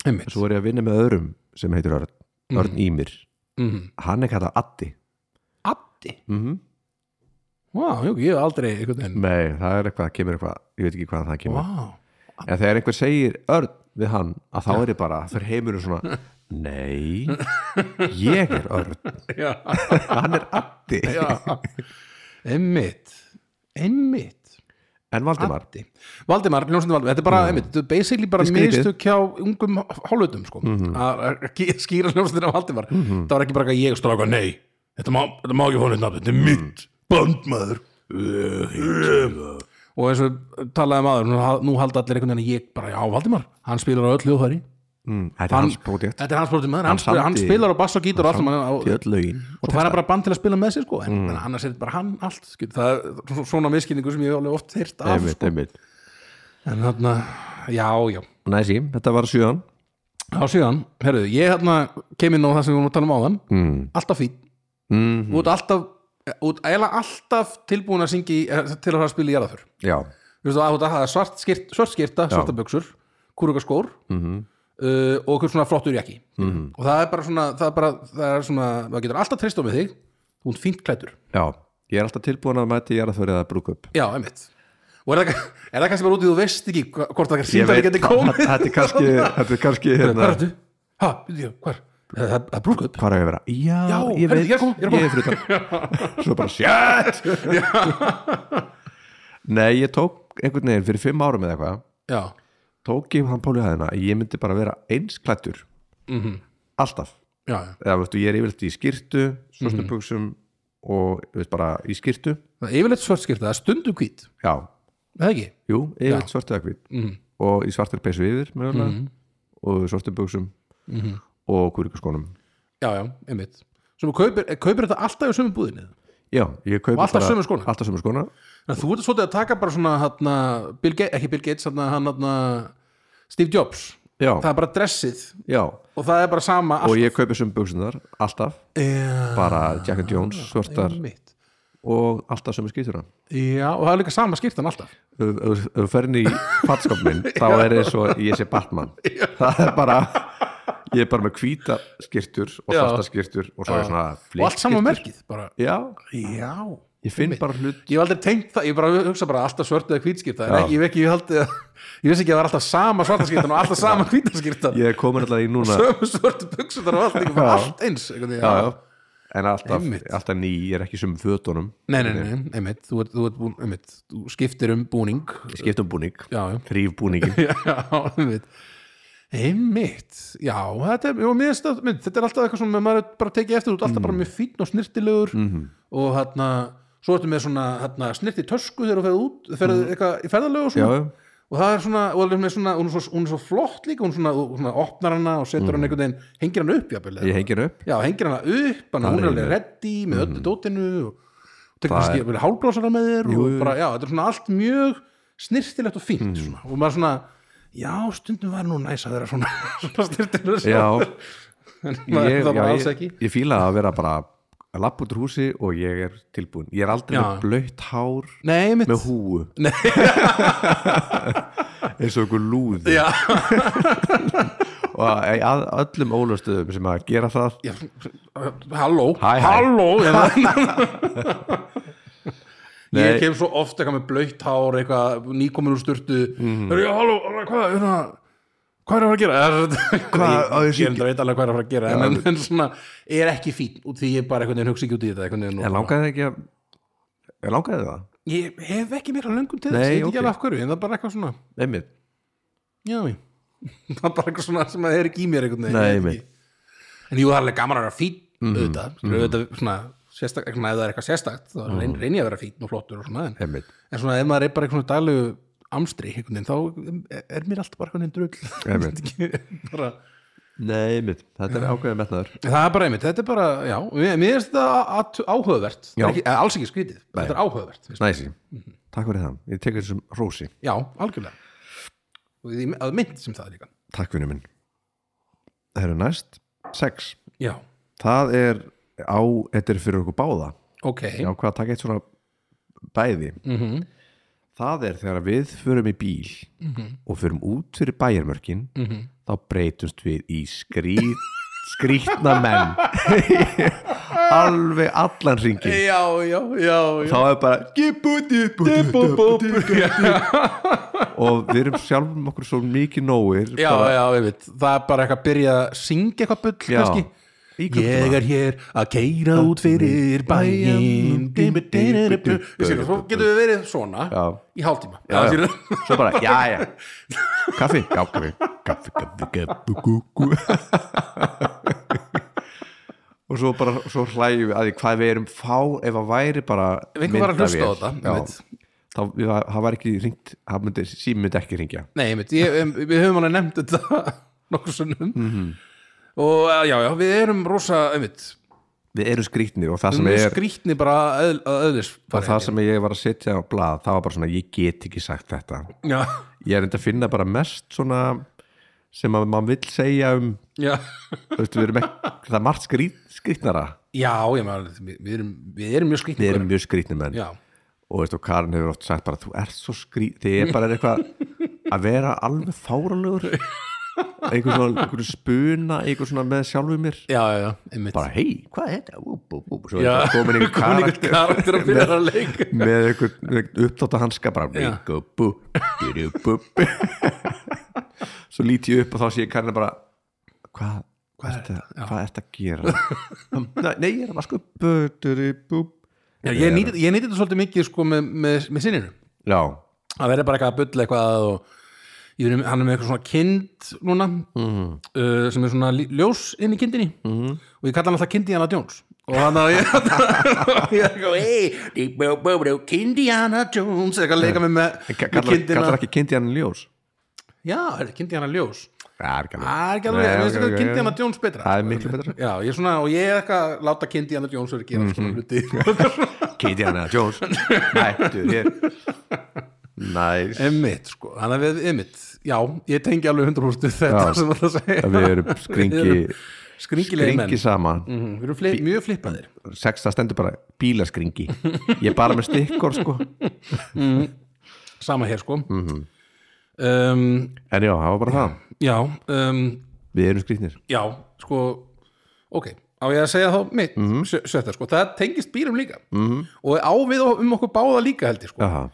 [SPEAKER 2] einmitt,
[SPEAKER 1] svo er ég að vinna með öðrum sem heitir Örn Örn Ímir,
[SPEAKER 2] Mhm.
[SPEAKER 1] hann er kallað Addi
[SPEAKER 2] Addi Vá, jú, ég hef aldrei einhvern veginn
[SPEAKER 1] nei, það er eitthvað, kemur eitthvað ég veit ekki hvað það kemur
[SPEAKER 2] Vá,
[SPEAKER 1] en þegar einhver segir Örn við hann að þá er ég bara, þegar heimur er svona nei, ég er Örn [LAUGHS]
[SPEAKER 2] já,
[SPEAKER 1] hann er Addi
[SPEAKER 2] já einmitt einmitt
[SPEAKER 1] en Valdimar,
[SPEAKER 2] Addi. Valdimar, ljónsandi Valdimar, þetta er bara, einmitt, þetta er basically bara
[SPEAKER 1] Þetta er skrítið.
[SPEAKER 2] mistök hjá ungum hálfutum sko, að að ge- skýra ljónsandina Valdimar, það var ekki bara eitthvað ég stráka, nei, þetta má, þetta má ekki fóna eitt nafn, þetta er mitt, bandmaður Eh, og eins og talaði maður, nú hal- nú haldi allir einhvern veginn að ég bara, já, Valdimar, hann spilar á öll hljóðfæri,
[SPEAKER 1] mm, þetta er hans pródjekt
[SPEAKER 2] þetta er hans prófum maður, hann,
[SPEAKER 1] Hann
[SPEAKER 2] hann, hann
[SPEAKER 1] samdi-
[SPEAKER 2] spilar á bass og gítar og allt, saman á-
[SPEAKER 1] til öll lögin
[SPEAKER 2] og fær hann bara band til að spila með sér sko, en, en annars er þetta bara hann allt, skil, það er svo- svona miskinningu sem ég hef alveg oft heyrt af, sko.
[SPEAKER 1] einmitt, einmitt
[SPEAKER 2] en þarna, já, já
[SPEAKER 1] næsí, þetta var sjöðan
[SPEAKER 2] Á síðan, herruðu, ég hérna kem inn á það sem við vorum að tala um áðan mm. alltaf fín,
[SPEAKER 1] mm,
[SPEAKER 2] mm. út alltaf út eiginlega alltaf tilbúin að syngi eh, til að fara að spila í jarðaför
[SPEAKER 1] já,
[SPEAKER 2] Vistu, að, að, að svart, skirt, svart skirta, svarta buksur kúruga skór -hmm.
[SPEAKER 1] Mhm.
[SPEAKER 2] uh, og einhver svona flottur jakki -hmm. og það er bara svona það, er bara, það, er svona, það getur alltaf treyst á með þig hún fínt klættur,
[SPEAKER 1] já ég er alltaf tilbúin að mæti ég er að þörja að brúka upp
[SPEAKER 2] já, einmitt og er það, er það kannski bara út í þú veist ekki hva- hvort það kannski síndar geti
[SPEAKER 1] það,
[SPEAKER 2] komið
[SPEAKER 1] [LAUGHS] þetta er kannski
[SPEAKER 2] [LAUGHS]
[SPEAKER 1] þetta er kannski hérna
[SPEAKER 2] hvað er þetta? Hæ, hvað? Það það er brúkup
[SPEAKER 1] hvað er ég að vera? já,
[SPEAKER 2] Já,
[SPEAKER 1] ég
[SPEAKER 2] herri,
[SPEAKER 1] veit,
[SPEAKER 2] ég er að koma, ég er að koma.
[SPEAKER 1] ég er fyrir
[SPEAKER 2] [LAUGHS]
[SPEAKER 1] utan svo bara shit [LAUGHS] nei, ég tók einhvern veginn fyrir fimm árum eða eitthvað
[SPEAKER 2] já,
[SPEAKER 1] tók ég hann Páli hæðina ég myndi bara vera eins klættur
[SPEAKER 2] Mhm.
[SPEAKER 1] alltaf
[SPEAKER 2] já, já
[SPEAKER 1] eða, veistu, ég er yfirleitt í skýrtu, svörstum buksum og þú veist, bara í skýrtu
[SPEAKER 2] Það er yfirleitt svört skýrt, það er stundum hvít
[SPEAKER 1] já,
[SPEAKER 2] Það ekki?
[SPEAKER 1] jú, yfirleitt svörtu eða hvít
[SPEAKER 2] Mhm.
[SPEAKER 1] mm og í svartir peysu yfir mögulega og svörstum buksum
[SPEAKER 2] Mhm.
[SPEAKER 1] og kúrikaskónum
[SPEAKER 2] Já, já, einmitt Svo maður kaupir, eh, kaupir þetta alltaf í sömu búðinni
[SPEAKER 1] já, ég kaupi
[SPEAKER 2] Og alltaf
[SPEAKER 1] bara-
[SPEAKER 2] sömu skóna?
[SPEAKER 1] alltaf sömu skóna
[SPEAKER 2] Þannig að þú ert svolítið að taka bara svona hana, Bill Gates, ekki Bill Gates, hana, hann hana, Steve Jobs
[SPEAKER 1] já,
[SPEAKER 2] Það er bara dressið
[SPEAKER 1] já,
[SPEAKER 2] og það er bara sama
[SPEAKER 1] og ég kaupi sömu buksunar alltaf,
[SPEAKER 2] ég
[SPEAKER 1] bara Jack and Jones
[SPEAKER 2] Ah,
[SPEAKER 1] svörtar
[SPEAKER 2] einmitt.
[SPEAKER 1] og alltaf sömu skýrtuna
[SPEAKER 2] Já, og það er líka sama skýrtan alltaf
[SPEAKER 1] Ef- ef ef þú ferðin í fatskap minn
[SPEAKER 2] [LAUGHS]
[SPEAKER 1] þá er eins og ég sé Batman það er bara ég er bara með hvíta skirtur og
[SPEAKER 2] Já.
[SPEAKER 1] svarta skirtur og svo er svona
[SPEAKER 2] Og allt sama
[SPEAKER 1] flekkskyrtur.
[SPEAKER 2] merkið bara
[SPEAKER 1] já,
[SPEAKER 2] Já
[SPEAKER 1] ég finn bara hlut
[SPEAKER 2] Ég hef aldrei tengt það, ég bara hugsa bara alltaf svört eða hvítskýrta en
[SPEAKER 1] Já.
[SPEAKER 2] ekki, ég, hef ekki, ég, haldi, ég veist ekki að það var alltaf sama svartaskýrtan og alltaf sama hvítaskýrtan
[SPEAKER 1] ég er komin alltaf í núna já,
[SPEAKER 2] sömu svörtu buksundar og allt, ekki bara
[SPEAKER 1] Já.
[SPEAKER 2] allt eins einhvern veginn.
[SPEAKER 1] já. en alltaf,
[SPEAKER 2] Einmitt.
[SPEAKER 1] alltaf ný ég er ekki í sömu fötunum
[SPEAKER 2] Nei, nei, nei, nei, einmitt, þú, ert, þú, ert búin, einmitt, þú skiptir um búning
[SPEAKER 1] ég skipt um búning,
[SPEAKER 2] Já, já.
[SPEAKER 1] þrýf
[SPEAKER 2] [LAUGHS]
[SPEAKER 1] búningin
[SPEAKER 2] Já, einmitt Einmitt, já, þetta er, já, miðst, mynd, þetta er alltaf eitthvað svona maður er bara tekið eftir, þú ert alltaf
[SPEAKER 1] Mm.
[SPEAKER 2] bara mjög fínn og snirtilegur
[SPEAKER 1] Mhm.
[SPEAKER 2] -hmm. og hérna svo ertu með svona hérna, snirti tösku þegar þú ferð út, ferð eitthvað í ferðalegu og
[SPEAKER 1] Mhm. já,
[SPEAKER 2] svona og það er svona, og hún er, með svona, hún, er svo, hún er svo flott líka, hún, er svona, hún svona opnar hana og setur
[SPEAKER 1] Mhm.
[SPEAKER 2] hann einhvern veginn, hengir hann upp jafnvel, eða
[SPEAKER 1] ég hengir upp
[SPEAKER 2] Já, hengir hana upp, hann hún er alveg reddi með
[SPEAKER 1] Mm.
[SPEAKER 2] öllu dótinu og tekur kannski er... hálblásara með þér og bara, já, þetta er svona allt mjög snirtilegt og
[SPEAKER 1] Mm.
[SPEAKER 2] fínt svona. og maður svona, já, stundum var nú næs að vera svona, [LAUGHS] svona snirtilegt
[SPEAKER 1] já,
[SPEAKER 2] [LAUGHS] en maður,
[SPEAKER 1] ég,
[SPEAKER 2] það
[SPEAKER 1] já,
[SPEAKER 2] var alls
[SPEAKER 1] ég,
[SPEAKER 2] ekki
[SPEAKER 1] ég fíla að vera bara að lappa út úr húsi og ég er tilbúin ég er aldrei
[SPEAKER 2] Já.
[SPEAKER 1] með blöytt hár
[SPEAKER 2] Nei, mitt,
[SPEAKER 1] með [LAUGHS] húu eins og einhver lúði
[SPEAKER 2] Já.
[SPEAKER 1] [LAUGHS] og að, að öllum ólustöðum sem að gera það
[SPEAKER 2] já, halló
[SPEAKER 1] Hæ, hæ.
[SPEAKER 2] halló
[SPEAKER 1] [LAUGHS]
[SPEAKER 2] hérna.
[SPEAKER 1] Nei.
[SPEAKER 2] ég kem svo oft eitthvað með blautt hár eitthvað nýkomin úr sturtu
[SPEAKER 1] Mhm.
[SPEAKER 2] mm. já, halló, hvað, hérna hvað er að fara að gera Eða,
[SPEAKER 1] Hvað, á
[SPEAKER 2] ég,
[SPEAKER 1] ég
[SPEAKER 2] ég, ég veit alveg hvað er að fara að gera en, en, en svona, ég er ekki fín út því ég bara einhvern veginn hugsa ekki út í þetta einhvern veginn
[SPEAKER 1] en
[SPEAKER 2] og-
[SPEAKER 1] langaði ekki að en langaði það,
[SPEAKER 2] ég hef ekki meira löngum til þess,
[SPEAKER 1] Nei,
[SPEAKER 2] ég veit
[SPEAKER 1] ok.
[SPEAKER 2] ekki alveg af hverju en það er bara eitthvað svona,
[SPEAKER 1] einmitt
[SPEAKER 2] já, já [LAUGHS] það er bara eitthvað svona sem að er ekki í mér einhvern veginn
[SPEAKER 1] Nei, Mhm.
[SPEAKER 2] ég veit
[SPEAKER 1] einmitt.
[SPEAKER 2] ekki. en jú, það er alveg gaman að vera fín auðvitað, mm auðvitað svona, sérstak, svona ef það er eitthvað sérstakt, þá reyn, reyni ég að vera fín og flottur og svona, en,
[SPEAKER 1] Mhm. Einmitt.
[SPEAKER 2] en svona ef maður er bara eitthvað daglegu amstri, einhvern veginn, þá er- er mér alltaf bara einhvern veginn drull
[SPEAKER 1] Einmitt.
[SPEAKER 2] [LAUGHS] Ég veit ekki, bara,
[SPEAKER 1] Nei, einmitt, þetta er ákveðið metnaður
[SPEAKER 2] það er bara einmitt, þetta er bara já, mér mér finnst þetta at- áhugavert Það er
[SPEAKER 1] Já.
[SPEAKER 2] ekki, eh, alls ekki skrítið, þetta er áhugavert finnst mér.
[SPEAKER 1] næsi, Takk fyrir það, ég tekur þessum rósi
[SPEAKER 2] já, algjörlega og því að mynd sem það er líka
[SPEAKER 1] Takk vinur minn Það eru næst, sex
[SPEAKER 2] já,
[SPEAKER 1] Það er á, þetta er fyrir okkur báða
[SPEAKER 2] ok
[SPEAKER 1] Já, hvað að taka eitt svona bæði
[SPEAKER 2] Mhm.
[SPEAKER 1] Það er þegar við förum í bíl og förum út fyrir bæjarmörkin
[SPEAKER 2] Mhm.
[SPEAKER 1] þá breytumst við í skrít, skrítna menn [LAUGHS] alveg allan ringin
[SPEAKER 2] já, já, já, já.
[SPEAKER 1] þá er bara "Gip, bú, dip, bú, dip, bú, bú, bú." og við erum sjálfum okkur svo mikið nóir
[SPEAKER 2] já,
[SPEAKER 1] bara,
[SPEAKER 2] já, ég veit það er bara eitthvað að byrja að syngja eitthvað bull kannski
[SPEAKER 1] í klukkuna.
[SPEAKER 2] Ég er hér að keira út fyrir bæinn Ég sé, Svo getum við verið svona
[SPEAKER 1] Já.
[SPEAKER 2] í hálftíma
[SPEAKER 1] Já, já.
[SPEAKER 2] skilur.
[SPEAKER 1] svo bara, já, já [LAUGHS] kaffi, já, kaffi kaffi, kaffi, kaffi, kú, kú [LAUGHS] og svo bara, svo hlægjum við að því hvað við erum fá ef að væri bara
[SPEAKER 2] Ef einhver var að hlusta á
[SPEAKER 1] myndavél.
[SPEAKER 2] þetta, ég
[SPEAKER 1] Já.
[SPEAKER 2] veit.
[SPEAKER 1] þá, við- það var ekki ringt það myndi, sími myndi ekki ringja
[SPEAKER 2] Nei, ég veit, ég, em, við höfum alveg nefnt þetta [LAUGHS] nokkur sunnum
[SPEAKER 1] Mhm.
[SPEAKER 2] og eh, já, já, við erum rosa einmitt,
[SPEAKER 1] við erum skrýtni og það sem
[SPEAKER 2] við
[SPEAKER 1] er
[SPEAKER 2] erum skrýtni bara að öðl- að öðlis
[SPEAKER 1] og það sem ég var að setja á blað það var bara svona, ég get ekki sagt þetta
[SPEAKER 2] Já,
[SPEAKER 1] ég er enda að finna bara mest svona sem að maður vill segja um
[SPEAKER 2] já, [LAUGHS]
[SPEAKER 1] veistu, við erum ekki, það er margt skrýt, skrýtnara
[SPEAKER 2] já, ég maður við, við, erum, við erum mjög skrýtni
[SPEAKER 1] við erum mjög skrýtni menn
[SPEAKER 2] Já,
[SPEAKER 1] og veist og Karin hefur oft sagt bara þú ert svo skrý þegar ég bara er eitthvað að vera alveg fáralegur einhver svona einhver spuna einhver svona með sjálfum mér
[SPEAKER 2] já, já, já, einmitt
[SPEAKER 1] bara hei, hvað er þetta? Ú, bú, bú. svo er
[SPEAKER 2] Já,
[SPEAKER 1] þetta [LAUGHS] komin einhver
[SPEAKER 2] komin einhver
[SPEAKER 1] karakter
[SPEAKER 2] karakter að byrja að leika
[SPEAKER 1] með einhver upptátt að hanska bara
[SPEAKER 2] Já.
[SPEAKER 1] líka bú, byrju bú svo lít ég upp og þá sé ég Karin bara hvað Hvað er, hvað er þetta að gera? Nei, nei, ég er að vasku upp
[SPEAKER 2] [LAUGHS] Já, ég nýtti ég nýti þetta svolítið mikið sko með, með, með sinninu
[SPEAKER 1] Já,
[SPEAKER 2] að vera bara eitthvað að bulla eitthvað og ég verið, hann er með eitthvað svona kind núna uh, sem er svona lí- ljós inn í kindinni -hmm. og ég kalla hann alltaf Kindiana Jones og hann að [LAUGHS] ég ég er eitthvað, hey bú, bú, bú, Kindiana Jones eitthvað að leika mig með,
[SPEAKER 1] En ka-
[SPEAKER 2] með
[SPEAKER 1] kallar, kallar ekki kynnti hann ljós
[SPEAKER 2] já, er Kindiana Ljós
[SPEAKER 1] það er ekki
[SPEAKER 2] það er ekki alveg,
[SPEAKER 1] Nei,
[SPEAKER 2] veist
[SPEAKER 1] ok,
[SPEAKER 2] eitthvað
[SPEAKER 1] ok,
[SPEAKER 2] Kindiana
[SPEAKER 1] ok.
[SPEAKER 2] Jones betra
[SPEAKER 1] það er miklu betra
[SPEAKER 2] já, ég er svona, og ég er eitthvað að láta Kindiana Jones vera að gera mm -hmm. hluti [LAUGHS]
[SPEAKER 1] kynnti hann ljós
[SPEAKER 2] sko,
[SPEAKER 1] mættu hér næs
[SPEAKER 2] Emmitt, sko, þannig að við emmitt Já, ég tengi alveg 100% við þetta
[SPEAKER 1] Já.
[SPEAKER 2] sem það að segja
[SPEAKER 1] Að við erum skringi-
[SPEAKER 2] Við erum Skringilegi menn
[SPEAKER 1] skringi saman
[SPEAKER 2] Mhm, Við erum fli, mjög flippaðir
[SPEAKER 1] sex það stendur bara bílaskringi ég er bara með stikkor sko en
[SPEAKER 2] Sama hér, sko
[SPEAKER 1] Mhm.
[SPEAKER 2] um,
[SPEAKER 1] já, það var bara það
[SPEAKER 2] Já, um,
[SPEAKER 1] við erum skrýtnir
[SPEAKER 2] já, sko Ok, á ég að segja þá mitt mm
[SPEAKER 1] Mhm.
[SPEAKER 2] Sjötta, sko, það tengist bílum líka -hmm. Og á við og- um okkur báða líka held ég, sko
[SPEAKER 1] aha,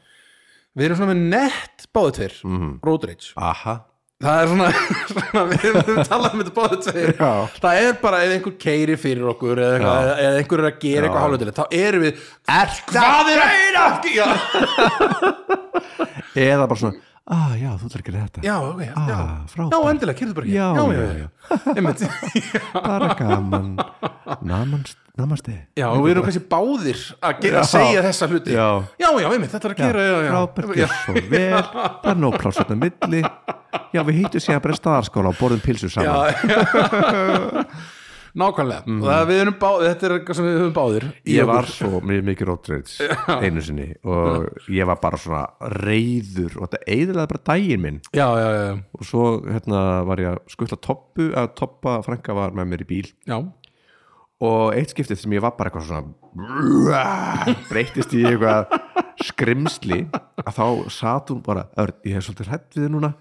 [SPEAKER 2] Við erum svona með nett báðu tveir
[SPEAKER 1] Mhm.
[SPEAKER 2] Road rage
[SPEAKER 1] aha.
[SPEAKER 2] Það er svona, [LAUGHS] svona við höfum talað um þetta báðu tveir
[SPEAKER 1] Já.
[SPEAKER 2] Það er bara ef einhver keiri fyrir okkur eða, eitthvað, eða einhver er að gera eitthvað hálfutilegt þá erum við er, Hvað er að ekki? Já,
[SPEAKER 1] eða bara svona ah, já, þú ætlar ekki þetta
[SPEAKER 2] já, ok, já, já.
[SPEAKER 1] Ah, frábært.
[SPEAKER 2] já endilega, kyrðu bara ekki
[SPEAKER 1] Já,
[SPEAKER 2] já,
[SPEAKER 1] já,
[SPEAKER 2] já.
[SPEAKER 1] [LAUGHS]
[SPEAKER 2] Einmitt.
[SPEAKER 1] bara gaman namast, namaste
[SPEAKER 2] já og við erum kannski báðir að, gera, að
[SPEAKER 1] Já.
[SPEAKER 2] segja þessa hluti
[SPEAKER 1] Já.
[SPEAKER 2] já, já, einmitt, þetta er að gera já, já,
[SPEAKER 1] Robert er svo vel það er nóg pláss þetta milli já við hýttum síðan bara í staðarskóla og borðum pilsu
[SPEAKER 2] já,
[SPEAKER 1] saman
[SPEAKER 2] já. [LAUGHS] Nákvæmlega og það við erum báðir, þetta er eitthvað sem við höfum báðir í
[SPEAKER 1] Mhm. ég
[SPEAKER 2] okkur.
[SPEAKER 1] var svo mjög mikið rótreits einu sinni og ég var bara svona reyður og þetta eiðilega bara daginn minn
[SPEAKER 2] já, já, já, já.
[SPEAKER 1] og svo hérna var ég að skutla toppu að toppa frænka var með mér í bíl
[SPEAKER 2] já.
[SPEAKER 1] og eitt skiptið sem ég var bara eitthvað svona [LAUGHS] breytist í eitthvað skrimsli að þá sat hún bara "Örn, ég er svolítið hrætt við þið núna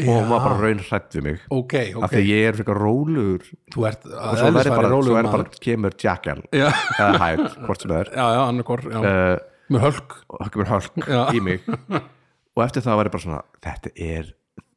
[SPEAKER 1] og hún var bara raun hrætt við mig
[SPEAKER 2] ok,
[SPEAKER 1] af
[SPEAKER 2] ok
[SPEAKER 1] því að ég er frekar rólugur
[SPEAKER 2] þú ert
[SPEAKER 1] og svo verður bara, svo
[SPEAKER 2] rólegur
[SPEAKER 1] er
[SPEAKER 2] maður.
[SPEAKER 1] bara kemur Jackal
[SPEAKER 2] Já.
[SPEAKER 1] eða Hyde, hvort sem það er
[SPEAKER 2] já, já, annarkor já.
[SPEAKER 1] uh,
[SPEAKER 2] með hölk
[SPEAKER 1] og það kemur hölk
[SPEAKER 2] Já.
[SPEAKER 1] í mig og eftir það var ég bara svona þetta er,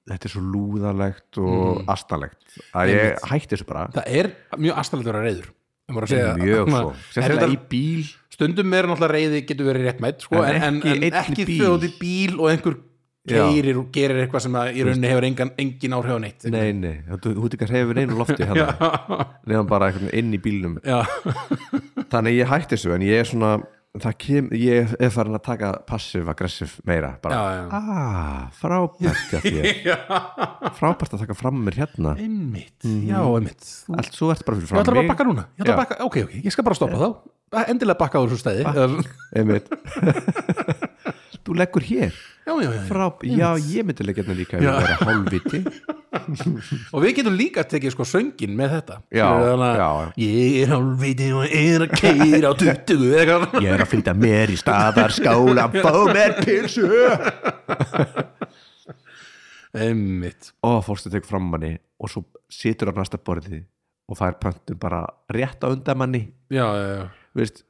[SPEAKER 1] þetta er svo lúðalegt og mm. astalegt að ég hætti þessu bara
[SPEAKER 2] það er mjög astalega að vera reyður Ég bara að segja-
[SPEAKER 1] mjög
[SPEAKER 2] svona,
[SPEAKER 1] svo,
[SPEAKER 2] er
[SPEAKER 1] sérstaklega í
[SPEAKER 2] þetta-
[SPEAKER 1] bíl
[SPEAKER 2] stundum er náttúrulega reyði getur verið réttmætt sko,
[SPEAKER 1] En
[SPEAKER 2] en, en,
[SPEAKER 1] ekki
[SPEAKER 2] en
[SPEAKER 1] einn í
[SPEAKER 2] ekki
[SPEAKER 1] bíl.
[SPEAKER 2] þau út í bíl og einhver
[SPEAKER 1] Já.
[SPEAKER 2] keirir og gerir eitthvað sem að í rauninni hefur engan, engin áhrif á neitt
[SPEAKER 1] nei, nei, þú þú ert ekki að hreyfa neinu lofti hérna, nefnum bara einhvern veginn inn í bílnum
[SPEAKER 2] já,
[SPEAKER 1] þannig að ég hætti þessu en ég er svona það kem, ég er farin að taka passiv-aggressiv meira
[SPEAKER 2] já,
[SPEAKER 1] bara, [LAUGHS]
[SPEAKER 2] já.
[SPEAKER 1] ah, frábært hjá þér. frábært að taka fram mér hérna
[SPEAKER 2] einmitt, já, einmitt þú,
[SPEAKER 1] allt svo ert bara fyrir
[SPEAKER 2] ég
[SPEAKER 1] fram
[SPEAKER 2] ætla bara að bakka núna ég ætla
[SPEAKER 1] Já.
[SPEAKER 2] að bakka, ok, ok, ég skal bara stoppa þá endilega bakka á þessu stæði
[SPEAKER 1] einmitt [LAUGHS] þú leggur hér
[SPEAKER 2] já, já, já,
[SPEAKER 1] Frá, já, ég myndi leggja hérna líka ef ég væri hálfviti
[SPEAKER 2] og við getum líka tekið sko söngin með þetta
[SPEAKER 1] Já,
[SPEAKER 2] Skilurðu, þannig að
[SPEAKER 1] já.
[SPEAKER 2] ég er hálfviti og er að keira á 20 eða eitthvað.
[SPEAKER 1] Ég er að flytja mér í [LAUGHS] staðarskála Fá mér pilsu
[SPEAKER 2] einmitt
[SPEAKER 1] Og fórstu tekur fram manni Og svo situr á næsta borði Og það er pöntum bara rétt á undan manni
[SPEAKER 2] já, já, já,
[SPEAKER 1] Veist,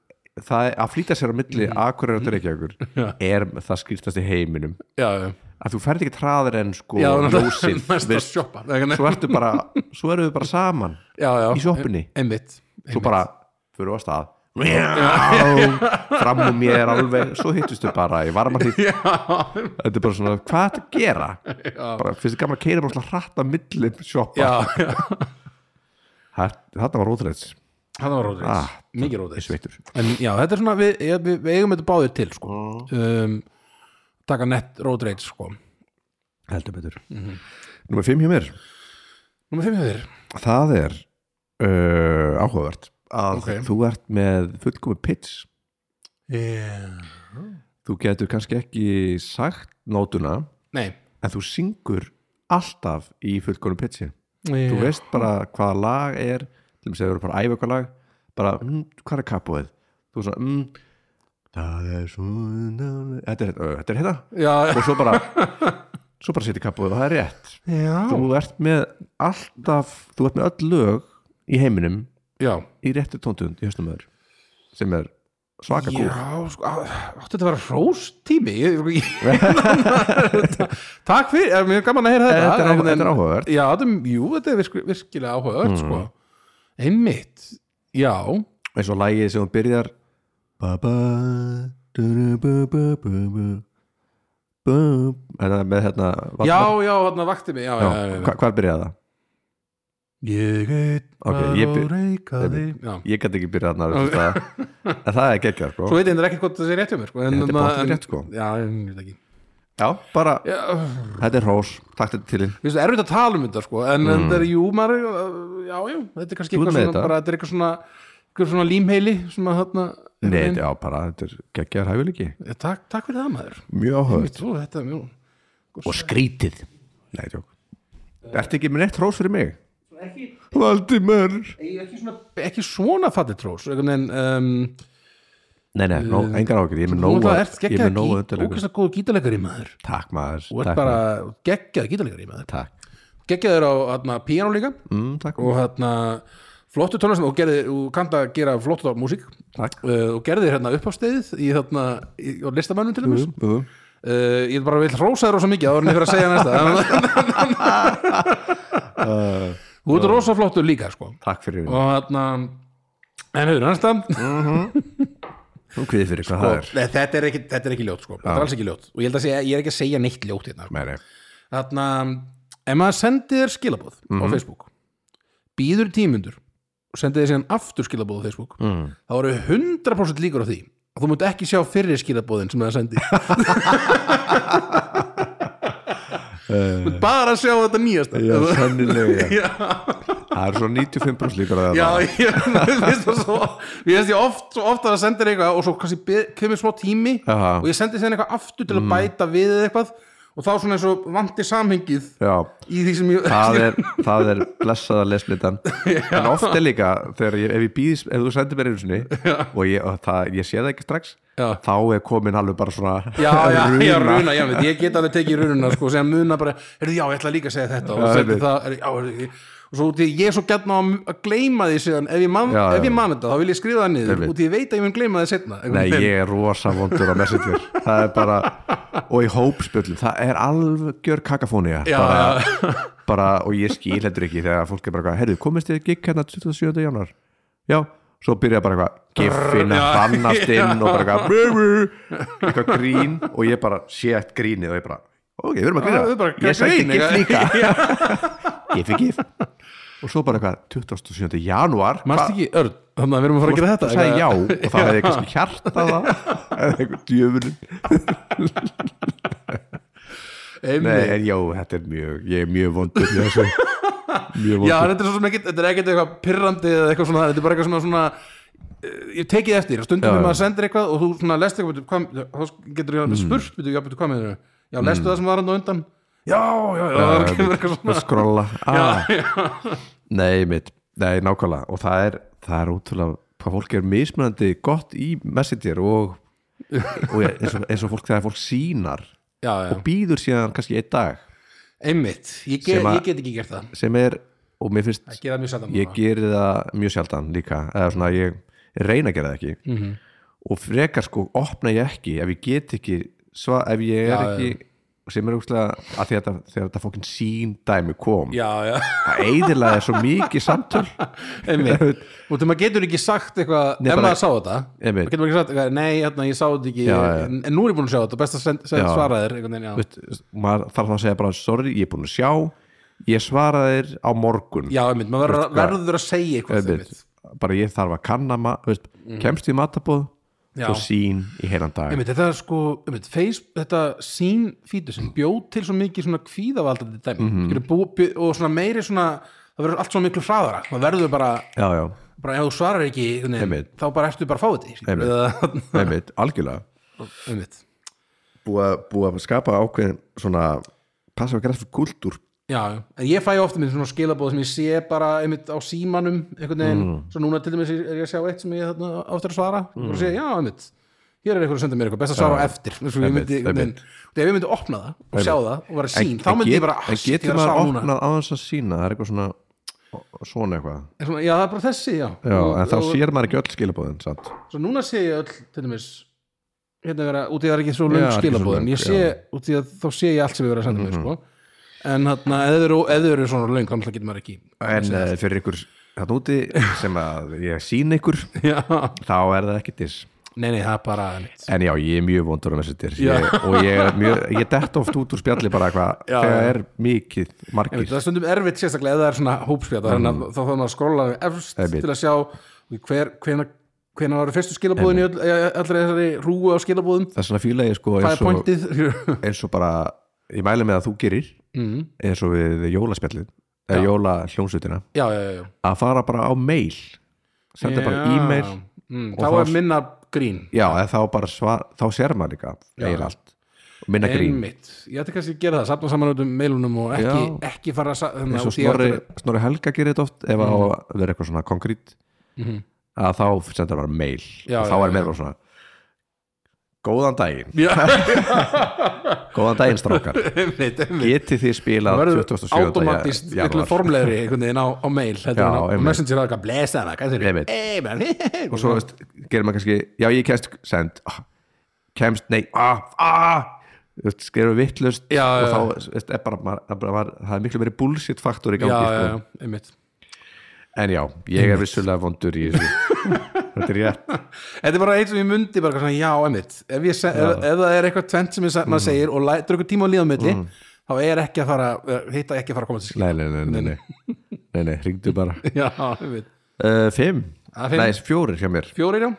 [SPEAKER 1] það er, að flýta sér á milli Akkur er að dreikja ykkur Er það skýrstast í heiminum
[SPEAKER 2] já, já,
[SPEAKER 1] Að þú ferð ekki traðar en sko
[SPEAKER 2] já [LAUGHS]
[SPEAKER 1] ljósið,
[SPEAKER 2] næsta
[SPEAKER 1] veist,
[SPEAKER 2] sjoppa Nei, nei.
[SPEAKER 1] Svo ertu bara Svo eru við bara saman
[SPEAKER 2] já, já,
[SPEAKER 1] í sjoppunni.
[SPEAKER 2] Ein- einmitt, einmitt.
[SPEAKER 1] Svo bara fyrir á stað Já, fram úr mér alveg svo hittustu bara í varmarlíð
[SPEAKER 2] já,
[SPEAKER 1] þetta er bara svona, hvað er þetta að gera bara, finnst þið gaman að keira bara svona hratt að milli sjoppa,
[SPEAKER 2] já, já
[SPEAKER 1] þetta var rótreits
[SPEAKER 2] það var rótis,
[SPEAKER 1] Ah,
[SPEAKER 2] mikið rótis
[SPEAKER 1] sveittur,
[SPEAKER 2] en já, þetta er svona við, ég- við, við eigum þetta báðir til sko. um, taka nett road rage sko.
[SPEAKER 1] heldur betur
[SPEAKER 2] Mhm.
[SPEAKER 1] Númer 5 hjá mér,
[SPEAKER 2] Númer 5 hjá þér
[SPEAKER 1] það er uh, áhugavert að
[SPEAKER 2] Ok.
[SPEAKER 1] þú ert með fullkomi pitch Eh.
[SPEAKER 2] yeah.
[SPEAKER 1] þú getur kannski ekki sagt nótuna,
[SPEAKER 2] Nei
[SPEAKER 1] en þú syngur alltaf í fullkomi pitchi þú
[SPEAKER 2] yeah.
[SPEAKER 1] veist bara hvaða lag er til þess að þú eru bara að æfa eitthvað lag bara, mm, hvað er kapóið þú er svona, mm, það er svona þetta er, ö, þetta er hérna
[SPEAKER 2] Já,
[SPEAKER 1] og svo bara [LAUGHS] svo bara setja kapóið og það er rétt
[SPEAKER 2] já,
[SPEAKER 1] þú ert með alltaf þú ert með öll lög í heiminum
[SPEAKER 2] já.
[SPEAKER 1] í réttu tóntund í höstum öður sem er svaka gúr
[SPEAKER 2] Já, sko, á- áttu þetta að vera hrós tími ég, ég, [LAUGHS] Takk fyrir, er mjög gaman að heyra þetta
[SPEAKER 1] Þetta er
[SPEAKER 2] En-
[SPEAKER 1] áhu- þetta er Mm. áhugavert.
[SPEAKER 2] Já, þetta, er- jú, þetta er virk, virkilega áhugavert sko. Einmitt Já,
[SPEAKER 1] eins og lagið sem hún byrjar ba ba du du bu bu bu bu bu þetta er með hérna
[SPEAKER 2] já, já, þarna vakti mig já, já,
[SPEAKER 1] Já,
[SPEAKER 2] já, já,
[SPEAKER 1] hva- hvar byrjaði það?
[SPEAKER 2] Ég veit
[SPEAKER 1] Ok, ég byr-
[SPEAKER 2] reyka
[SPEAKER 1] einmitt.
[SPEAKER 2] Já
[SPEAKER 1] ég gæti ekki byrjað þarna okay.
[SPEAKER 2] [LAUGHS]
[SPEAKER 1] það, en það er geggjað sko.
[SPEAKER 2] Svo veit ég þetta ekki hvort það sé rétt hjá mér sko, en,
[SPEAKER 1] Þetta er
[SPEAKER 2] þarna-
[SPEAKER 1] pottþétt
[SPEAKER 2] en-
[SPEAKER 1] rétt, sko.
[SPEAKER 2] Já, ég veit ekki
[SPEAKER 1] já, bara,
[SPEAKER 2] Já,
[SPEAKER 1] þetta er hrós takk þetta til þín,
[SPEAKER 2] Mér finnst það erfitt að tala um þetta sko en, en þetta er, jú, maður uh, já, já, þetta er kannski
[SPEAKER 1] Mm. Þú ert
[SPEAKER 2] eitthvað
[SPEAKER 1] með
[SPEAKER 2] svona,
[SPEAKER 1] þetta?
[SPEAKER 2] bara, þetta er eitthvað svona eitthvað svona límheili sem að þarna
[SPEAKER 1] nei, þetta- já, bara þetta er geggjaðar hæfileiki,
[SPEAKER 2] já, Eh, takk, takk fyrir það maður
[SPEAKER 1] mjög áhugað
[SPEAKER 2] Svo, þetta er mjög
[SPEAKER 3] og skrítið
[SPEAKER 1] nei, tjók, ertu ekki með neitt hrós fyrir mig? Valdimar
[SPEAKER 2] ekki svona, ekki svona fatið trós en um,
[SPEAKER 1] nei, nei, nó, engar áhugað, ég er með
[SPEAKER 2] nú
[SPEAKER 1] nóga
[SPEAKER 2] er
[SPEAKER 1] ég er
[SPEAKER 2] geggjað
[SPEAKER 1] með nóga undirlegur,
[SPEAKER 2] ógæslega góð gítarleikari maður
[SPEAKER 1] takk maður
[SPEAKER 2] Þú ert
[SPEAKER 1] takk,
[SPEAKER 2] bara
[SPEAKER 1] maður.
[SPEAKER 2] geggjað gítarleikari maður
[SPEAKER 1] takk,
[SPEAKER 2] geggjaður á hérna, piano líka
[SPEAKER 1] mm, takk,
[SPEAKER 2] og hérna flottu tónlistin og, gerði, og kannt að gera flottu músík
[SPEAKER 1] takk.
[SPEAKER 2] uh, og gerðir hérna uppásteyðið í þarna, í, á listamannum til þess
[SPEAKER 1] Uh,
[SPEAKER 2] uh, ég bara vil rósa þér rosa mikið áður en ég fyrir að segja næsta
[SPEAKER 1] [LAUGHS]
[SPEAKER 2] [LAUGHS]
[SPEAKER 1] Eh,
[SPEAKER 2] þú ert rosa flottur líka sko.
[SPEAKER 1] takk fyrir
[SPEAKER 2] og þarna en hefur næsta
[SPEAKER 1] hún kviði fyrir hvað það er
[SPEAKER 2] Nei, þetta, er ekki, þetta er ekki ljótt sko. þetta er alls ekki ljótt og ég, held að segja, ég er ekki að segja neitt ljótt hérna sko.
[SPEAKER 1] nei, nei,
[SPEAKER 2] þarna, ef maður sendir þér skilabóð
[SPEAKER 1] Mhm.
[SPEAKER 2] á Facebook býður í tímundur og sendir þér síðan aftur skilabóð á Facebook
[SPEAKER 1] Mhm.
[SPEAKER 2] mm. þá eru 100% líkur á því að þú mútt ekki sjá fyrri skilabóðin sem það
[SPEAKER 1] [LAUGHS]
[SPEAKER 2] sendi Þú munt bara sjá þetta nýjasta
[SPEAKER 1] já, sennilega
[SPEAKER 2] [LAUGHS] Já.
[SPEAKER 1] það er svo 95% líkar að það
[SPEAKER 2] Já, [LAUGHS] ég mér finnst það svo Ég finnst ég oft, svo oft að það sendir eitthvað og svo kannski be- kemur smá tími
[SPEAKER 1] Aha. Mm.
[SPEAKER 2] og ég sendi þeim eitthvað aftur til að bæta við eða eitthvað og þá svona eins og vandi samhengið
[SPEAKER 1] já,
[SPEAKER 2] í því sem ég
[SPEAKER 1] það er, það er blessaða
[SPEAKER 2] [LAUGHS]
[SPEAKER 1] lesblitan en oft er líka þegar ég, ef, ég býð, ef þú sendir mér einu sinni og, ég, og það, ég sé það ekki strax
[SPEAKER 2] Já.
[SPEAKER 1] þá er komin alveg bara svona
[SPEAKER 2] [LAUGHS] Já, já, runa. já,
[SPEAKER 1] runa.
[SPEAKER 2] runa, já, veit, ég get alveg tekið rununa sko, sem muna bara, heyrðu, já, ég ætla líka að segja þetta og
[SPEAKER 1] Já,
[SPEAKER 2] sendi
[SPEAKER 1] einmitt.
[SPEAKER 2] það, er, já, heyrðu, ég- og svo því ég er svo gætna að gleyma því síðan, ef ég man,
[SPEAKER 1] Já, já.
[SPEAKER 2] ef ég man þetta, þá vil ég skrifa það niður
[SPEAKER 1] Einmitt.
[SPEAKER 2] og því ég veit að ég mun gleyma það setna
[SPEAKER 1] Nei, ég er rosa vondur á messenger það er bara, og í hópspjöllum það er algjör kakafóni
[SPEAKER 2] Já,
[SPEAKER 1] bara, bara, og ég skil heldur ekki þegar fólk er bara, eitthvað, heyrðu, komist þið gikk hérna 27. januar já, svo byrja bara eitthvað giffin að
[SPEAKER 2] já,
[SPEAKER 1] fannast
[SPEAKER 2] já.
[SPEAKER 1] inn og bara eitthvað brr, brr, eitthvað grín og ég bara sétt grínið og ég bara ok, við erum að
[SPEAKER 2] Já, við
[SPEAKER 1] grína,
[SPEAKER 2] bara
[SPEAKER 1] ég sætti
[SPEAKER 2] grín,
[SPEAKER 1] giff
[SPEAKER 2] eitthvað. [LAUGHS]
[SPEAKER 1] líka giffi giff og svo bara eitthvað 27. januar
[SPEAKER 2] Manst ekki, Örn, þannig að við erum að fara að gera þetta
[SPEAKER 1] þú sagði já
[SPEAKER 2] eitthvað.
[SPEAKER 1] og það hefði kannski hjarta það eða eitthvað djöfunum nei,
[SPEAKER 2] Einmitt.
[SPEAKER 1] en já, þetta er mjög ég er mjög vondur með þessu mjög
[SPEAKER 2] Já, en
[SPEAKER 1] vondur
[SPEAKER 2] þetta er svo sem ekkit, þetta er ekkit eitthvað pirrandi eða eitthvað svona, þetta er bara eitthvað svona, svona ég hef tekið eftir að stundum já,
[SPEAKER 1] Já, já. Mm.
[SPEAKER 2] maður sendir eitthvað og þú svona lest eitthvað byrju, hvað, þá getur ég alveg spurt byrju, já, byrju, hvað meður já, lestu það sem var hann á undan já, já, já, það kemur eitthvað svona [LAUGHS]
[SPEAKER 1] skrolla ah. nei mitt, nei nákvæmlega og það er, það er útrúlega hvað fólk er mismunandi gott í messenger og, og ég- eins, og, eins og fólk þegar fólk sínar
[SPEAKER 2] já, já,
[SPEAKER 1] og býður síðan kannski einn dag
[SPEAKER 2] einmitt, ég, ge,
[SPEAKER 1] Sem að-
[SPEAKER 2] ég get ekki gert það
[SPEAKER 1] sem er, og mér
[SPEAKER 2] ég
[SPEAKER 1] finnst
[SPEAKER 2] gera mjög sættan
[SPEAKER 1] ég geri það mjög sjaldan líka eða svona ég reyna að gera það ekki
[SPEAKER 2] Mhm.
[SPEAKER 1] -hmm. og frekar sko opna ég ekki ef ég get ekki sva, ef ég er
[SPEAKER 2] Já, já.
[SPEAKER 1] ekki sem er úkslega að því að þetta, þegar þetta fókin sín dæmi kom
[SPEAKER 2] já, já, [LAUGHS]
[SPEAKER 1] það eidilaði svo mikið samtöl
[SPEAKER 2] einmitt og þegar maður getur ekki sagt eitthvað
[SPEAKER 1] Nei,
[SPEAKER 2] ef
[SPEAKER 1] bara-
[SPEAKER 2] maður sá þetta
[SPEAKER 1] Einmitt.
[SPEAKER 2] maður getur ekki sagt eitthvað, nei, hérna, ég sá þetta ekki
[SPEAKER 1] Já, já.
[SPEAKER 2] en en nú er ég búin að sjá þetta, best að send, send,
[SPEAKER 1] Já.
[SPEAKER 2] svara þér einhvern veginn, já.
[SPEAKER 1] Veist, maður þarf þá að segja bara sorry, ég er búin að sjá ég svara þér á morgun
[SPEAKER 2] já, einmitt, maður verður-
[SPEAKER 1] hvað-
[SPEAKER 2] verður að segja eitthvað
[SPEAKER 1] Einmitt. bara ég þarf að kanna ma- veist, kemst í matabóð
[SPEAKER 2] Mhm. Já.
[SPEAKER 1] og sín í heilan dag
[SPEAKER 2] Einmitt, þetta er sko, einmitt, Facebook, þetta sín fítur sem bjóð til svo mikið svona kvíðavaldandi dæmi
[SPEAKER 1] Mhm.
[SPEAKER 2] mm -hmm. bú, bjó, og svona meiri svona, það verður allt svo miklu hraðara maður verður bara,
[SPEAKER 1] já, já,
[SPEAKER 2] bara ef þú svarar ekki einhvern veginn,
[SPEAKER 1] Einmitt.
[SPEAKER 2] þá bara ertu bara að fá þetta skilur
[SPEAKER 1] Einmitt.
[SPEAKER 2] við, eða- [LAUGHS]
[SPEAKER 1] einmitt, algjörlega
[SPEAKER 2] einmitt.
[SPEAKER 1] búið búi að skapa ákveðin svona passa að gera fyrir kultúr
[SPEAKER 2] Já, já. en ég fæ ofta mér svona skilabóð sem ég sé bara einmitt á símanum einhvern veginn,
[SPEAKER 1] Mhm.
[SPEAKER 2] svo núna til dæmis er ég að sjá eitt sem ég þarna ofta að svara mm. og segja, já, einmitt, hér er einhver að senda mér eitthvað best að svara á eftir eins og ég
[SPEAKER 1] Einmitt,
[SPEAKER 2] myndi, einhvern veginn, og ef ég myndi opna það og sjá það og vera sín, þá myndi ég bara
[SPEAKER 1] en
[SPEAKER 2] "Ah, ég
[SPEAKER 1] getur
[SPEAKER 2] er að
[SPEAKER 1] maður
[SPEAKER 2] sá núna."
[SPEAKER 1] opnað á þess að sína það er eitthvað svona svona eitthvað
[SPEAKER 2] Er svona, já, það er bara þessi, já,
[SPEAKER 1] já,
[SPEAKER 2] og,
[SPEAKER 1] en þá
[SPEAKER 2] og,
[SPEAKER 1] sér maður ekki öll skilabóðin satt.
[SPEAKER 2] Svo núna sé ég öll, til dæmis Hérna vera, út í það er ekki svo löng
[SPEAKER 1] Já, ekki svo
[SPEAKER 2] skilabóðin
[SPEAKER 1] löng, Mhm.
[SPEAKER 2] Ég sé, út í að þá sé ég allt sem við verið að senda mér, sko En hérna, ef þau eru, ef þau eru svona löng Þannig getur maður ekki
[SPEAKER 1] en eh, fyrir ykkur hann úti sem að ég sín ykkur
[SPEAKER 2] [LAUGHS] Já,
[SPEAKER 1] þá er það ekki diss
[SPEAKER 2] nei, nei, það er bara einmitt.
[SPEAKER 1] En já, ég er mjög vondur á messenger ég, og ég, er mjög, ég dett oft út úr spjalli bara eitthvað,
[SPEAKER 2] Já,
[SPEAKER 1] þegar
[SPEAKER 2] já.
[SPEAKER 1] er mikið
[SPEAKER 2] Einmitt,
[SPEAKER 1] margir
[SPEAKER 2] Það er stundum erfitt sérstaklega ef það er svona hópspjata þannig að þá þarf maður að skrolla efst
[SPEAKER 1] Mhm. Einmitt.
[SPEAKER 2] til að sjá hver, hvena, hvena var fyrstu skilabóðin í öll, í allri þessari rúu á skilabóðum
[SPEAKER 1] Það er svona fíla ég sko
[SPEAKER 2] Hvað
[SPEAKER 1] eins
[SPEAKER 2] er
[SPEAKER 1] og,
[SPEAKER 2] pointið? [LAUGHS]
[SPEAKER 1] eins og bara ég mæli með að þú gerir
[SPEAKER 2] mm.
[SPEAKER 1] eins og við jólaspjallið eða jólahljómsutina
[SPEAKER 2] Já, já, já, já
[SPEAKER 1] að fara bara á mail senda bara e-mail
[SPEAKER 2] mm,
[SPEAKER 1] og
[SPEAKER 2] Þá
[SPEAKER 1] þá-
[SPEAKER 2] er minna grín
[SPEAKER 1] já, eða þá bara svar, þá sér maður líka eir allt, Og minna grín
[SPEAKER 2] Einmitt, ég ætti kannski að gera það, safna saman út um meilunum og ekki,
[SPEAKER 1] Já.
[SPEAKER 2] ekki fara að sa- hérna, þannig
[SPEAKER 1] eins
[SPEAKER 2] að
[SPEAKER 1] og
[SPEAKER 2] því að-
[SPEAKER 1] snorri, snorri Helga gerir þetta oft ef
[SPEAKER 2] Mhm.
[SPEAKER 1] það á að vera eitthvað svona konkrétt að þá senda bara mail
[SPEAKER 2] Já,
[SPEAKER 1] og þá
[SPEAKER 2] já,
[SPEAKER 1] er meira bara svona góðan daginn
[SPEAKER 2] [LAUGHS] Já,
[SPEAKER 1] Góðan daginn strákar
[SPEAKER 2] einmitt, [LAUGHS] einmitt
[SPEAKER 1] Getið þið spilað
[SPEAKER 2] Það verður
[SPEAKER 1] 27.
[SPEAKER 2] automatist
[SPEAKER 1] ja-
[SPEAKER 2] miklu
[SPEAKER 1] janúar?
[SPEAKER 2] formlegri einhvern veginn á, á mail heldur
[SPEAKER 1] Já,
[SPEAKER 2] en á- á
[SPEAKER 1] einmitt.
[SPEAKER 2] messenger að blessa hana, hvað þeir
[SPEAKER 1] Einmitt.
[SPEAKER 2] [LAUGHS] eru
[SPEAKER 1] Og svo veist, gerir maður kannski Já ég kemst send ah, Kemst nei ah, ah, Þú veist, Skrifa vittlust
[SPEAKER 2] Já,
[SPEAKER 1] Og
[SPEAKER 2] já,
[SPEAKER 1] þá veist, er bara, maður, er bara maður, Það er miklu verið bullshit faktor í
[SPEAKER 2] Já,
[SPEAKER 1] gangi
[SPEAKER 2] já,
[SPEAKER 1] sko.
[SPEAKER 2] já, einmitt
[SPEAKER 1] En já, ég er vissulega vondur í þessu
[SPEAKER 2] [LAUGHS]
[SPEAKER 1] Þetta er rétt
[SPEAKER 2] Þetta er bara eitt sem ég mundi bara svona, já, einmitt Ef, ég se, ef, ef það er eitthvað tvent sem ég, se-
[SPEAKER 1] Mm.
[SPEAKER 2] maður segir og lætur ykkur tíma á líðan milli þá er ekki að fara, eh, hitta ekki að fara að koma til skil
[SPEAKER 1] Nei, nei, nei, nei, nei Nei, nei, hringdu bara
[SPEAKER 2] [LAUGHS] Já, einmitt
[SPEAKER 1] uh, Fimm,
[SPEAKER 2] Ah, fimm.
[SPEAKER 1] nei, fjórir hjá mér
[SPEAKER 2] Fjórir, já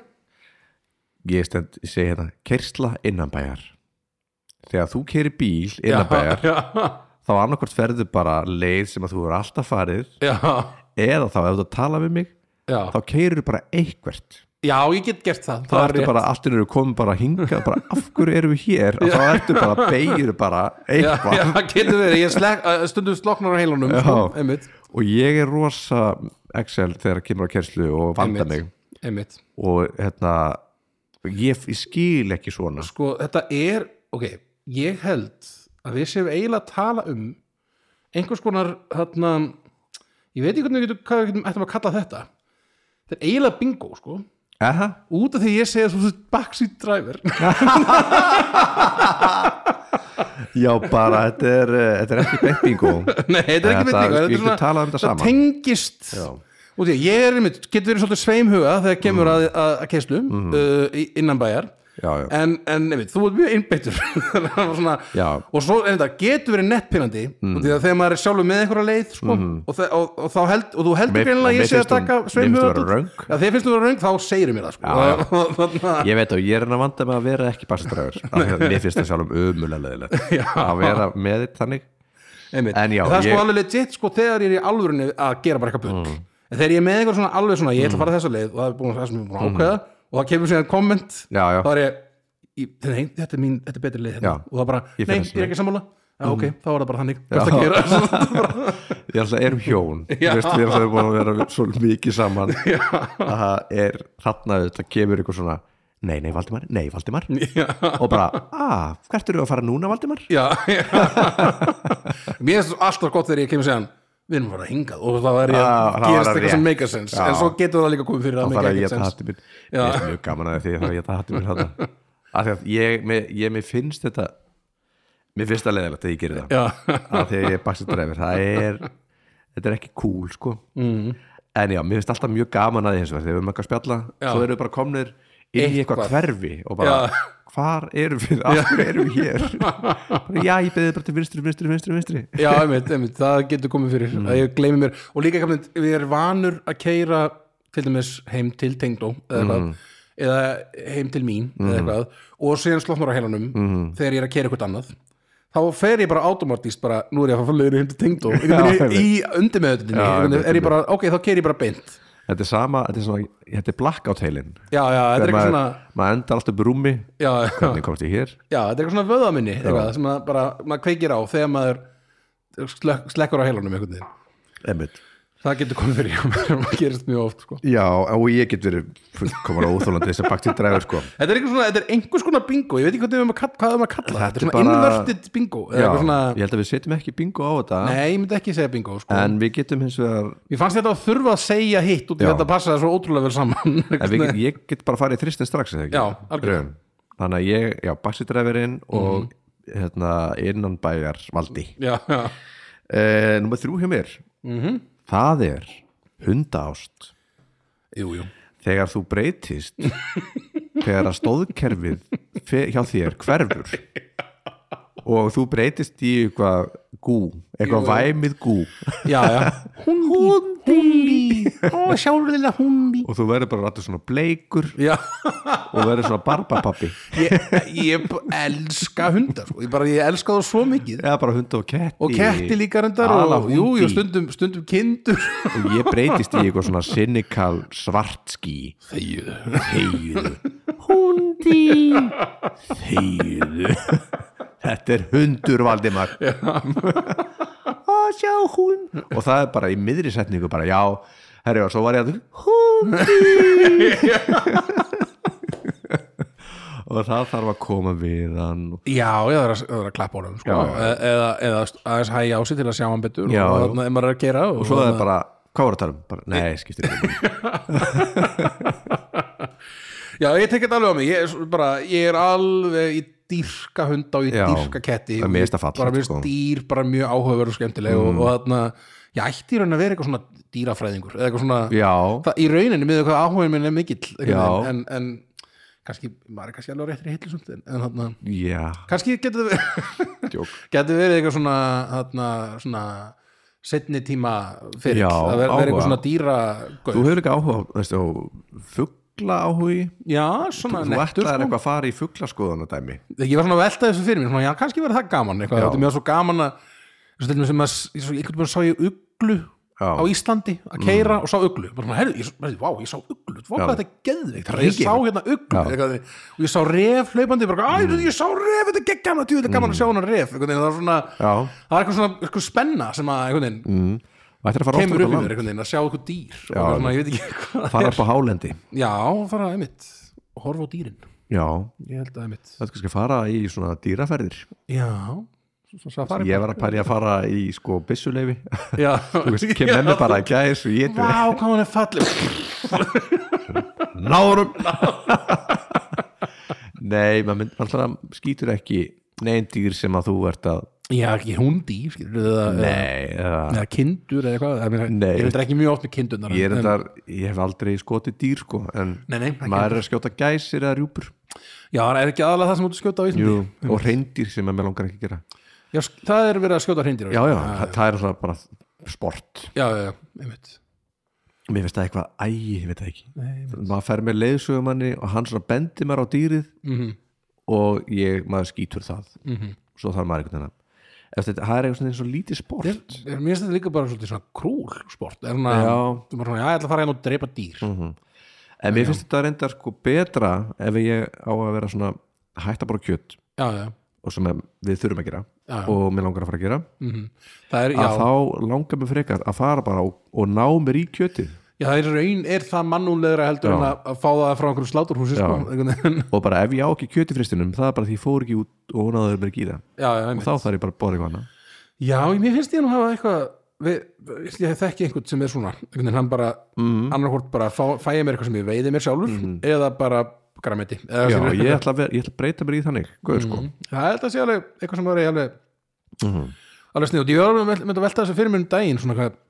[SPEAKER 1] Ég stend, ég segi hérna Kersla innanbæjar Þegar þú keri bíl
[SPEAKER 2] Já,
[SPEAKER 1] innanbæjar
[SPEAKER 2] já,
[SPEAKER 1] þá annarkvort ferðu bara leið sem að þú er alltaf farið
[SPEAKER 2] já,
[SPEAKER 1] eða þá ef þú ert að tala við mig
[SPEAKER 2] já.
[SPEAKER 1] þá keirur bara eitthvert
[SPEAKER 2] Já, ég get gert það
[SPEAKER 1] þá
[SPEAKER 2] Það er
[SPEAKER 1] ertu
[SPEAKER 2] rétt.
[SPEAKER 1] bara, allt innur komum bara hingað bara af hverju erum við hér og þá ertu bara, beigir bara
[SPEAKER 2] Já,
[SPEAKER 1] eitthvað
[SPEAKER 2] já, það getur verið, ég slek, uh, stundum sloknar á heilunum
[SPEAKER 1] Já.
[SPEAKER 2] sko, einmitt,
[SPEAKER 1] og ég er rosa Excel þegar kemur á kerslu og vanda mig
[SPEAKER 2] einmitt, einmitt
[SPEAKER 1] og hérna ég, ég skil ekki svona
[SPEAKER 2] Sko, þetta er, ok, ég held að við séum eiginlega að tala um einhvers konar þarna, ég veit ekki hvernig við getum, hvað við getum ættum að kalla þetta Þetta er eiginlega bingo, sko
[SPEAKER 1] Aha,
[SPEAKER 2] Út af því ég segja svo backseat driver [LAUGHS]
[SPEAKER 1] já bara, þetta er, eh, þetta er ekki beint bingo
[SPEAKER 2] Nei, þetta er
[SPEAKER 1] Þetta-
[SPEAKER 2] ekki myndinga
[SPEAKER 1] við getum talað um þetta
[SPEAKER 2] það
[SPEAKER 1] saman.
[SPEAKER 2] tengist
[SPEAKER 1] Já.
[SPEAKER 2] og því, að ég er einmitt, getur verið svolítið sveimhuga þegar kemur að, að, að keislu uh, í- innan bæjar
[SPEAKER 1] Mhm. Já, já.
[SPEAKER 2] En, en einmitt, þú ert mjög einbeittur [LAUGHS] Það var svona,
[SPEAKER 1] Já.
[SPEAKER 2] og svo einmitt, getur verið nettpinandi mm. því að þegar maður er sjálfur með einhverja leið sko, og, þe- og, og, þá held, og þú
[SPEAKER 1] Mhm. Mér-
[SPEAKER 2] heldur
[SPEAKER 1] og
[SPEAKER 2] greinlega
[SPEAKER 1] mér
[SPEAKER 2] ég sé að
[SPEAKER 1] finnst hún-
[SPEAKER 2] taka
[SPEAKER 1] mér finnst
[SPEAKER 2] sveimhuga
[SPEAKER 1] þú vera röng.
[SPEAKER 2] út. Já, þegar finnst þú vera röng þá segir mér það sko.
[SPEAKER 1] Já, já.
[SPEAKER 2] Og þannig að-
[SPEAKER 1] Ég veit og ég er hann að vanda með að vera ekki
[SPEAKER 2] [LAUGHS]
[SPEAKER 1] bassastræður Mér finnst það sjálfum ömulega leðilegt
[SPEAKER 2] Já.
[SPEAKER 1] að vera með þitt þannig
[SPEAKER 2] [LAUGHS] Einmitt.
[SPEAKER 1] En já,
[SPEAKER 2] það er
[SPEAKER 1] ég- Mm.
[SPEAKER 2] sko alveg legit sko þegar ég er í alvörinu að gera bara eitthvað bull en en þegar ég er með eitthvað svona alveg svona ég ætla að fara þessa leið og það er búin það sem ég er búin að ákveða og það kemur sér komment
[SPEAKER 1] Já, Mm. já.
[SPEAKER 2] þá er ég, ég nei, þetta er mín, þetta er betri leið hérna.
[SPEAKER 1] Já.
[SPEAKER 2] og það bara,
[SPEAKER 1] Ég
[SPEAKER 2] nei,
[SPEAKER 1] fer þessa
[SPEAKER 2] ég er ekki sammála já, ok, þá er það bara þannig,
[SPEAKER 1] Já.
[SPEAKER 2] best að gera
[SPEAKER 1] [LAUGHS]
[SPEAKER 2] Svona bara-
[SPEAKER 1] Ég alltaf erum hjón Þú
[SPEAKER 2] Já.
[SPEAKER 1] veist, Við erum alltaf búin að vera svo mikið saman að það er þarna þetta kemur eitthvað svona Nei, nei, Valdimar, nei, Valdimar
[SPEAKER 2] Já.
[SPEAKER 1] og bara, ah, hvert eru að fara núna, Valdimar?
[SPEAKER 2] já, já. [LAUGHS] mér finnst alltaf gott þegar ég kemur sér við erum bara hingað og þá er ég
[SPEAKER 1] Já,
[SPEAKER 2] að
[SPEAKER 1] það var
[SPEAKER 2] gerast
[SPEAKER 1] rétt.
[SPEAKER 2] eitthvað sem make a sense
[SPEAKER 1] Já.
[SPEAKER 2] en svo getur það líka komið fyrir
[SPEAKER 1] þá
[SPEAKER 2] að
[SPEAKER 1] þarf
[SPEAKER 2] make
[SPEAKER 1] að
[SPEAKER 2] a
[SPEAKER 1] geta
[SPEAKER 2] sense
[SPEAKER 1] hattu minn ég er mjög gaman að því að þarf að geta hattu minn
[SPEAKER 2] [LAUGHS]
[SPEAKER 1] þarna af því að ég, mér, ég, mér finnst þetta mér finnst það leðilegt að ég gerir það
[SPEAKER 2] já,
[SPEAKER 1] [LAUGHS] af því að ég er bakstur dreifir það er, þetta er ekki cool sko mm.
[SPEAKER 2] Mhm.
[SPEAKER 1] en já, mér finnst alltaf mjög gaman að því eins og þegar við erum eitthvað að spjalla
[SPEAKER 2] Já.
[SPEAKER 1] svo erum við bara komnir inn í eitthvað
[SPEAKER 2] Eitthvað.
[SPEAKER 1] hverfi og bara,
[SPEAKER 2] Já.
[SPEAKER 1] hvar erum við af hverju erum við hér bara, já, ég beðið bara til vinstri, vinstri, vinstri, vinstri
[SPEAKER 2] já, einmitt, einmitt, það getur komið fyrir
[SPEAKER 1] Mm.
[SPEAKER 2] að ég gleymi mér og líka kemur við erum vanur að keira til dæmis heim til tengdó eða, mm. eða heim til mín
[SPEAKER 1] Mm.
[SPEAKER 2] eða eitthvað, og síðan slokknar á heilanum þegar ég er að keira eitthvað annað þá fer ég bara automatíst bara nú er ég að fara leiður heim til tengdó
[SPEAKER 1] Já,
[SPEAKER 2] í undirmeðutinni
[SPEAKER 1] Já, einmitt,
[SPEAKER 2] er ég bara, ok, þá keiri ég bara beint
[SPEAKER 1] þetta er sama, þetta er, svona, þetta er blackout heilin
[SPEAKER 2] já, já, þetta er eitthvað svona
[SPEAKER 1] maður endar alltaf upp í rúmi
[SPEAKER 2] já, já,
[SPEAKER 1] hvernig komst ég hér
[SPEAKER 2] já, þetta er eitthvað svona vöðaminni eitthvað, sem maður bara, maður kveikir á þegar maður slekk, slekkur á heilanum einhvern veginn
[SPEAKER 1] Einmitt.
[SPEAKER 2] það getur komið fyrir [LAUGHS] hjá mér og gerist mjög oft sko.
[SPEAKER 1] Já, og ég get verið fullkomar óþólandi þess að bakti dræfur sko
[SPEAKER 2] þetta er, eitthvað svona, þetta er einhvers konar bingo ég veit ekki hvað við erum að kalla, hvað við erum að kalla
[SPEAKER 1] Þetta
[SPEAKER 2] þetta, er
[SPEAKER 1] er
[SPEAKER 2] svona
[SPEAKER 1] bara-
[SPEAKER 2] inverted bingo eða
[SPEAKER 1] Já,
[SPEAKER 2] eitthvað svona,
[SPEAKER 1] ég held að við setjum ekki bingo á þetta
[SPEAKER 2] nei, ég myndi ekki segja bingo sko.
[SPEAKER 1] en við getum hins vegar
[SPEAKER 2] ég fannst þetta að þurfa að segja hitt út í
[SPEAKER 1] Já.
[SPEAKER 2] þetta passaði svo ótrúlega vel saman
[SPEAKER 1] en við get, ég get bara farið í þristin strax eða ekki?
[SPEAKER 2] Já, Mhm. algjörlega.
[SPEAKER 1] Röðum. þannig að ég, já, bakti dræfurinn og hérna innanbæjar valdi
[SPEAKER 2] já, já,
[SPEAKER 1] e, Númer þrjú hjá mér
[SPEAKER 2] Mhm.
[SPEAKER 1] -hmm. það er hundaást
[SPEAKER 2] jú, jú
[SPEAKER 1] þegar þú breytist þegar að stóðkerfið fe- hjá þér hverfur og þú breytist í eitthvað gú, eitthvað væmið gú
[SPEAKER 2] já, já,
[SPEAKER 1] [LAUGHS]
[SPEAKER 2] hundi, hundi ó, sjálfurlega hundi
[SPEAKER 1] og þú verður bara rættur svona bleikur
[SPEAKER 2] já,
[SPEAKER 1] og verður svona barbapappi
[SPEAKER 2] ég, ég elska hundar sko. ég, bara, ég elska þá svo mikið
[SPEAKER 1] eða bara hunda og ketti
[SPEAKER 2] og ketti líka reyndar og
[SPEAKER 1] Alahúndi.
[SPEAKER 2] jú, jú, stundum, stundum kindur
[SPEAKER 1] og ég breytist í eitthvað svona cynical svartský
[SPEAKER 2] þegið
[SPEAKER 1] þegiðu hundi þegiðu þetta er hundur Valdimar að sjá hún og það er bara í miðri setningu bara já, herri og svo var ég að hundi [LAUGHS] og það þarf að koma við hann
[SPEAKER 2] Já, ég þarf að, það er að klappa honum sko.
[SPEAKER 1] Já, já.
[SPEAKER 2] E- eða, eða aðeins hægja á sig til að sjá hann betur
[SPEAKER 1] Já,
[SPEAKER 2] og
[SPEAKER 1] já.
[SPEAKER 2] þarna er maður að gera og,
[SPEAKER 1] og svo það er bara, hvað var að tala um? Bara, nei, skiptir ekki máli.
[SPEAKER 2] Já, ég tek þetta alveg á mig ég er, svo- bara, ég er alveg í dýrka hunda og í
[SPEAKER 1] Já,
[SPEAKER 2] dýrka ketti
[SPEAKER 1] það er mér finnst það fallegt,
[SPEAKER 2] Bara mér
[SPEAKER 1] sko. Mm.
[SPEAKER 2] finnst dýr, bara mjög áhugaverð og skemmtileg og, og þarna, ég ætti í raun að vera eitthvað svona dýrafræðingur eða eitthvað svona,
[SPEAKER 1] já,
[SPEAKER 2] það, í rauninni með eitthvað áhugin minn er mikill einhvern
[SPEAKER 1] Já.
[SPEAKER 2] veginn, en, en kannski, maður er kannski alveg réttir í hillu sumt, en, en þarna,
[SPEAKER 1] já,
[SPEAKER 2] kannski getur við
[SPEAKER 1] djók
[SPEAKER 2] [LAUGHS] Gæti verið eitthvað svona, þarna, svona setni tíma fyrir
[SPEAKER 1] Já,
[SPEAKER 2] að vera, vera
[SPEAKER 1] áhuga.
[SPEAKER 2] eitthvað svona dýra
[SPEAKER 1] þú hefur ekki áhuga, á, veist þú fuggla áhugi
[SPEAKER 2] Já, svona
[SPEAKER 1] þú
[SPEAKER 2] nettur sko.
[SPEAKER 1] ætlaðir eitthvað að fara í fugglaskoðunadæmi
[SPEAKER 2] Ég var svona að velta þessu fyrir mér svona, Já, kannski verið það gaman eitthvað
[SPEAKER 1] Já.
[SPEAKER 2] Þetta er mjög svo gaman að svo til dæmis sem að, ég svo- einhvern veginn sá ég uglu
[SPEAKER 1] Já. Mm.
[SPEAKER 2] á Íslandi að keira og sá uglu bara svona, herri, ég, svo- bara, vá, ég sá uglu, vá
[SPEAKER 1] Já.
[SPEAKER 2] hvað þetta er geðveikt ég
[SPEAKER 1] Reykjavík.
[SPEAKER 2] sá hérna uglu
[SPEAKER 1] Já.
[SPEAKER 2] eitthvað, og ég sá ref hlaupandi bara, mm. ég sá ref, þetta er geggjana þetta er gaman að sjá hana ref eitthvað, það, er svona,
[SPEAKER 1] Mm. Já.
[SPEAKER 2] það er eitthvað svona eitthvað spenna sem að einhvern veginn
[SPEAKER 1] Það ættir að fara
[SPEAKER 2] kemur
[SPEAKER 1] oftar
[SPEAKER 2] upp í
[SPEAKER 1] út á
[SPEAKER 2] mér
[SPEAKER 1] land
[SPEAKER 2] einhvern veginn að sjá eitthvað dýr og
[SPEAKER 1] Já,
[SPEAKER 2] bara svona, ég veit ekki hvað
[SPEAKER 1] Fara upp á hálendi
[SPEAKER 2] [LAUGHS] já, fara einmitt, horfa á dýrin
[SPEAKER 1] Já,
[SPEAKER 2] ég held að einmitt
[SPEAKER 1] það er kannski að fara í svona dýraferðir
[SPEAKER 2] já, svona safari
[SPEAKER 1] Ég var að pæri að fara í sko
[SPEAKER 2] [LAUGHS]
[SPEAKER 1] byssuleifi
[SPEAKER 2] já,
[SPEAKER 1] Þú veist, kem með mig bara að gæðis og ég
[SPEAKER 2] vá, hvað hann er fallið
[SPEAKER 1] Nárum [LAUGHS] Nei, maður mynd, maður alltaf skýtur ekki neinn dýr sem að þú ert að
[SPEAKER 2] já, ekki hundi, skilur eða,
[SPEAKER 1] Nei, eða,
[SPEAKER 2] eða kindur eða eitthvað eða, meina,
[SPEAKER 1] Nei.
[SPEAKER 2] ég veit ekki mjög oft með kindurnar
[SPEAKER 1] ég er
[SPEAKER 2] en- en-
[SPEAKER 1] endar Ég hef aldrei skotið dýr sko En
[SPEAKER 2] Nei, nei, ekki.
[SPEAKER 1] maður er að skjóta gæsir eða rjúpur
[SPEAKER 2] já, það er ekki aðalega það sem út að skjóta á Íslandi
[SPEAKER 1] Jú, og reyndýr sem að mér langar ekki að gera
[SPEAKER 2] já, sk- það er verið að skjóta hreindir
[SPEAKER 1] Já, já, það, það er svona bara sport
[SPEAKER 2] já, já, einmitt
[SPEAKER 1] Mér finnst það eitthvað, æ, ég veit það ekki
[SPEAKER 2] Nei,
[SPEAKER 1] maður fer með leiðsögumanni og hann svona bendir maður á dýrið
[SPEAKER 2] Mhm.
[SPEAKER 1] og ég, maður skýtur það svo þarf maður einhvern veginn að- eftir þetta, það er eitthvað svona eins og lítið sport
[SPEAKER 2] Ég- ég- Mér finnst þetta líka bara svolítið svona krúl sport Er hún að,
[SPEAKER 1] Já. Mhm.
[SPEAKER 2] þú bara svona, já, ég ætla að fara einn og dreipa dýr
[SPEAKER 1] en mér finnst þetta reyndar sko betra ef ég á að vera svona hætta bara kjött
[SPEAKER 2] Já, já,
[SPEAKER 1] og sem að við þurfum að gera
[SPEAKER 2] Já, já.
[SPEAKER 1] og mér langar að fara að gera
[SPEAKER 2] mhm Það er, já,
[SPEAKER 1] að þá langar mér frekar að fara bara og, og ná mér í kjötið
[SPEAKER 2] já, það er raun, er það mannúlegra heldur
[SPEAKER 1] Já.
[SPEAKER 2] en að, að fá það frá einhverjum sláturhúsi sko,
[SPEAKER 1] Já.
[SPEAKER 2] einhvern veginn. [LAUGHS]
[SPEAKER 1] og bara ef ég á ekki kjötið fristinum það er bara því ég fór ekki út og náður mér ekki í það
[SPEAKER 2] Já, já,
[SPEAKER 1] og þá þarf ég bara að bóra eitthvað annað
[SPEAKER 2] Já, mér finnst ég nú hafa eitthvað við, ég þekki einhvern sem er svona einhvern veginn hann bara,
[SPEAKER 1] Mhm.
[SPEAKER 2] mm. annarkvort bara fá, fæ ég mér eitthvað sem ég veiði mér sjálfur eða bara græmiti eða
[SPEAKER 1] Já,
[SPEAKER 2] skilur-
[SPEAKER 1] ég ætla, að vera, ég ætla að breyta mér í þannig Guð, sko.
[SPEAKER 2] Það er þetta sé alveg eitthvað sem var ég alveg
[SPEAKER 1] Mhm.
[SPEAKER 2] alveg sniðut, ég var alveg með- með að velta þessu fyrir mér um daginn svona hvað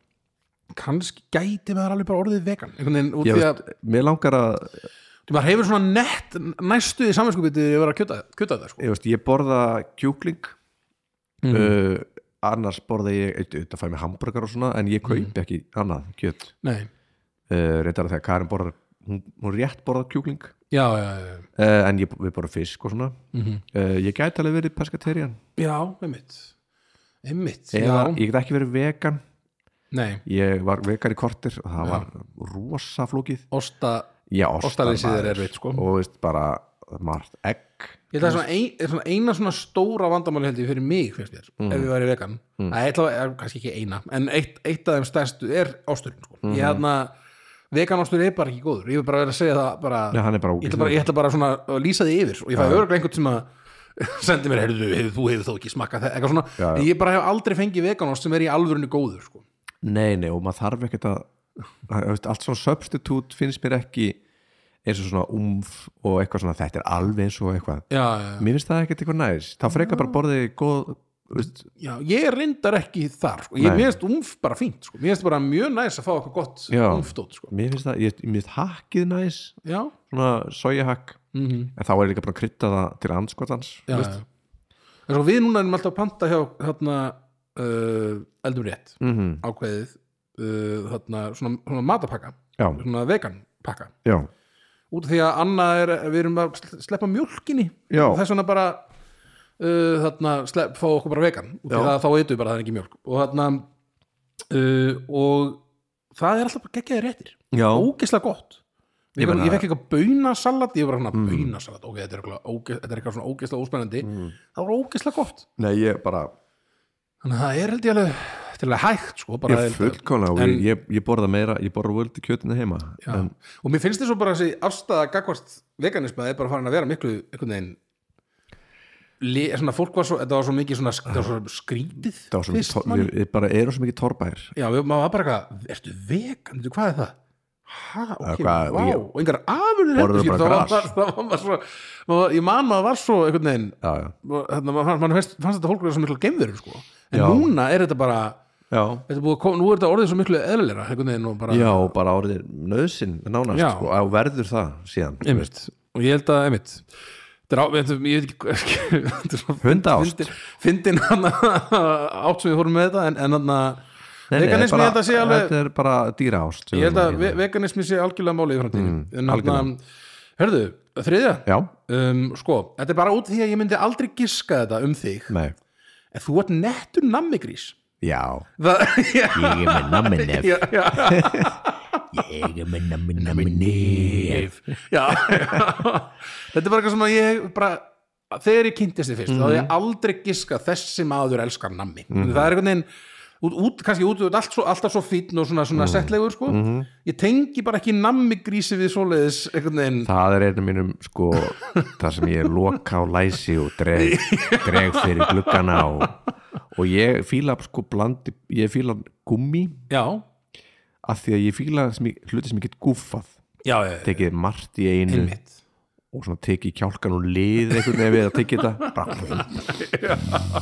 [SPEAKER 2] kannski gæti maður alveg bara orðið vegan einhvern veginn út
[SPEAKER 1] ég
[SPEAKER 2] því að
[SPEAKER 1] veist, mér langar að
[SPEAKER 2] því maður hefur svona nett næstu í saminskupið þegar ég var að kjöta, kjöta það sko.
[SPEAKER 1] ég, veist, ég borða kjúkling
[SPEAKER 2] Mhm.
[SPEAKER 1] uh, annars borða ég þetta fæ mér hambúrgar og svona en ég
[SPEAKER 2] Mhm.
[SPEAKER 1] kaupi ekki annað kjöt
[SPEAKER 2] Nei,
[SPEAKER 1] uh, reyndar að þegar Karin borðar hún, hún rétt borðar kjúkling
[SPEAKER 2] já, já, já, já.
[SPEAKER 1] uh, en ég, við borðum fisk og svona
[SPEAKER 2] Mhm.
[SPEAKER 1] uh, ég gæti alveg verið pescaterian
[SPEAKER 2] já, einmitt einmitt,
[SPEAKER 1] eða
[SPEAKER 2] já,
[SPEAKER 1] ég get ekki verið vegan
[SPEAKER 2] nei
[SPEAKER 1] ég var vegan í kortir og það var rosa flókið
[SPEAKER 2] osta
[SPEAKER 1] já,
[SPEAKER 2] Ostalýsið er
[SPEAKER 1] maður.
[SPEAKER 2] erfitt, sko.
[SPEAKER 1] og veist bara margt egg
[SPEAKER 2] Ég held að svona, ein, er svona eina svona stóra vandamáli held ég fyrir mig, finnst mér, ef ég væri vegan mm. að eitthvað, er, kannski ekki eina en eitt, eitt af þeim stærstu er ásturinn sko. ég held að vegan ástur er bara ekki góður ég vil bara vera að segja það bara,
[SPEAKER 1] Nei, hann er bara
[SPEAKER 2] ég, ætla bara, ég ætla bara svona að lýsa því yfir og ég fæði örgulega einhvern sem að [LAUGHS] sendi mér, heyrðu, hefur, þú hefur þó ekki smakkað það, eitthvað svona,
[SPEAKER 1] Já, já.
[SPEAKER 2] ég bara hef aldrei fengið vegan ást sem er í alvörinu góður sko.
[SPEAKER 1] Nei, nei, og maður þarf ekkert að að- veist, allt svona substitute finnst mér ekki eins og svona umf og eitthvað svona þetta er alveg eins og eitthvað
[SPEAKER 2] já, já, já.
[SPEAKER 1] Mér finnst það ekkert eitthvað næs þá frekar bara borðið góð veist,
[SPEAKER 2] já, ég reyndar ekki þar sko. ég
[SPEAKER 1] Nei.
[SPEAKER 2] mér finnst umf bara fínt, sko. mér finnst bara mjög næs að fá eitthvað gott
[SPEAKER 1] Já.
[SPEAKER 2] umfdót sko.
[SPEAKER 1] Mér finnst það, ég, mér finnst hakkið næs
[SPEAKER 2] já,
[SPEAKER 1] svona sojahakk
[SPEAKER 2] mhm
[SPEAKER 1] en þá er líka bara að krydda það til anskotans
[SPEAKER 2] já, já. En svo við núna erum alltaf að panta hjá hérna, uh, eldum rétt
[SPEAKER 1] mm -hmm.
[SPEAKER 2] ákveðið uh, hérna, svona, svona matapakka
[SPEAKER 1] Já,
[SPEAKER 2] svona vegan pakka
[SPEAKER 1] já,
[SPEAKER 2] út af því að annað er við erum að sl- sleppa mjólkinni
[SPEAKER 1] Já.
[SPEAKER 2] og þess vegna bara uh, þarna, slepp, fá okkur bara vegan út af því
[SPEAKER 1] Já.
[SPEAKER 2] að þá eitum við bara að það er ekki mjólk og þarna uh, og það er alltaf geggjaði réttir
[SPEAKER 1] já.
[SPEAKER 2] ógeðslega gott ég,
[SPEAKER 1] Ég meina-
[SPEAKER 2] ég fekk eitthvað baunasalat ég var svona mm. baunasalat, ok, þetta er eitthvað, óge, þetta er eitthvað svona ógeðslega óspennandi
[SPEAKER 1] Mm.
[SPEAKER 2] það var ógeðslega gott
[SPEAKER 1] Nei, ég bara,
[SPEAKER 2] þannig að það er held ég alveg til að hægt sko, bara
[SPEAKER 1] ég
[SPEAKER 2] er-
[SPEAKER 1] fullkona og
[SPEAKER 2] en-
[SPEAKER 1] ég, ég, ég borða meira, ég borða völdi kjötinu heima
[SPEAKER 2] Já.
[SPEAKER 1] en,
[SPEAKER 2] og mér finnst þess að bara þessi afstæða gagvart veganisma er bara farin að vera miklu einhvern veginn Le, svona fólk var svo, þetta var svo mikið svona, þetta var svo skrítið
[SPEAKER 1] það var svo mikið,
[SPEAKER 2] fyrst,
[SPEAKER 1] tor-
[SPEAKER 2] manni.
[SPEAKER 1] við, við bara erum svo mikið torrbær
[SPEAKER 2] já, við, maður var bara eitthvað, ertu vegan, Veitu, hvað er það? Hæ, ok,
[SPEAKER 1] Eða hvað,
[SPEAKER 2] vá,
[SPEAKER 1] ég-
[SPEAKER 2] og engar afurðir
[SPEAKER 1] Borðum
[SPEAKER 2] heldur,
[SPEAKER 1] bara
[SPEAKER 2] skilur, það var,
[SPEAKER 1] gras.
[SPEAKER 2] það var, var svo, maður, var- ég man maður var svo einhvern veginn,
[SPEAKER 1] Já, já,
[SPEAKER 2] hérna, maður man fannst, fannst þetta fólk vera svo miklu gemverur, sko en
[SPEAKER 1] Já.
[SPEAKER 2] núna er þetta bara,
[SPEAKER 1] já.
[SPEAKER 2] þetta er búið, að koma- nú er þetta orðið svo miklu eðlilega, einhvern veginn og bara
[SPEAKER 1] Já, og bara árið nöðsinn nánast,
[SPEAKER 2] Já.
[SPEAKER 1] sko, og verður það síðan þú veist.
[SPEAKER 2] einmitt, og ég held að einmitt þetta er á, þetta, ég veit ekki [LAUGHS] hvað- þetta er svo
[SPEAKER 1] Hundaást.
[SPEAKER 2] fyndin- fyndin [LAUGHS] hann átt sem við fórum með þetta en, en hann
[SPEAKER 1] Nei, nei,
[SPEAKER 2] veganismi
[SPEAKER 1] bara-
[SPEAKER 2] ég held að sé alveg
[SPEAKER 1] Þetta er bara dýra ást
[SPEAKER 2] ég held að ve- veganismi sé algjörlega máli í
[SPEAKER 3] Mm,
[SPEAKER 2] framtíðinu en hann,
[SPEAKER 1] algjörlega.
[SPEAKER 2] hörðu, þriðja
[SPEAKER 1] Já,
[SPEAKER 2] um, sko, þetta er bara út því að ég myndi aldrei giska þetta um þig
[SPEAKER 3] Mm.
[SPEAKER 1] nei,
[SPEAKER 2] en þú ert nettur nammigrís
[SPEAKER 1] já
[SPEAKER 2] það, [LAUGHS] já,
[SPEAKER 3] Ég er með nammi nef
[SPEAKER 2] já, já
[SPEAKER 3] Ég er með nammi nammi nef
[SPEAKER 2] já, þetta er bara eitthvað sem að ég bara, þegar ég kynntist þið fyrst þá
[SPEAKER 3] Mm.
[SPEAKER 2] hafði ég aldrei giska þessi maður elskar nammi, það er einhvern veginn út, út, kannski út, út allt svo, alltaf svo fínn og svona,
[SPEAKER 3] Mm.
[SPEAKER 2] svona settlegur sko
[SPEAKER 3] Mm-hmm.
[SPEAKER 2] ég tengi bara ekki nammi grísi við svoleiðis einhvern veginn
[SPEAKER 1] Það er einu mínum, sko, þar sem ég loka og læsi og dreg, dreg fyrir gluggana og, og ég fíla, sko, blandi, ég fíla gummi
[SPEAKER 2] já,
[SPEAKER 1] af því að ég fíla sem ég- hluti sem ég get gúffað
[SPEAKER 2] já, já, já,
[SPEAKER 1] tekið margt í einu
[SPEAKER 2] einmitt
[SPEAKER 1] og svona tekið kjálkan og lið einhvern veginn við að tekið þetta bara,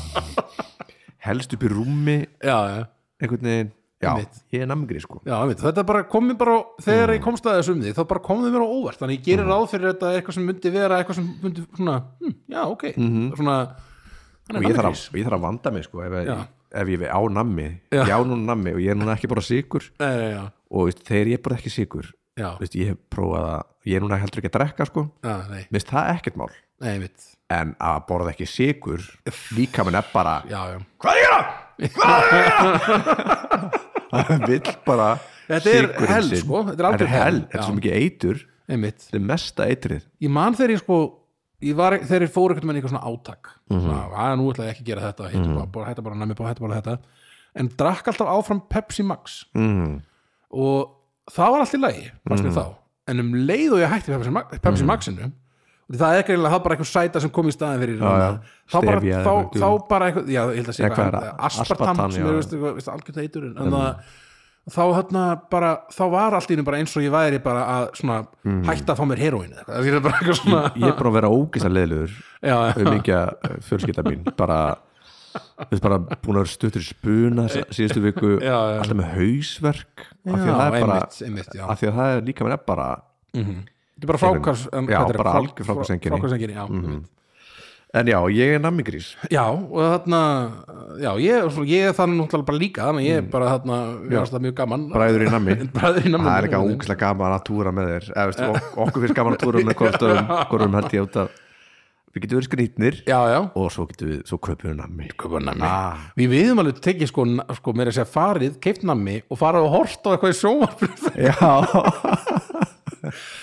[SPEAKER 1] helst upp í rúmi
[SPEAKER 2] já, já,
[SPEAKER 1] einhvern veginn já,
[SPEAKER 2] Einmitt.
[SPEAKER 1] ég er namngri sko
[SPEAKER 2] já, einmitt, þetta er bara komið bara á- þegar
[SPEAKER 1] Mm.
[SPEAKER 2] ég komst að þessum því, þá bara komið mér á óvart þannig ég gerir ráð fyrir þetta eitthvað sem myndi vera eitthvað sem myndi svona, hm, já, ok svona, hann er
[SPEAKER 1] Mhm. og ég
[SPEAKER 2] nammi
[SPEAKER 1] þarf, að, ég þarf að vanda mig sko ef,
[SPEAKER 2] Já.
[SPEAKER 1] ef ég á nammi,
[SPEAKER 2] Já.
[SPEAKER 1] ég á núna nammi og ég er núna ekki bara sigur
[SPEAKER 2] nei, nei, já
[SPEAKER 1] og veist, þegar ég er bara ekki sigur
[SPEAKER 2] já,
[SPEAKER 1] Vist, ég hef prófað að ég er núna heldur ekki að drekka sko
[SPEAKER 2] já, nei,
[SPEAKER 1] minnst það ekkert mál
[SPEAKER 2] nei, mitt
[SPEAKER 1] en að borða ekki sigur líka minn er bara
[SPEAKER 2] já, já,
[SPEAKER 1] hvað er það? hvað er það? hann vill bara
[SPEAKER 2] Þetta er
[SPEAKER 1] sykurinn
[SPEAKER 2] hell,
[SPEAKER 1] sinn.
[SPEAKER 2] sko, þetta er
[SPEAKER 1] þetta
[SPEAKER 2] algjör
[SPEAKER 1] er hell,
[SPEAKER 2] hell,
[SPEAKER 1] þetta er
[SPEAKER 2] já.
[SPEAKER 1] svo mikið eitur
[SPEAKER 2] nei, mitt
[SPEAKER 1] þetta er mesta eitrið
[SPEAKER 2] ég man þegar ég sko ég var, þegar ég fór ekkert með eitthvað svona átak
[SPEAKER 1] Mhm.
[SPEAKER 2] svona, að nú ætla ég ekki að gera þetta hætta bara, bara, hætta bara að næmi bara, hætta bara að þetta en drakk alltaf áfram Pepsi Max
[SPEAKER 1] mm.
[SPEAKER 2] og það var allt í lagi fannst
[SPEAKER 1] Mhm.
[SPEAKER 2] mér þá, en um leið og ég hætti Pepsi, Ma- Pepsi Maxinu og það er greinilega það bara eitthvað sæta sem kom í staðin fyrir
[SPEAKER 1] Já, já.
[SPEAKER 2] hana. þá bara,
[SPEAKER 1] Stevia
[SPEAKER 2] þá, þá
[SPEAKER 1] eða eitthvað.
[SPEAKER 2] bara eitthvað, já, ég held að sé
[SPEAKER 1] Já, hvað
[SPEAKER 2] eitthvað
[SPEAKER 1] er
[SPEAKER 2] annað,
[SPEAKER 1] það?
[SPEAKER 2] aspartam sem
[SPEAKER 1] Aspartam, já. Mhm.
[SPEAKER 2] er veist, eitthvað, veist, algjönt heitur en þannig að þá hérna bara þá var allt í einu bara eins og ég væri bara að svona
[SPEAKER 1] Mhm.
[SPEAKER 2] hætta að fá mér heroín eða eitthvað. það er bara eitthvað svona
[SPEAKER 1] ég er bara að vera ógist að leiðlugur
[SPEAKER 2] já, já,
[SPEAKER 1] umingja fjölskylda mín bara við erum bara búin að vera stuttur í spuna s- síðustu viku
[SPEAKER 2] Já, já.
[SPEAKER 1] alltaf með hausverk af því
[SPEAKER 2] já,
[SPEAKER 1] að það er bara
[SPEAKER 2] einmitt, einmitt já.
[SPEAKER 1] af því að það er líka minn er bara
[SPEAKER 2] þetta er bara frákars um,
[SPEAKER 1] Já,
[SPEAKER 2] hvað þetta er,
[SPEAKER 1] bara
[SPEAKER 2] frá-
[SPEAKER 1] algjör Mhm. fráhvarfseinkenni.
[SPEAKER 2] fráhvarfseinkenni, já, einmitt.
[SPEAKER 1] en já, ég er nammigrís
[SPEAKER 2] Já, og þarna já, ég, svo, ég er þannig náttúrulega bara líka þannig að ég er bara þarna, ég varst það mjög gaman
[SPEAKER 1] Mm. bræður í
[SPEAKER 2] [LAUGHS]
[SPEAKER 1] nammi
[SPEAKER 2] bræður í nammi
[SPEAKER 1] það er eitthvað ógæslega gaman að túra með þér Eða, veist, ok- okkur finnst gaman að túra með
[SPEAKER 2] [LAUGHS]
[SPEAKER 1] hvortum hvortum held ég út að við getum verið skrýtnir
[SPEAKER 2] Já, já,
[SPEAKER 1] og svo getum við, svo kaupum við nammi
[SPEAKER 2] köpun nammi
[SPEAKER 1] Ah.
[SPEAKER 2] Við viðum alveg tekið sko, na- sko meira að segja farið, keipt nammi og farið og hort á eitthvað í sjónvarpinu [LAUGHS]
[SPEAKER 1] já,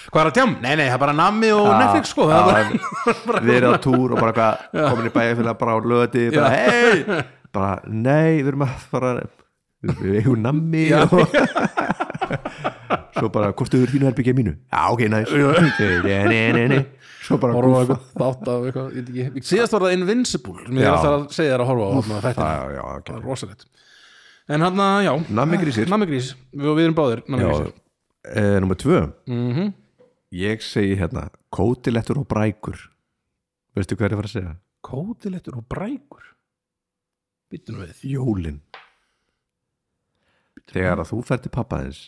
[SPEAKER 2] Hvað er að tjám? Nei, nei, það er bara nammi og Netflix sko það er bara, [LAUGHS]
[SPEAKER 1] bara... við erum á túr og bara eitthvað komin í bæjarfélag bara á löti bara hei, bara nei við erum að fara við eigum nammi og... [LAUGHS] svo bara, hvort þau eru þínu herbyggja mínu já, ok, næs Nei, nei, nei, nei. svo bara
[SPEAKER 2] [LAUGHS] horfa á
[SPEAKER 1] gúffa.
[SPEAKER 2] eitthvað þátt af eitthvað, ég veit ekki Síðast var það Invincible, mér
[SPEAKER 1] Já.
[SPEAKER 2] er alltaf að segja þér að horfa á þarna þetta,
[SPEAKER 1] já, já, ok
[SPEAKER 2] það er rosalegt En hann, já,
[SPEAKER 1] Nammigrísir.
[SPEAKER 2] Nammigrís, við, við erum báðir
[SPEAKER 1] Já,
[SPEAKER 2] nammigrísir
[SPEAKER 1] e, Númer tvö
[SPEAKER 2] Mhm.
[SPEAKER 1] Ég segi hérna Kótilettur og brækur Veistu hvað er ég að fara að segja?
[SPEAKER 2] Kótilettur og brækur Býttu nú við
[SPEAKER 1] Jólin Þegar að þú fer til pappa þins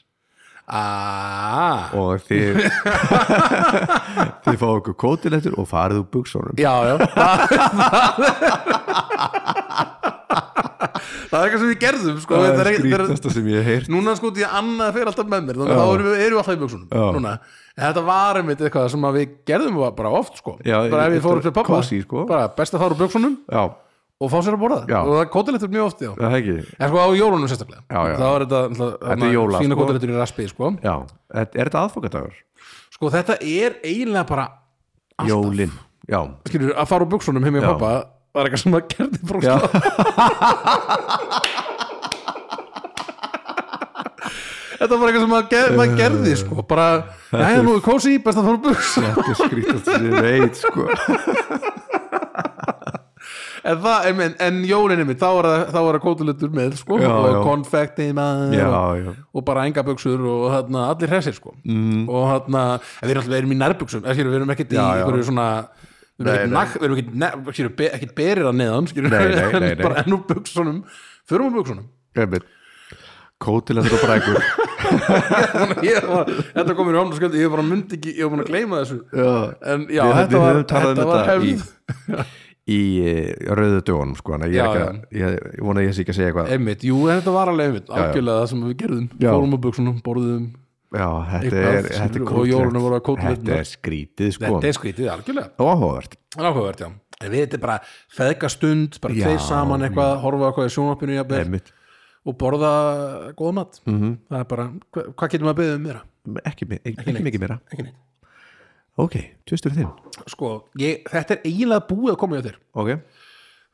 [SPEAKER 2] Ah,
[SPEAKER 1] og
[SPEAKER 2] [LAUGHS]
[SPEAKER 1] þið þið fá okkur kótilettur og farið úr buksónum
[SPEAKER 2] já,
[SPEAKER 1] [LAUGHS]
[SPEAKER 2] já Það er eitthvað sem við gerðum sko,
[SPEAKER 1] Það
[SPEAKER 2] þetta
[SPEAKER 1] er
[SPEAKER 2] er ekki- þetta er-
[SPEAKER 1] skrítasta sem ég hef heyrt
[SPEAKER 2] Núna sko því að annað fer alltaf með mér Þannig að
[SPEAKER 1] Já.
[SPEAKER 2] þá erum við, erum við alltaf í buksunum
[SPEAKER 1] Já.
[SPEAKER 2] núna. En þetta var einmitt eitthvað sem að við gerðum bara oft sko
[SPEAKER 1] Já,
[SPEAKER 2] Bara ef
[SPEAKER 1] þetta
[SPEAKER 2] við fórum til pappa
[SPEAKER 1] kósí, sko.
[SPEAKER 2] bara best að fara úr buksunum
[SPEAKER 1] Já,
[SPEAKER 2] og fá sér að borða
[SPEAKER 1] Já.
[SPEAKER 2] Og það kótilettur mjög oft já
[SPEAKER 1] það er ekki
[SPEAKER 2] En sko á jólunum sérstaklega
[SPEAKER 1] Já, já.
[SPEAKER 2] Það var þetta, alltaf,
[SPEAKER 1] Þetta er jóla,
[SPEAKER 2] Fína
[SPEAKER 1] sko.
[SPEAKER 2] kótilettur í raspi sko
[SPEAKER 1] Já, er er þetta aðfokadagur?
[SPEAKER 2] Sko þetta er eiginlega bara
[SPEAKER 1] Jólin Já,
[SPEAKER 2] Skilur að fara úr buksunum heim í
[SPEAKER 1] Já.
[SPEAKER 2] pappa Var eitthvað sem að gerði frá
[SPEAKER 1] já,
[SPEAKER 2] [LAUGHS] Þetta var eitthvað sem maður, ger, maður gerði sko bara, næja nú, kósi í, best að fara úr buksa
[SPEAKER 1] þetta er skrítast sem ég veit sko
[SPEAKER 2] en, það, en, en, en jólinni mitt, þá var það- þá var það kótulutur með sko
[SPEAKER 1] Já,
[SPEAKER 2] og
[SPEAKER 1] já.
[SPEAKER 2] konfekti maður
[SPEAKER 1] Já,
[SPEAKER 2] og,
[SPEAKER 1] já
[SPEAKER 2] og bara enga buksur og þarna, allir hressir sko mm. og þarna, en við erum alltaf við erum í nærbuksum eða skilur, við erum ekkert í
[SPEAKER 1] Já, já.
[SPEAKER 2] einhverju svona við erum
[SPEAKER 1] Nei,
[SPEAKER 2] ekkert
[SPEAKER 1] nei.
[SPEAKER 2] nakk, við erum ekkert, ne, skilur, be, ekkert berir að neðan skilur,
[SPEAKER 1] Nei,
[SPEAKER 2] [LAUGHS]
[SPEAKER 1] nei, nei, nei.
[SPEAKER 2] bara enn úr buksunum förum úr buksunum
[SPEAKER 1] Einmitt. Kótilettur og brækur
[SPEAKER 2] [LAUGHS] Ég var- þetta komur í ofn og sköldi, ég bara myndi ekki ég var búin að gleyma þessu
[SPEAKER 1] Já.
[SPEAKER 2] en já,
[SPEAKER 1] Við-
[SPEAKER 2] þetta
[SPEAKER 1] við
[SPEAKER 2] var,
[SPEAKER 1] höfum talað um
[SPEAKER 2] þetta var
[SPEAKER 1] þetta
[SPEAKER 2] hefð
[SPEAKER 1] í- í eh, rauðu dögunum sko, þannig að ég,
[SPEAKER 2] Já,
[SPEAKER 1] er ekki að, ég, ég vona að ég sé ekki að segja eitthvað
[SPEAKER 2] einmitt, jú, en þetta var alveg einmitt algjörlega það sem við gerðum,
[SPEAKER 1] Já.
[SPEAKER 2] fórum úr buksunum borðum,
[SPEAKER 1] Já, þetta
[SPEAKER 2] Eitthvað,
[SPEAKER 1] er, þetta er
[SPEAKER 2] skilur, og
[SPEAKER 1] kótilegt.
[SPEAKER 2] jólunum voru að kótilegna.
[SPEAKER 1] Þetta er skrítið sko
[SPEAKER 2] þetta er skrítið algjörlega
[SPEAKER 1] Og áhugavert
[SPEAKER 2] Það er áhugavert, já. En við þetta er bara feðga stund, bara
[SPEAKER 1] Já.
[SPEAKER 2] tveir saman eitthvað, horfa á eitthvað í sjónvarpinu jafnvel
[SPEAKER 1] Einmitt. Mhm.
[SPEAKER 2] og borða góð mat. -hmm. Það er bara, hva, hvað getum við að byggja um meira?
[SPEAKER 1] Ekki, mi- ekki, ekki mikið meira
[SPEAKER 2] Ekki neitt.
[SPEAKER 1] Ok, tvistur þinn
[SPEAKER 2] Sko, ég, þetta er eiginlega búið að koma hjá þér
[SPEAKER 1] Ok,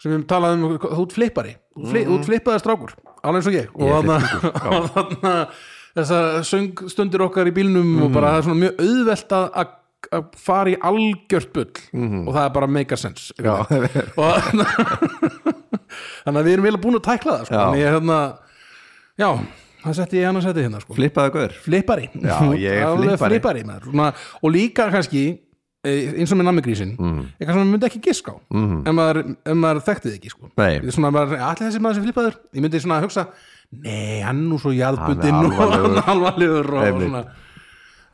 [SPEAKER 2] sem við talaðum um, þú ert flippari þú ert fli- þú
[SPEAKER 1] Mhm.
[SPEAKER 2] ert flippaði strákur, alveg eins og ég [LAUGHS] og þarna- þarna þessar söngstundir okkar í bílnum og
[SPEAKER 1] Mhm.
[SPEAKER 2] bara það er svona mjög auðvelt að- að að fara í algjört bull
[SPEAKER 1] Mhm.
[SPEAKER 2] og það er bara make a sense og þannig [LAUGHS] þannig að við erum eiginlega búin að tækla það sko.
[SPEAKER 1] Já.
[SPEAKER 2] en ég er hérna já, það setti ég hann að setja hérna sko
[SPEAKER 1] [LAUGHS] flippaðu gaur
[SPEAKER 2] flippari
[SPEAKER 1] Já, [LAUGHS] ég er
[SPEAKER 2] Alveg
[SPEAKER 1] flippari.
[SPEAKER 2] flippari maður. svona, og líka kannski eh, eins og með namigrísin mm. eitthvað sem maður myndi ekki giska á mm. ef, maður, ef maður þekkti þið ekki sko.
[SPEAKER 1] Nei.
[SPEAKER 2] svona maður, allir þessi maður sem flippaður ég myndi svona að hugsa, nei hann er nú svo jarðbundin
[SPEAKER 1] Hann er
[SPEAKER 2] og [LAUGHS] hann
[SPEAKER 1] alvarlegur.
[SPEAKER 2] er alvarlegur og
[SPEAKER 1] Einmitt.
[SPEAKER 2] svona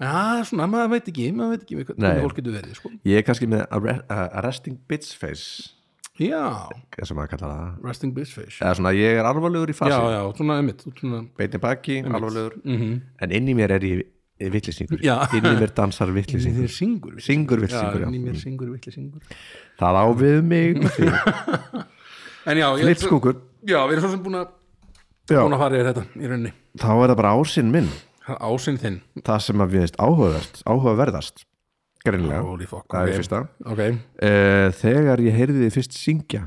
[SPEAKER 2] já, svona, maður veit ekki maður veit ekki hvað-
[SPEAKER 1] Nei.
[SPEAKER 2] hvernig fólk getur verið sko.
[SPEAKER 1] Ég er kannski með arre- uh, arresting bitch face
[SPEAKER 2] já,
[SPEAKER 1] eins og maður kallar það
[SPEAKER 2] resting bitch face
[SPEAKER 1] Eða svona, ég er alvarlegur í
[SPEAKER 2] já,
[SPEAKER 1] fasi
[SPEAKER 2] já, svona emitt svona,
[SPEAKER 1] Beinni baki, alvarlegur En inni mér er ég vittlisingur,
[SPEAKER 2] Já.
[SPEAKER 1] inn í mér
[SPEAKER 2] [LAUGHS]
[SPEAKER 1] dansar vittlisingur,
[SPEAKER 2] Þér syngur við
[SPEAKER 1] syngur
[SPEAKER 2] Já,
[SPEAKER 1] vittlisingur
[SPEAKER 2] inn í
[SPEAKER 1] já.
[SPEAKER 2] mér syngur vitlega syngur
[SPEAKER 1] það á
[SPEAKER 2] [LAUGHS]
[SPEAKER 1] við mig
[SPEAKER 2] En já, ég,
[SPEAKER 1] flipskúkur,
[SPEAKER 2] já, við erum svo sem búin að
[SPEAKER 1] já,
[SPEAKER 2] búin að fara yfir þetta í rauninni
[SPEAKER 1] þá er það bara ásinn minn
[SPEAKER 2] Það er Ásinn þinn
[SPEAKER 1] það sem að við veist áhugavert áhugaverðast, greinlega
[SPEAKER 2] Holy fuck,
[SPEAKER 1] það er
[SPEAKER 2] ok.
[SPEAKER 1] í fyrsta
[SPEAKER 2] Ok
[SPEAKER 1] uh, þegar ég heyrði þið fyrst syngja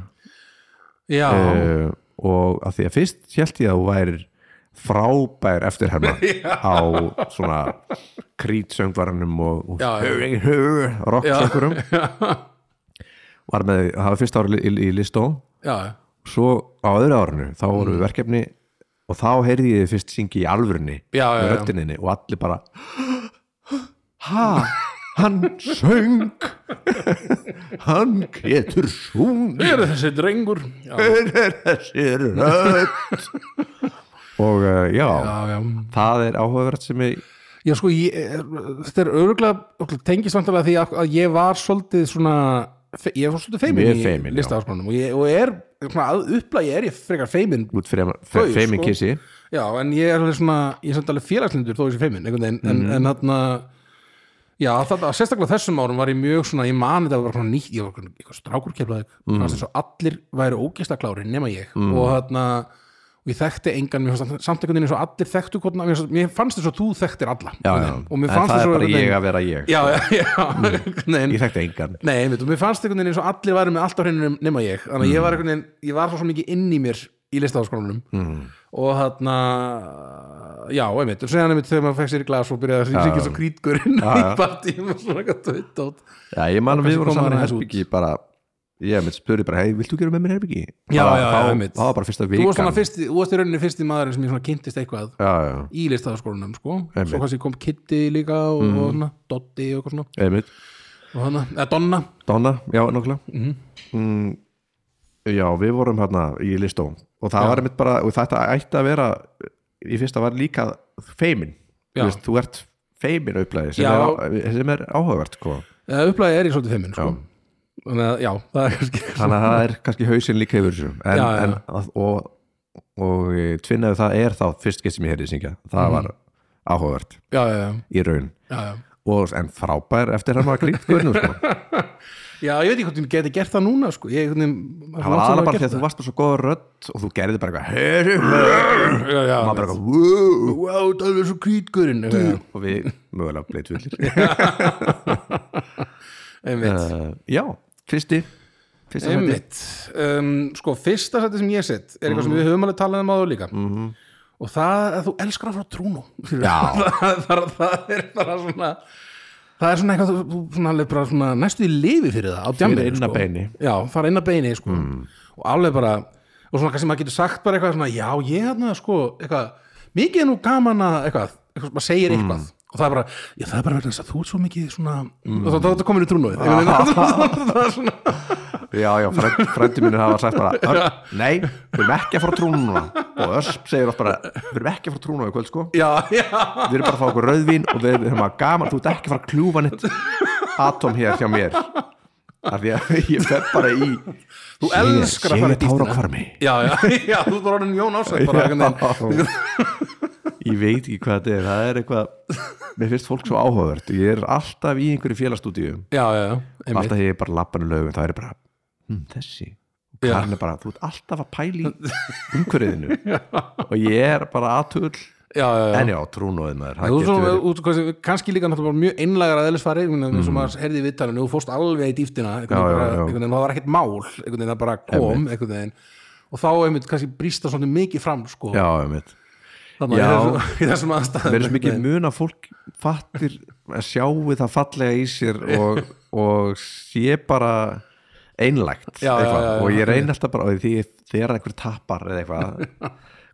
[SPEAKER 2] Já,
[SPEAKER 1] uh, og að því að fyrst held ég að þú væri frábær eftirherma
[SPEAKER 2] [LAUGHS]
[SPEAKER 1] á svona krítsöngvaranum og, og
[SPEAKER 2] Já, já.
[SPEAKER 1] rocksöngurum
[SPEAKER 2] [LAUGHS]
[SPEAKER 1] var með, það var fyrsta ári í, í listó
[SPEAKER 2] já,
[SPEAKER 1] svo á öðru árinu þá voru
[SPEAKER 2] Mm.
[SPEAKER 1] við verkefni og þá heyrði ég þið fyrst syngi í alvörunni
[SPEAKER 2] Já, já,
[SPEAKER 1] með
[SPEAKER 2] já.
[SPEAKER 1] röttininni og allir bara ha, hann söng hann getur sungið
[SPEAKER 2] er þessi drengur Já, já,
[SPEAKER 1] hver er þessi rödd og uh, já,
[SPEAKER 2] já
[SPEAKER 1] það er áhugavert sem ég
[SPEAKER 2] Já, sko, ég, þetta er örgulega tengist vantarlega því að að ég var svolítið svona, fe- ég var svolítið feimin
[SPEAKER 1] Mjög feiminn, já.
[SPEAKER 2] í listaháskólanum og, ég- og er, svona, að upplægi er ég frekar feimin
[SPEAKER 1] út fyrir
[SPEAKER 2] Þau,
[SPEAKER 1] feimin
[SPEAKER 2] sko.
[SPEAKER 1] kissi
[SPEAKER 2] Já, en ég er alveg svona, ég er samt alveg félagslindur þó ég sé feiminn, einhvern veginn,
[SPEAKER 1] Mhm.
[SPEAKER 2] en, en þarna Já, þetta, sérstaklega á þessum árum var ég mjög svona, ég mani þetta var svona nýtt, ég var svona eitthvað strákur keflaðið,
[SPEAKER 1] Mhm.
[SPEAKER 2] mm. eins og allir væri ógæsla klári nema ég og þarna, og ég þekkti engan, mér fannst samt einhvern veginn eins og allir þekktu hvort, mér, fannst- mér fannst þess að þú þekktir alla
[SPEAKER 1] já,
[SPEAKER 2] einhvern
[SPEAKER 1] já.
[SPEAKER 2] veginn. og
[SPEAKER 1] en
[SPEAKER 2] mér fannst
[SPEAKER 1] það
[SPEAKER 2] þess
[SPEAKER 1] er
[SPEAKER 2] að
[SPEAKER 1] bara ég að vera ég
[SPEAKER 2] Já, já, já,
[SPEAKER 1] [LAUGHS]
[SPEAKER 2] einhvern
[SPEAKER 1] ég
[SPEAKER 2] veginn
[SPEAKER 1] þekkti engan
[SPEAKER 2] Nei, einmitt, og mér fannst einhvern veginn eins og allir væri með allt á hreinu nema ég, þannig að
[SPEAKER 1] Mhm.
[SPEAKER 2] ég var einhvern veginn ég var svo mikið inn í mér í listaháskólanum mm. og þarna já, einmitt, og segja einmitt þegar maður fekk sér í glas og byrjaði að syngja svo krítgurinn í
[SPEAKER 1] já.
[SPEAKER 2] partíum og svona gott og vitt átt
[SPEAKER 1] já, ég man að við
[SPEAKER 2] kannski
[SPEAKER 1] vorum
[SPEAKER 2] koma
[SPEAKER 1] saman í
[SPEAKER 2] aðeins
[SPEAKER 1] herbyggi bara, ég mitt spurði bara hei, vilt þú gera með mér herbyggi?
[SPEAKER 2] Já,
[SPEAKER 1] Bara
[SPEAKER 2] já,
[SPEAKER 1] þá-
[SPEAKER 2] já, einmitt.
[SPEAKER 1] það var bara fyrsta
[SPEAKER 2] Þú varst
[SPEAKER 1] vikan
[SPEAKER 2] svona fyrst, þú varst í rauninni fyrsti maðurinn sem ég svona kynntist eitthvað
[SPEAKER 1] já, já,
[SPEAKER 2] í listaháskólanum, sko
[SPEAKER 1] Einmitt. Mhm.
[SPEAKER 2] svo kannski kom Kitty líka og, og svona, Doddi og eitthvað svona
[SPEAKER 1] einmitt
[SPEAKER 2] og hana, eða Donna,
[SPEAKER 1] Donna, já, nokkulega mm
[SPEAKER 2] Mhm.
[SPEAKER 1] já, við vorum hérna í listó og það var einmitt bara, og þetta ætti að vera í fyrsta var líka feimin
[SPEAKER 2] Já.
[SPEAKER 1] þú, veist, þú ert feimin upplæði sem,
[SPEAKER 2] Já.
[SPEAKER 1] er á- sem er áhugavert sko.
[SPEAKER 2] eða upplæði er ég svolítið fimmin, sko þannig að, já, það er kannski
[SPEAKER 1] þannig að það er kannski hausinn líka yfir þessu en,
[SPEAKER 2] Já, já.
[SPEAKER 1] En, að- og, og e, tvinnaðu það er þá fyrst getur sem ég heyrði syngja
[SPEAKER 2] Mhm.
[SPEAKER 1] það var áhugavert
[SPEAKER 2] já, já, já,
[SPEAKER 1] í raun
[SPEAKER 2] já, já
[SPEAKER 1] og, en frábær eftir hann var grínt guðnum sko.
[SPEAKER 2] [LAUGHS] Já, ég veit ekki hvort ég geti gert það núna sko. ég, hvernig,
[SPEAKER 1] það var aðra bara því að þú varst bara svo góð rödd og þú gerði bara eitthvað "Heyrðu, heyrðu."
[SPEAKER 2] já, já,
[SPEAKER 1] og maður bara eitthvað "Wow."
[SPEAKER 2] wow, það er svo krítgurinn einmitt,
[SPEAKER 1] og við mögulega bleitt fullir uh, já, fyrsti fyrsta sæti
[SPEAKER 2] einmitt. Um, sko, fyrsta sæti sem ég set er eitthvað
[SPEAKER 1] Mhm.
[SPEAKER 2] sem við höfum alveg talað um áður líka -hmm. og það að þú elskar að fara trúnu
[SPEAKER 1] Já.
[SPEAKER 2] [LAUGHS] það, það, það er bara svona það er svona eitthvað þú- þú svona, alveg bara svona næstu í lifi fyrir það á djambinu
[SPEAKER 1] inn að beini. Mhm.
[SPEAKER 2] já, fara inn að beini sko. og alveg bara og svona kannski maður getur sagt bara eitthvað svona já, ég hérna sko, eitthvað mikið er nú gaman að eitthvað, eitthvað maður segir
[SPEAKER 1] Mhm.
[SPEAKER 2] eitthvað og það er bara, já það er bara verið þess að þú ert svo mikið svona,
[SPEAKER 1] Mhm.
[SPEAKER 2] og þá- þá er þetta komin í
[SPEAKER 1] [LAUGHS]
[SPEAKER 2] trúnóið það er svona [LAUGHS]
[SPEAKER 1] já, já, frændi, frændi mínu hafa sagt bara "Örn, nei, við erum ekki að fara trúnuna og Ösp segir oft bara við erum ekki að fara trúnuna í kvöld sko
[SPEAKER 2] já, já,
[SPEAKER 1] við erum bara að fá okkur rauðvín og við erum að gaman þú ert ekki að fara að kljúfa nýtt atom hér hjá mér af því að [LAUGHS] ég fer bara í þú
[SPEAKER 2] elskar að fara í
[SPEAKER 1] í
[SPEAKER 2] dýptina.
[SPEAKER 1] dýstina
[SPEAKER 2] já, já, [LAUGHS] já þú ert bara orðin Jón Ásætt bara einhvern veginn
[SPEAKER 1] ég veit ekki hvað þetta er það er eitthvað, mér finnst fólk svo áhugavert ég er alltaf í einhverju félagstúdíu
[SPEAKER 2] já, já, já, einmitt
[SPEAKER 1] alltaf þegar ég bara lappan lögum þá er ég bara, hm, þessi
[SPEAKER 2] Já.
[SPEAKER 1] Karin er bara, þú ert alltaf að pæli
[SPEAKER 2] [LAUGHS]
[SPEAKER 1] umhverfiðinu og ég er bara aðtull
[SPEAKER 2] já, já, já
[SPEAKER 1] en já, trúnóðið maður, það
[SPEAKER 2] Þú
[SPEAKER 1] getur
[SPEAKER 2] svona,
[SPEAKER 1] verið
[SPEAKER 2] út, hvað, kannski líka náttúrulega bara mjög einlagar að eðlisfari mm. sem maður heyrði í vittalinu, þú fórst alveg í dýftina einhvern
[SPEAKER 1] Já, já,
[SPEAKER 2] veginn bara-
[SPEAKER 1] já.
[SPEAKER 2] einhvern veginn, það var ekkert mál einhvern veginn, það bara kom einhvern veginn og þá einmitt kannski brýsta svona mikið fram sko,
[SPEAKER 1] já, ég veit,
[SPEAKER 2] þannig
[SPEAKER 1] Já.
[SPEAKER 2] að í þessum- [LAUGHS] í þessum aðstæðum
[SPEAKER 1] mér er svo mikið mun að fólk fattir að sjáu það fallega í sér og, og sé bara einlægt
[SPEAKER 2] Já, já,
[SPEAKER 1] eitthvað.
[SPEAKER 2] já, já.
[SPEAKER 1] og ég reyni alltaf bara og því þegar einhver tappar eða eitthvað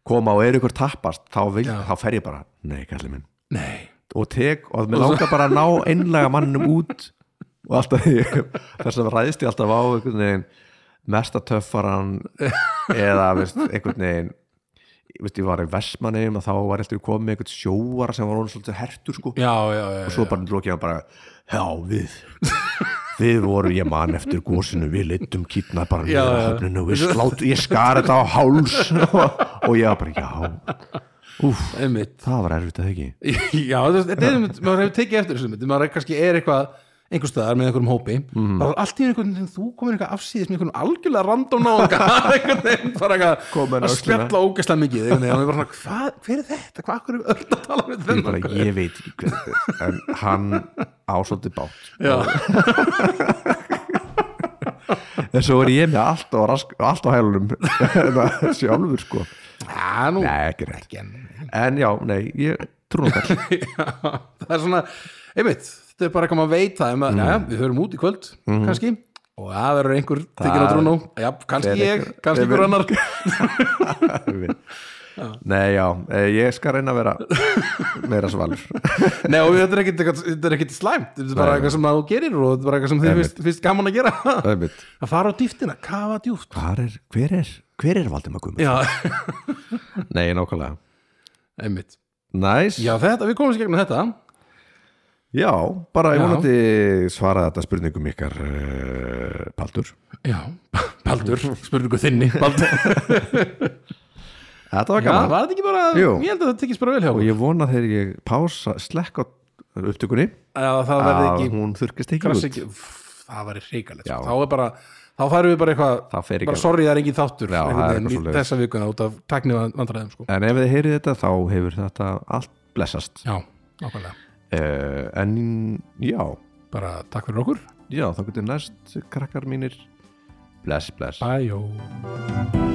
[SPEAKER 1] koma og er einhver tappast þá, vil, þá fer ég bara, nei, kallið minn
[SPEAKER 2] Nei,
[SPEAKER 1] og tek og mér langar bara að ná einlega manninum út og alltaf þess að ræðist ég alltaf á einhvern veginn mesta töffaran eða veist, einhvern veginn veist, ég var í Vestmanneim og þá var ég alltaf komið með einhvern sjóara sem var honum svolítið hertur sko.
[SPEAKER 2] já, já, já, já.
[SPEAKER 1] svo bara lókið hann bara já við við vorum, ég man eftir gósinu við leittum kýtna bara
[SPEAKER 2] Já,
[SPEAKER 1] niður að
[SPEAKER 2] já.
[SPEAKER 1] höfninu og við slátt, ég skar þetta á háls og, og ég var bara já Úf,
[SPEAKER 2] einmitt
[SPEAKER 1] það var erfitt að það ekki
[SPEAKER 2] [LAUGHS] Já, þetta þetta er einmitt, maður hefur tekið eftir þessu einmitt, maður er kannski er eitthvað einhver staðar með einhverjum hópi þá er allt í einu einhvern veginn þú komin eitthvað afsýðis með einhvern algjörlega random náðunga [LAUGHS] einhvern veginn bara
[SPEAKER 1] Kom
[SPEAKER 2] eitthvað
[SPEAKER 1] henni á
[SPEAKER 2] að
[SPEAKER 1] öxlina.
[SPEAKER 2] spjalla ógæslega mikið einhvern veginn, og maður er bara svona, hvað, hver er þetta, hvað hverju öll að tala við
[SPEAKER 1] ég,
[SPEAKER 2] þennan
[SPEAKER 1] bara,
[SPEAKER 2] gaur?"
[SPEAKER 1] ég veit ekki hver þetta er en hann ásótti bát
[SPEAKER 2] Já,
[SPEAKER 1] en svo er ég með allt á, rask, allt á hælunum Þetta sjálfur sko
[SPEAKER 2] Já, nú
[SPEAKER 1] nei, ekki rétt
[SPEAKER 2] Gen.
[SPEAKER 1] en já, nei, ég trú nú kall
[SPEAKER 2] Já, [LAUGHS] það er svona, einmitt þetta er bara eitthvað maður veit það um að, já, við höfum út í kvöld, kannski og það verður einhver tekinn á
[SPEAKER 1] Það-
[SPEAKER 2] trúnó já, kannski
[SPEAKER 1] Fer
[SPEAKER 2] ég,
[SPEAKER 1] einhver-
[SPEAKER 2] kannski einhver annar
[SPEAKER 1] nei, já, eh, ég skal reyna að vera meira svalur
[SPEAKER 2] Nei og þetta er ekkit, eitthvað- þetta er ekkit slæmt Þetta er bara
[SPEAKER 1] Nei.
[SPEAKER 2] eitthvað sem að þú gerir og þetta er bara eitthvað sem þið
[SPEAKER 1] Einmitt.
[SPEAKER 2] finnst, finnst gaman að
[SPEAKER 1] [LAUGHS]
[SPEAKER 2] gera
[SPEAKER 1] Einmitt.
[SPEAKER 2] Að fara á dýftina, kafa djúft
[SPEAKER 1] Hvar er, hver er, hver er Valdimar Guðmunds?
[SPEAKER 2] Já, [LAUGHS]
[SPEAKER 1] nei, nákvæmlega
[SPEAKER 2] einmitt
[SPEAKER 1] næs,
[SPEAKER 2] Já þetta, við komumst í gegnum þetta
[SPEAKER 1] Já, bara ég
[SPEAKER 2] Já.
[SPEAKER 1] vonandi svaraði þetta spurningum ykkar uh, Paldur
[SPEAKER 2] Já, Baldur, spurningu þinni [LAUGHS] Baldur,
[SPEAKER 1] Þetta var
[SPEAKER 2] já,
[SPEAKER 1] gaman
[SPEAKER 2] var þetta ekki bara
[SPEAKER 1] Jú.
[SPEAKER 2] Ég held að þetta tekist bara vel hjá
[SPEAKER 1] og
[SPEAKER 2] okkur
[SPEAKER 1] ég vona þegar ég pása slekk á upptökunni
[SPEAKER 2] Já, það verði
[SPEAKER 1] að
[SPEAKER 2] ekki,
[SPEAKER 1] hún þurrkast ekki
[SPEAKER 2] krass
[SPEAKER 1] út
[SPEAKER 2] ekki Úff, Það verði hrikalegt
[SPEAKER 1] Já.
[SPEAKER 2] sko. Þá er bara, þá færum við bara eitthvað
[SPEAKER 1] Það fer ekki
[SPEAKER 2] Bara
[SPEAKER 1] alveg.
[SPEAKER 2] sorry, það er engin þáttur
[SPEAKER 1] Já,
[SPEAKER 2] einhvern
[SPEAKER 1] það er
[SPEAKER 2] veginn í
[SPEAKER 1] eitthvað svoleiðis.
[SPEAKER 2] Þessa vikuna út af tækni vandræðum sko.
[SPEAKER 1] En ef þið heyrið þetta þá hefur þetta allt blessast
[SPEAKER 2] Já, nákvæmlega
[SPEAKER 1] uh, En já,
[SPEAKER 2] Bara takk fyrir okkur
[SPEAKER 1] já þá getur næst krakkar mínir Bless, bless
[SPEAKER 2] Bye, jó